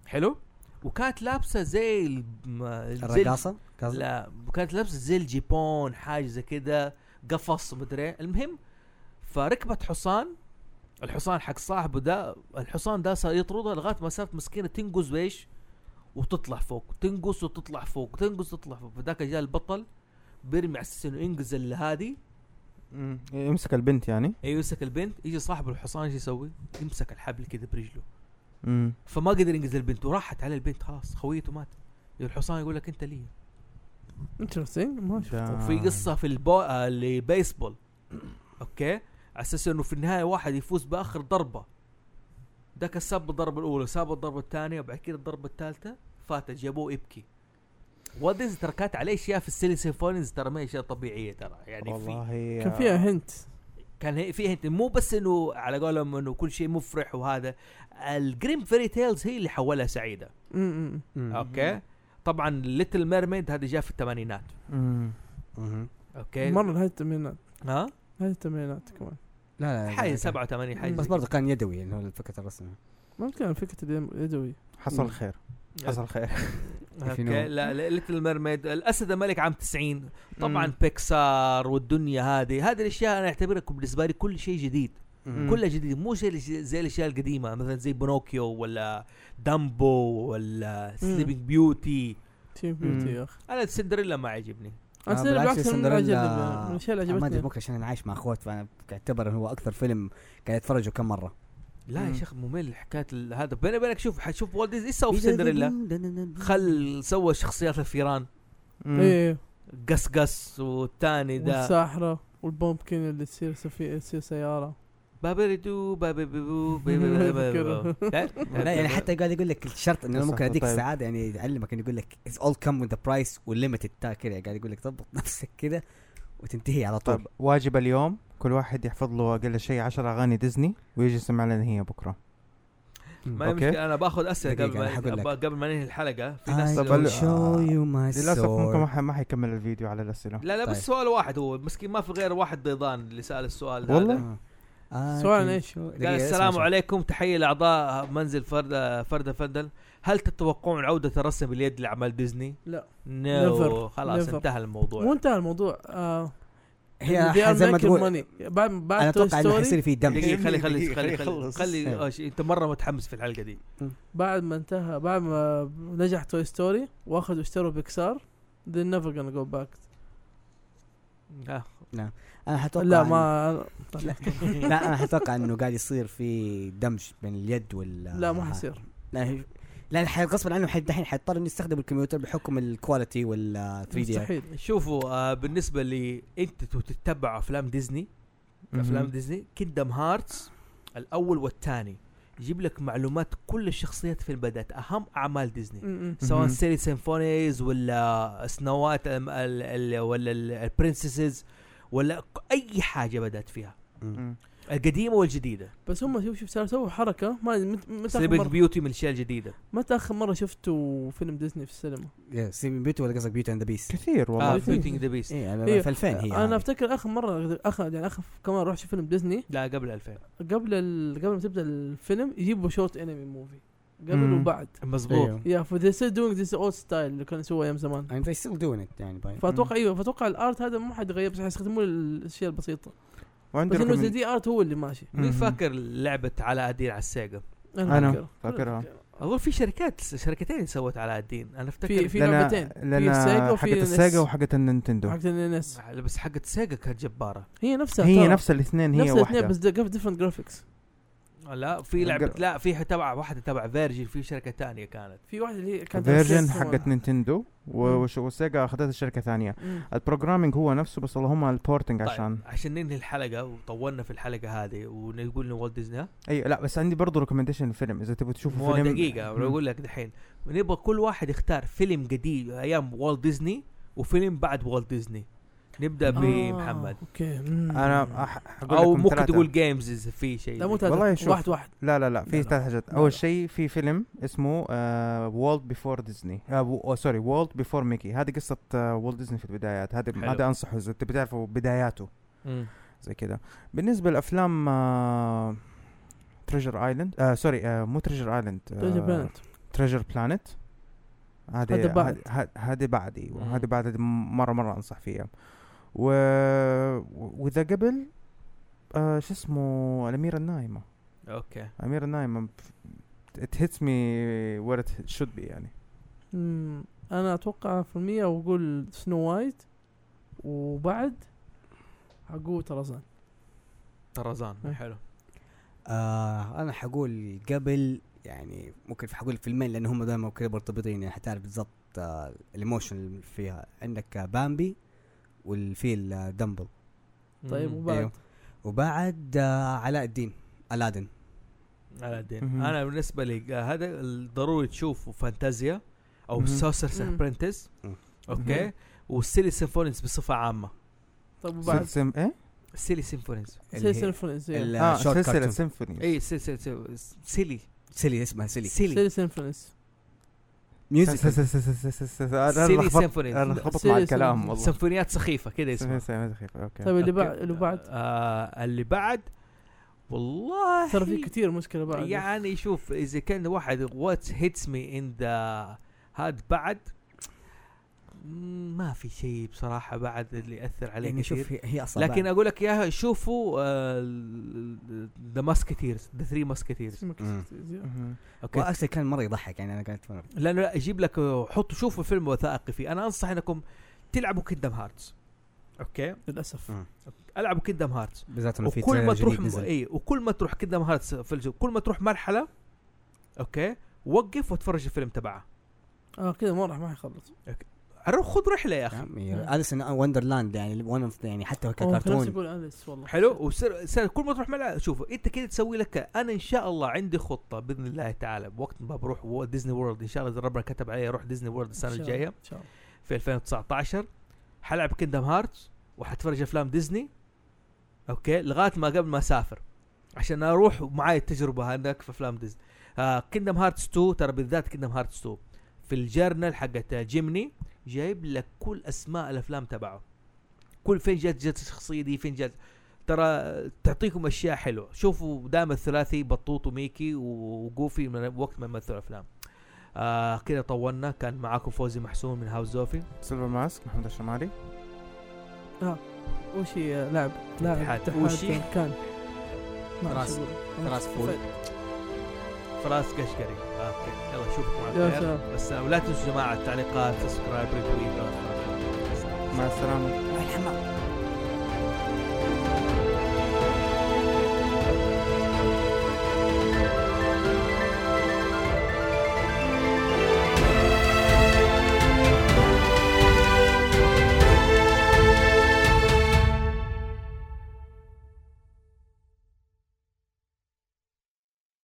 [SPEAKER 1] حلو وكانت لابسه زي ال- ما- زي ال-
[SPEAKER 4] الرقاصه؟ قصدك؟
[SPEAKER 1] لا كانت لابسه زي الجيبون حاجه زي كذا قفص مدري المهم فركبت حصان الحصان حق صاحبه ده الحصان ده صار يطردها لغايه ما صارت مسكينه تنقز وايش وتطلع فوق تنقز وتطلع فوق تنقز وتطلع فوق فذاك جاء البطل بيرمي على اساس انه ينقز اللي هذه
[SPEAKER 5] مم. يمسك البنت يعني
[SPEAKER 1] إيه، يمسك البنت يجي صاحب الحصان ايش يسوي؟ يمسك الحبل كذا برجله
[SPEAKER 5] مم.
[SPEAKER 1] فما قدر ينقذ البنت وراحت على البنت خلاص خويته مات الحصان يقول لك انت لي
[SPEAKER 3] انترستنج ما
[SPEAKER 5] ده-
[SPEAKER 1] وفي قصه في البو... آه، البيسبول اوكي على اساس انه في النهايه واحد يفوز باخر ضربه ذاك ساب الضربه الاولى ساب الضربه الثانيه وبعد كده الضربه الثالثه فات جابوه يبكي ودز تركات عليه اشياء في السيلي سيمفونيز ترى ما هي اشياء طبيعيه ترى يعني في
[SPEAKER 5] والله يا-
[SPEAKER 3] كان فيها هنت
[SPEAKER 1] كان هي- فيها انت مو بس انه على قولهم انه كل شيء مفرح وهذا الجريم فيري تيلز هي اللي حولها سعيده
[SPEAKER 3] أمم.
[SPEAKER 4] مم.
[SPEAKER 1] اوكي طبعا ليتل ميرميد هذه جاء في الثمانينات
[SPEAKER 5] مم.
[SPEAKER 4] مهم.
[SPEAKER 1] اوكي
[SPEAKER 3] مره نهايه التمرينات
[SPEAKER 1] ها
[SPEAKER 3] نهايه التمرينات كمان
[SPEAKER 4] آه، لا لا
[SPEAKER 1] حي
[SPEAKER 4] لا.
[SPEAKER 1] 87 حي
[SPEAKER 4] بس برضه كان يدوي يعني هو فكره الرسم
[SPEAKER 3] ما كان فكره اليدوي
[SPEAKER 5] حصل خير حصل خير
[SPEAKER 1] اوكي لا ليتل ميرميد الاسد الملك عام 90 طبعا
[SPEAKER 5] مم.
[SPEAKER 1] بيكسار والدنيا هذه هذه الاشياء انا اعتبرها بالنسبه لي كل شيء جديد
[SPEAKER 5] مم.
[SPEAKER 1] كلها جديد مو شيء زي الاشياء القديمه مثلا زي بونوكيو ولا دامبو ولا سليبنج بيوتي
[SPEAKER 3] تيم بيوتي
[SPEAKER 5] أمم.
[SPEAKER 3] يا اخي
[SPEAKER 1] انا سندريلا ما عجبني
[SPEAKER 3] انا سندريلا
[SPEAKER 4] آه، بالعكس
[SPEAKER 3] بالعكس من
[SPEAKER 4] سندريلا-
[SPEAKER 3] الأجانب، من الاشياء اللي
[SPEAKER 4] آه، ما ادري
[SPEAKER 3] عجبتني
[SPEAKER 4] ممكن عشان انا عايش مع اخوات فانا اعتبر انه هو اكثر فيلم قاعد اتفرجه كم مره
[SPEAKER 1] لا يا
[SPEAKER 5] مم.
[SPEAKER 1] شيخ ممل حكايه ال- هذا بيني وبينك شوف حتشوف والت ديزني ايش سوى في سندريلا خل سوى شخصيات الفيران
[SPEAKER 5] مم.
[SPEAKER 3] ايه
[SPEAKER 1] قس قس والثاني ده
[SPEAKER 4] إيه،
[SPEAKER 3] والساحره والبومبكن اللي تصير سفي- تصير سياره
[SPEAKER 1] بابريدو بابيبو بابيبو
[SPEAKER 4] لا يعني حتى قاعد يقول لك الشرط انه
[SPEAKER 5] صح،
[SPEAKER 4] ممكن اديك
[SPEAKER 5] طيب.
[SPEAKER 4] السعاده يعني يعلمك انه يقول لك اتس اول كم وذ برايس والليمتد تا كذا قاعد يقول لك ضبط نفسك كذا وتنتهي على طول
[SPEAKER 5] طيب واجب اليوم كل واحد يحفظ له اقل شيء 10 اغاني ديزني ويجي يسمع لنا هي بكره
[SPEAKER 1] ما هي
[SPEAKER 5] أوكي.
[SPEAKER 1] مشكله انا باخذ اسئله
[SPEAKER 4] دقيقة،
[SPEAKER 1] قبل
[SPEAKER 4] أنا حقول لك.
[SPEAKER 1] ما قبل ما ننهي الحلقه في
[SPEAKER 4] I
[SPEAKER 1] ناس
[SPEAKER 5] طب
[SPEAKER 4] will
[SPEAKER 5] ال-
[SPEAKER 4] show you my
[SPEAKER 5] للاسف ممكن ما
[SPEAKER 4] sword
[SPEAKER 5] ح- ما حيكمل الفيديو على الاسئله
[SPEAKER 1] لا لا
[SPEAKER 4] طيب.
[SPEAKER 1] بس سؤال واحد هو مسكين ما في غير واحد بيضان اللي سال السؤال هذا
[SPEAKER 5] والله؟
[SPEAKER 4] آه. I
[SPEAKER 3] سؤال
[SPEAKER 4] can
[SPEAKER 3] إيش؟
[SPEAKER 4] show- دقيقة،
[SPEAKER 1] قال
[SPEAKER 4] اسمع
[SPEAKER 1] السلام
[SPEAKER 4] شوي.
[SPEAKER 1] عليكم تحيه لاعضاء منزل فرده فرده فندل هل تتوقعون عوده الرسم باليد لاعمال ديزني؟
[SPEAKER 3] لا.
[SPEAKER 1] نو
[SPEAKER 3] Never.
[SPEAKER 1] خلاص
[SPEAKER 3] Never.
[SPEAKER 1] انتهى الموضوع
[SPEAKER 3] مو انتهى الموضوع آه
[SPEAKER 4] هي زي ما تقول
[SPEAKER 3] ماني بعد
[SPEAKER 4] انا
[SPEAKER 3] بعد توي
[SPEAKER 4] اتوقع انه
[SPEAKER 3] ستوري
[SPEAKER 4] حيصير في دم إيه.
[SPEAKER 1] دقيقه خلي خلي
[SPEAKER 5] دقيقة،
[SPEAKER 1] خلي
[SPEAKER 5] خلي
[SPEAKER 1] خلي
[SPEAKER 5] يخلص.
[SPEAKER 1] خلي آه، شي- انت مره متحمس في الحلقه دي
[SPEAKER 3] بعد ما انتهى بعد ما نجح توي ستوري واخذوا اشتروا بيكسار they're never gonna go back
[SPEAKER 1] آه.
[SPEAKER 4] انا حتوقع
[SPEAKER 3] لا
[SPEAKER 4] إنه-
[SPEAKER 3] ما
[SPEAKER 4] لا انا حتوقع انه قاعد يصير في دمج بين اليد وال
[SPEAKER 3] لا ما حصير
[SPEAKER 4] لا هي- لا حي- غصبا عنه حي- دحين حيضطر انه يستخدم الكمبيوتر بحكم الكواليتي وال 3 دي
[SPEAKER 3] مستحيل
[SPEAKER 1] شوفوا آه بالنسبه لي انت تتبع افلام ديزني افلام ديزني كيندم هارتس الاول والثاني يجيب لك معلومات كل الشخصيات في بدات اهم اعمال ديزني
[SPEAKER 3] م- م.
[SPEAKER 1] سواء
[SPEAKER 5] مهم.
[SPEAKER 1] سيري سيمفونيز ولا سنوات ال ال ال ولا البرنسسز ولا ك- اي حاجه بدات فيها
[SPEAKER 5] مم.
[SPEAKER 1] القديمه والجديده
[SPEAKER 3] بس هم شوف شوف صاروا سووا حركه ما مت- متى آخر
[SPEAKER 1] سليبنج
[SPEAKER 3] مرة-
[SPEAKER 1] بيوتي من الاشياء الجديده
[SPEAKER 3] متى اخر مره شفتوا فيلم ديزني في السينما؟
[SPEAKER 4] سيمين بيوتي ولا قصدك بيوتي اند ذا بيست؟
[SPEAKER 5] كثير
[SPEAKER 1] اه
[SPEAKER 5] والله
[SPEAKER 3] آه، في-
[SPEAKER 1] بيوتي ذا بيست
[SPEAKER 4] ايه انا
[SPEAKER 3] إيه.
[SPEAKER 4] في 2000 هي
[SPEAKER 3] انا
[SPEAKER 4] يعني.
[SPEAKER 3] افتكر اخر مره اخر يعني اخر كمان اروح اشوف فيلم ديزني
[SPEAKER 1] لا قبل 2000
[SPEAKER 3] قبل ال... قبل ما تبدا الفيلم يجيبوا شورت انمي موفي قبل
[SPEAKER 5] مم.
[SPEAKER 3] وبعد
[SPEAKER 1] مزبوط
[SPEAKER 4] ايوه
[SPEAKER 3] يا فو ذي ستيل دوينج ذيس اولد ستايل اللي كانوا يسووه ايام زمان
[SPEAKER 4] and they still doing it يعني by-
[SPEAKER 3] فاتوقع ايوه فاتوقع الارت هذا ما حيتغير بس حيستخدموه الاشياء البسيطه
[SPEAKER 5] وعندي
[SPEAKER 3] بس انه
[SPEAKER 5] رقم-
[SPEAKER 3] دي ارت هو اللي ماشي
[SPEAKER 5] مهم.
[SPEAKER 1] مين فاكر لعبه على الدين على السيجا؟
[SPEAKER 5] أنا
[SPEAKER 3] فاكره.
[SPEAKER 5] فاكرها.
[SPEAKER 1] اظن في شركات شركتين سوت على الدين انا
[SPEAKER 3] في
[SPEAKER 1] افتكر
[SPEAKER 3] في
[SPEAKER 5] لأن-
[SPEAKER 3] لعبتين في السيجا
[SPEAKER 5] لأن
[SPEAKER 3] وفي E
[SPEAKER 5] حقت السيجا وحقت النينتندو
[SPEAKER 3] حقت الناس
[SPEAKER 1] بس حقت سيجا كانت جباره
[SPEAKER 3] هي نفسها
[SPEAKER 5] هي
[SPEAKER 3] ترى.
[SPEAKER 5] نفس الاثنين هي
[SPEAKER 3] نفس الاثنين
[SPEAKER 5] واحده
[SPEAKER 3] بس ديفرنت جرافيكس
[SPEAKER 1] لا في لعبه
[SPEAKER 5] قر-
[SPEAKER 1] لا في تبع واحده تبع فيرجن في شركه ثانيه كانت
[SPEAKER 3] في واحده اللي هي كانت
[SPEAKER 5] فيرجن
[SPEAKER 3] أساساً-
[SPEAKER 5] حقت نينتندو و- وش- والسيجا اخذتها شركه ثانيه
[SPEAKER 3] مم.
[SPEAKER 5] البروجرامينج هو نفسه بس اللهم البورتنج
[SPEAKER 1] طيب،
[SPEAKER 5] عشان
[SPEAKER 1] عشان ننهي الحلقه وطولنا في الحلقه هذه ونقول انه والت ديزني ها؟
[SPEAKER 5] اي لا بس عندي برضه ريكومنديشن فيلم اذا تبغوا
[SPEAKER 1] مو
[SPEAKER 5] تشوفوا فيلم
[SPEAKER 1] دقيقة
[SPEAKER 5] مم.
[SPEAKER 1] بقول لك دحين نبغى كل واحد يختار فيلم قديم ايام والت ديزني وفيلم بعد والت ديزني نبدا
[SPEAKER 3] آه،
[SPEAKER 1] بمحمد
[SPEAKER 3] اوكي مم.
[SPEAKER 5] انا أح- حقول
[SPEAKER 1] او
[SPEAKER 5] لكم
[SPEAKER 1] ممكن
[SPEAKER 5] ثلاثة.
[SPEAKER 1] تقول جيمز اذا في شيء
[SPEAKER 3] لا مو
[SPEAKER 5] والله
[SPEAKER 3] ثلاثة
[SPEAKER 5] شوف. آه.
[SPEAKER 3] واحد واحد
[SPEAKER 5] لا لا لا
[SPEAKER 3] لا،
[SPEAKER 5] في
[SPEAKER 3] لا.
[SPEAKER 5] ثلاث حاجات
[SPEAKER 3] لا، لا.
[SPEAKER 5] اول شيء في فيلم اسمه آه، وولد بيفور ديزني سوري وولد بيفور ميكي هذه قصه وولد ديزني في البدايات هذه
[SPEAKER 1] حلو.
[SPEAKER 5] هذا انصحه اذا تبي تعرفوا بداياته
[SPEAKER 1] مم.
[SPEAKER 5] زي كده بالنسبه لافلام تريجر ايلاند سوري آه، مو تريجر
[SPEAKER 3] تيجي
[SPEAKER 5] ايلاند
[SPEAKER 3] بلانت
[SPEAKER 5] تريجر بلانت
[SPEAKER 3] هذا
[SPEAKER 5] هذه
[SPEAKER 3] بعد.
[SPEAKER 5] هذه- هذه بعد
[SPEAKER 1] مم.
[SPEAKER 5] ايوه هذه بعد هذه مره مره انصح فيها و... واذا قبل آه، شو اسمه الاميره النايمه
[SPEAKER 1] اوكي
[SPEAKER 5] أميرة نايمة it hits me where it should be يعني
[SPEAKER 3] مم. انا اتوقع في المية واقول سنو وايت وبعد حقول طرزان
[SPEAKER 1] طرزان
[SPEAKER 3] مم.
[SPEAKER 1] حلو
[SPEAKER 4] آه انا حقول قبل يعني ممكن حقول فيلمين لان هم دائما كذا مرتبطين يعني حتعرف بالضبط آه الايموشن اللي فيها عندك آه، بامبي والفيل آه، دمبل
[SPEAKER 3] طيب
[SPEAKER 1] مم.
[SPEAKER 3] وبعد
[SPEAKER 4] أيوه. وبعد آه علاء الدين الادن
[SPEAKER 1] على الدين
[SPEAKER 5] مهم.
[SPEAKER 1] انا بالنسبه لي آه، هذا ضروري تشوفه فانتازيا او
[SPEAKER 5] مهم.
[SPEAKER 1] سوسر
[SPEAKER 3] مم.
[SPEAKER 1] ابرنتس
[SPEAKER 4] مم.
[SPEAKER 1] اوكي
[SPEAKER 5] مهم.
[SPEAKER 1] والسيلي سيمفونيز بصفه عامه
[SPEAKER 3] طب
[SPEAKER 5] بعد
[SPEAKER 3] طيب، وبعد
[SPEAKER 5] سم ايه؟
[SPEAKER 1] السيلي سيمفونيز
[SPEAKER 4] اللي هي-
[SPEAKER 3] سلسلة فلنس
[SPEAKER 4] ال-
[SPEAKER 5] اه
[SPEAKER 4] short
[SPEAKER 5] سلسلة
[SPEAKER 4] cartoon.
[SPEAKER 5] سيمفوني
[SPEAKER 1] اي سيلي سيلي سيلي
[SPEAKER 4] سيلي اسمها سيلي
[SPEAKER 1] سيلي
[SPEAKER 3] سلسلة فلنس
[SPEAKER 4] ميوزيكال
[SPEAKER 1] سيلي
[SPEAKER 5] سيلي
[SPEAKER 1] سيمفونيز
[SPEAKER 5] انا لخبط مع
[SPEAKER 3] Silly
[SPEAKER 5] الكلام
[SPEAKER 3] Symphonies.
[SPEAKER 5] والله
[SPEAKER 1] سيمفونيات سخيفه كذا اسمها
[SPEAKER 5] Silly Symphonies، خير، اوكي
[SPEAKER 3] طيب اللي بعد
[SPEAKER 1] أوكي.
[SPEAKER 3] اللي بعد
[SPEAKER 1] آه اللي بعد والله
[SPEAKER 3] ترى في كثير مشكلة بعد
[SPEAKER 1] يعني شوف اذا كان واحد وات هيتس مي ان ذا هاد بعد مم، ما في شيء بصراحه بعد اللي اثر عليه
[SPEAKER 4] يعني
[SPEAKER 1] كثير
[SPEAKER 4] شوف هي, هي اصلا
[SPEAKER 1] لكن اقول لك اياها شوفوا آه، ذا ماسكتيرز ذا ثري ماسكتيرز
[SPEAKER 3] اسمك
[SPEAKER 4] مم.
[SPEAKER 3] زي-
[SPEAKER 5] مهم.
[SPEAKER 1] اوكي
[SPEAKER 4] واصلا كان مره يضحك يعني انا قاعد اتفرج
[SPEAKER 1] لانه لا، يجيب لك آه، حطوا شوفوا فيلم وثائقي فيه انا انصح انكم تلعبوا كيندم هارتس اوكي
[SPEAKER 3] للأسف
[SPEAKER 4] مم.
[SPEAKER 1] العبوا كيندم هارتس
[SPEAKER 4] بالذات انه في
[SPEAKER 1] وكل
[SPEAKER 4] تريلر
[SPEAKER 1] ما
[SPEAKER 4] جديد
[SPEAKER 1] تروح إيه.
[SPEAKER 4] نزل.
[SPEAKER 1] اي وكل ما تروح كذا مهارات في الجو كل ما تروح مرحله اوكي وقف وتفرج الفيلم تبعه
[SPEAKER 3] آه، اه كذا ما راح ما حيخلص
[SPEAKER 1] عرف خذ رحله يا اخي
[SPEAKER 4] نعم، اليس ان وندرلاند يعني ون اوف يعني حتى
[SPEAKER 3] أوه، كان نفسي
[SPEAKER 4] ككرتون
[SPEAKER 3] اقول اليس والله
[SPEAKER 1] حلو وسر سر كل ما تروح ملعب شوف انت كده تسوي لك انا ان شاء الله عندي خطه باذن الله تعالى وقت ما بروح و- ديزني وورلد ان شاء الله اذا ربنا كتب علي اروح ديزني وورلد السنه
[SPEAKER 3] إن شاء
[SPEAKER 1] الجايه
[SPEAKER 3] إن شاء الله.
[SPEAKER 1] في 2019 حلعب كيندم هارتس وحتفرج افلام ديزني اوكي لغايه ما قبل ما اسافر عشان اروح معاي التجربه هناك في افلام ديزني آه كيندم هارتس 2 ترى بالذات كيندم هارتس 2 في الجرنال حقت جيمني جايب لك كل اسماء الافلام تبعه كل فين جت جت الشخصيه دي فين جت ترى تعطيكم اشياء حلوه شوفوا دائما الثلاثي بطوط وميكي وجوفي من وقت ما مثلوا افلام آه كده طولنا كان معاكم فوزي محسون من هاوس زوفي
[SPEAKER 5] سيلفر ماسك محمد الشمالي
[SPEAKER 3] وشي آه، لاعب
[SPEAKER 1] اتحاد.
[SPEAKER 3] لاعب اتحاد
[SPEAKER 1] وشي؟
[SPEAKER 3] كان ما أعرف
[SPEAKER 4] تراس-
[SPEAKER 3] شو أقول.
[SPEAKER 4] تراس فول
[SPEAKER 1] فراس قشقري اوكي يلا اشوفكم
[SPEAKER 3] يا
[SPEAKER 1] على خير
[SPEAKER 3] سلام.
[SPEAKER 1] بس ولا تنسوا جماعه التعليقات سبسكرايب ريتويت
[SPEAKER 5] مع السلامه
[SPEAKER 4] يعني الحمام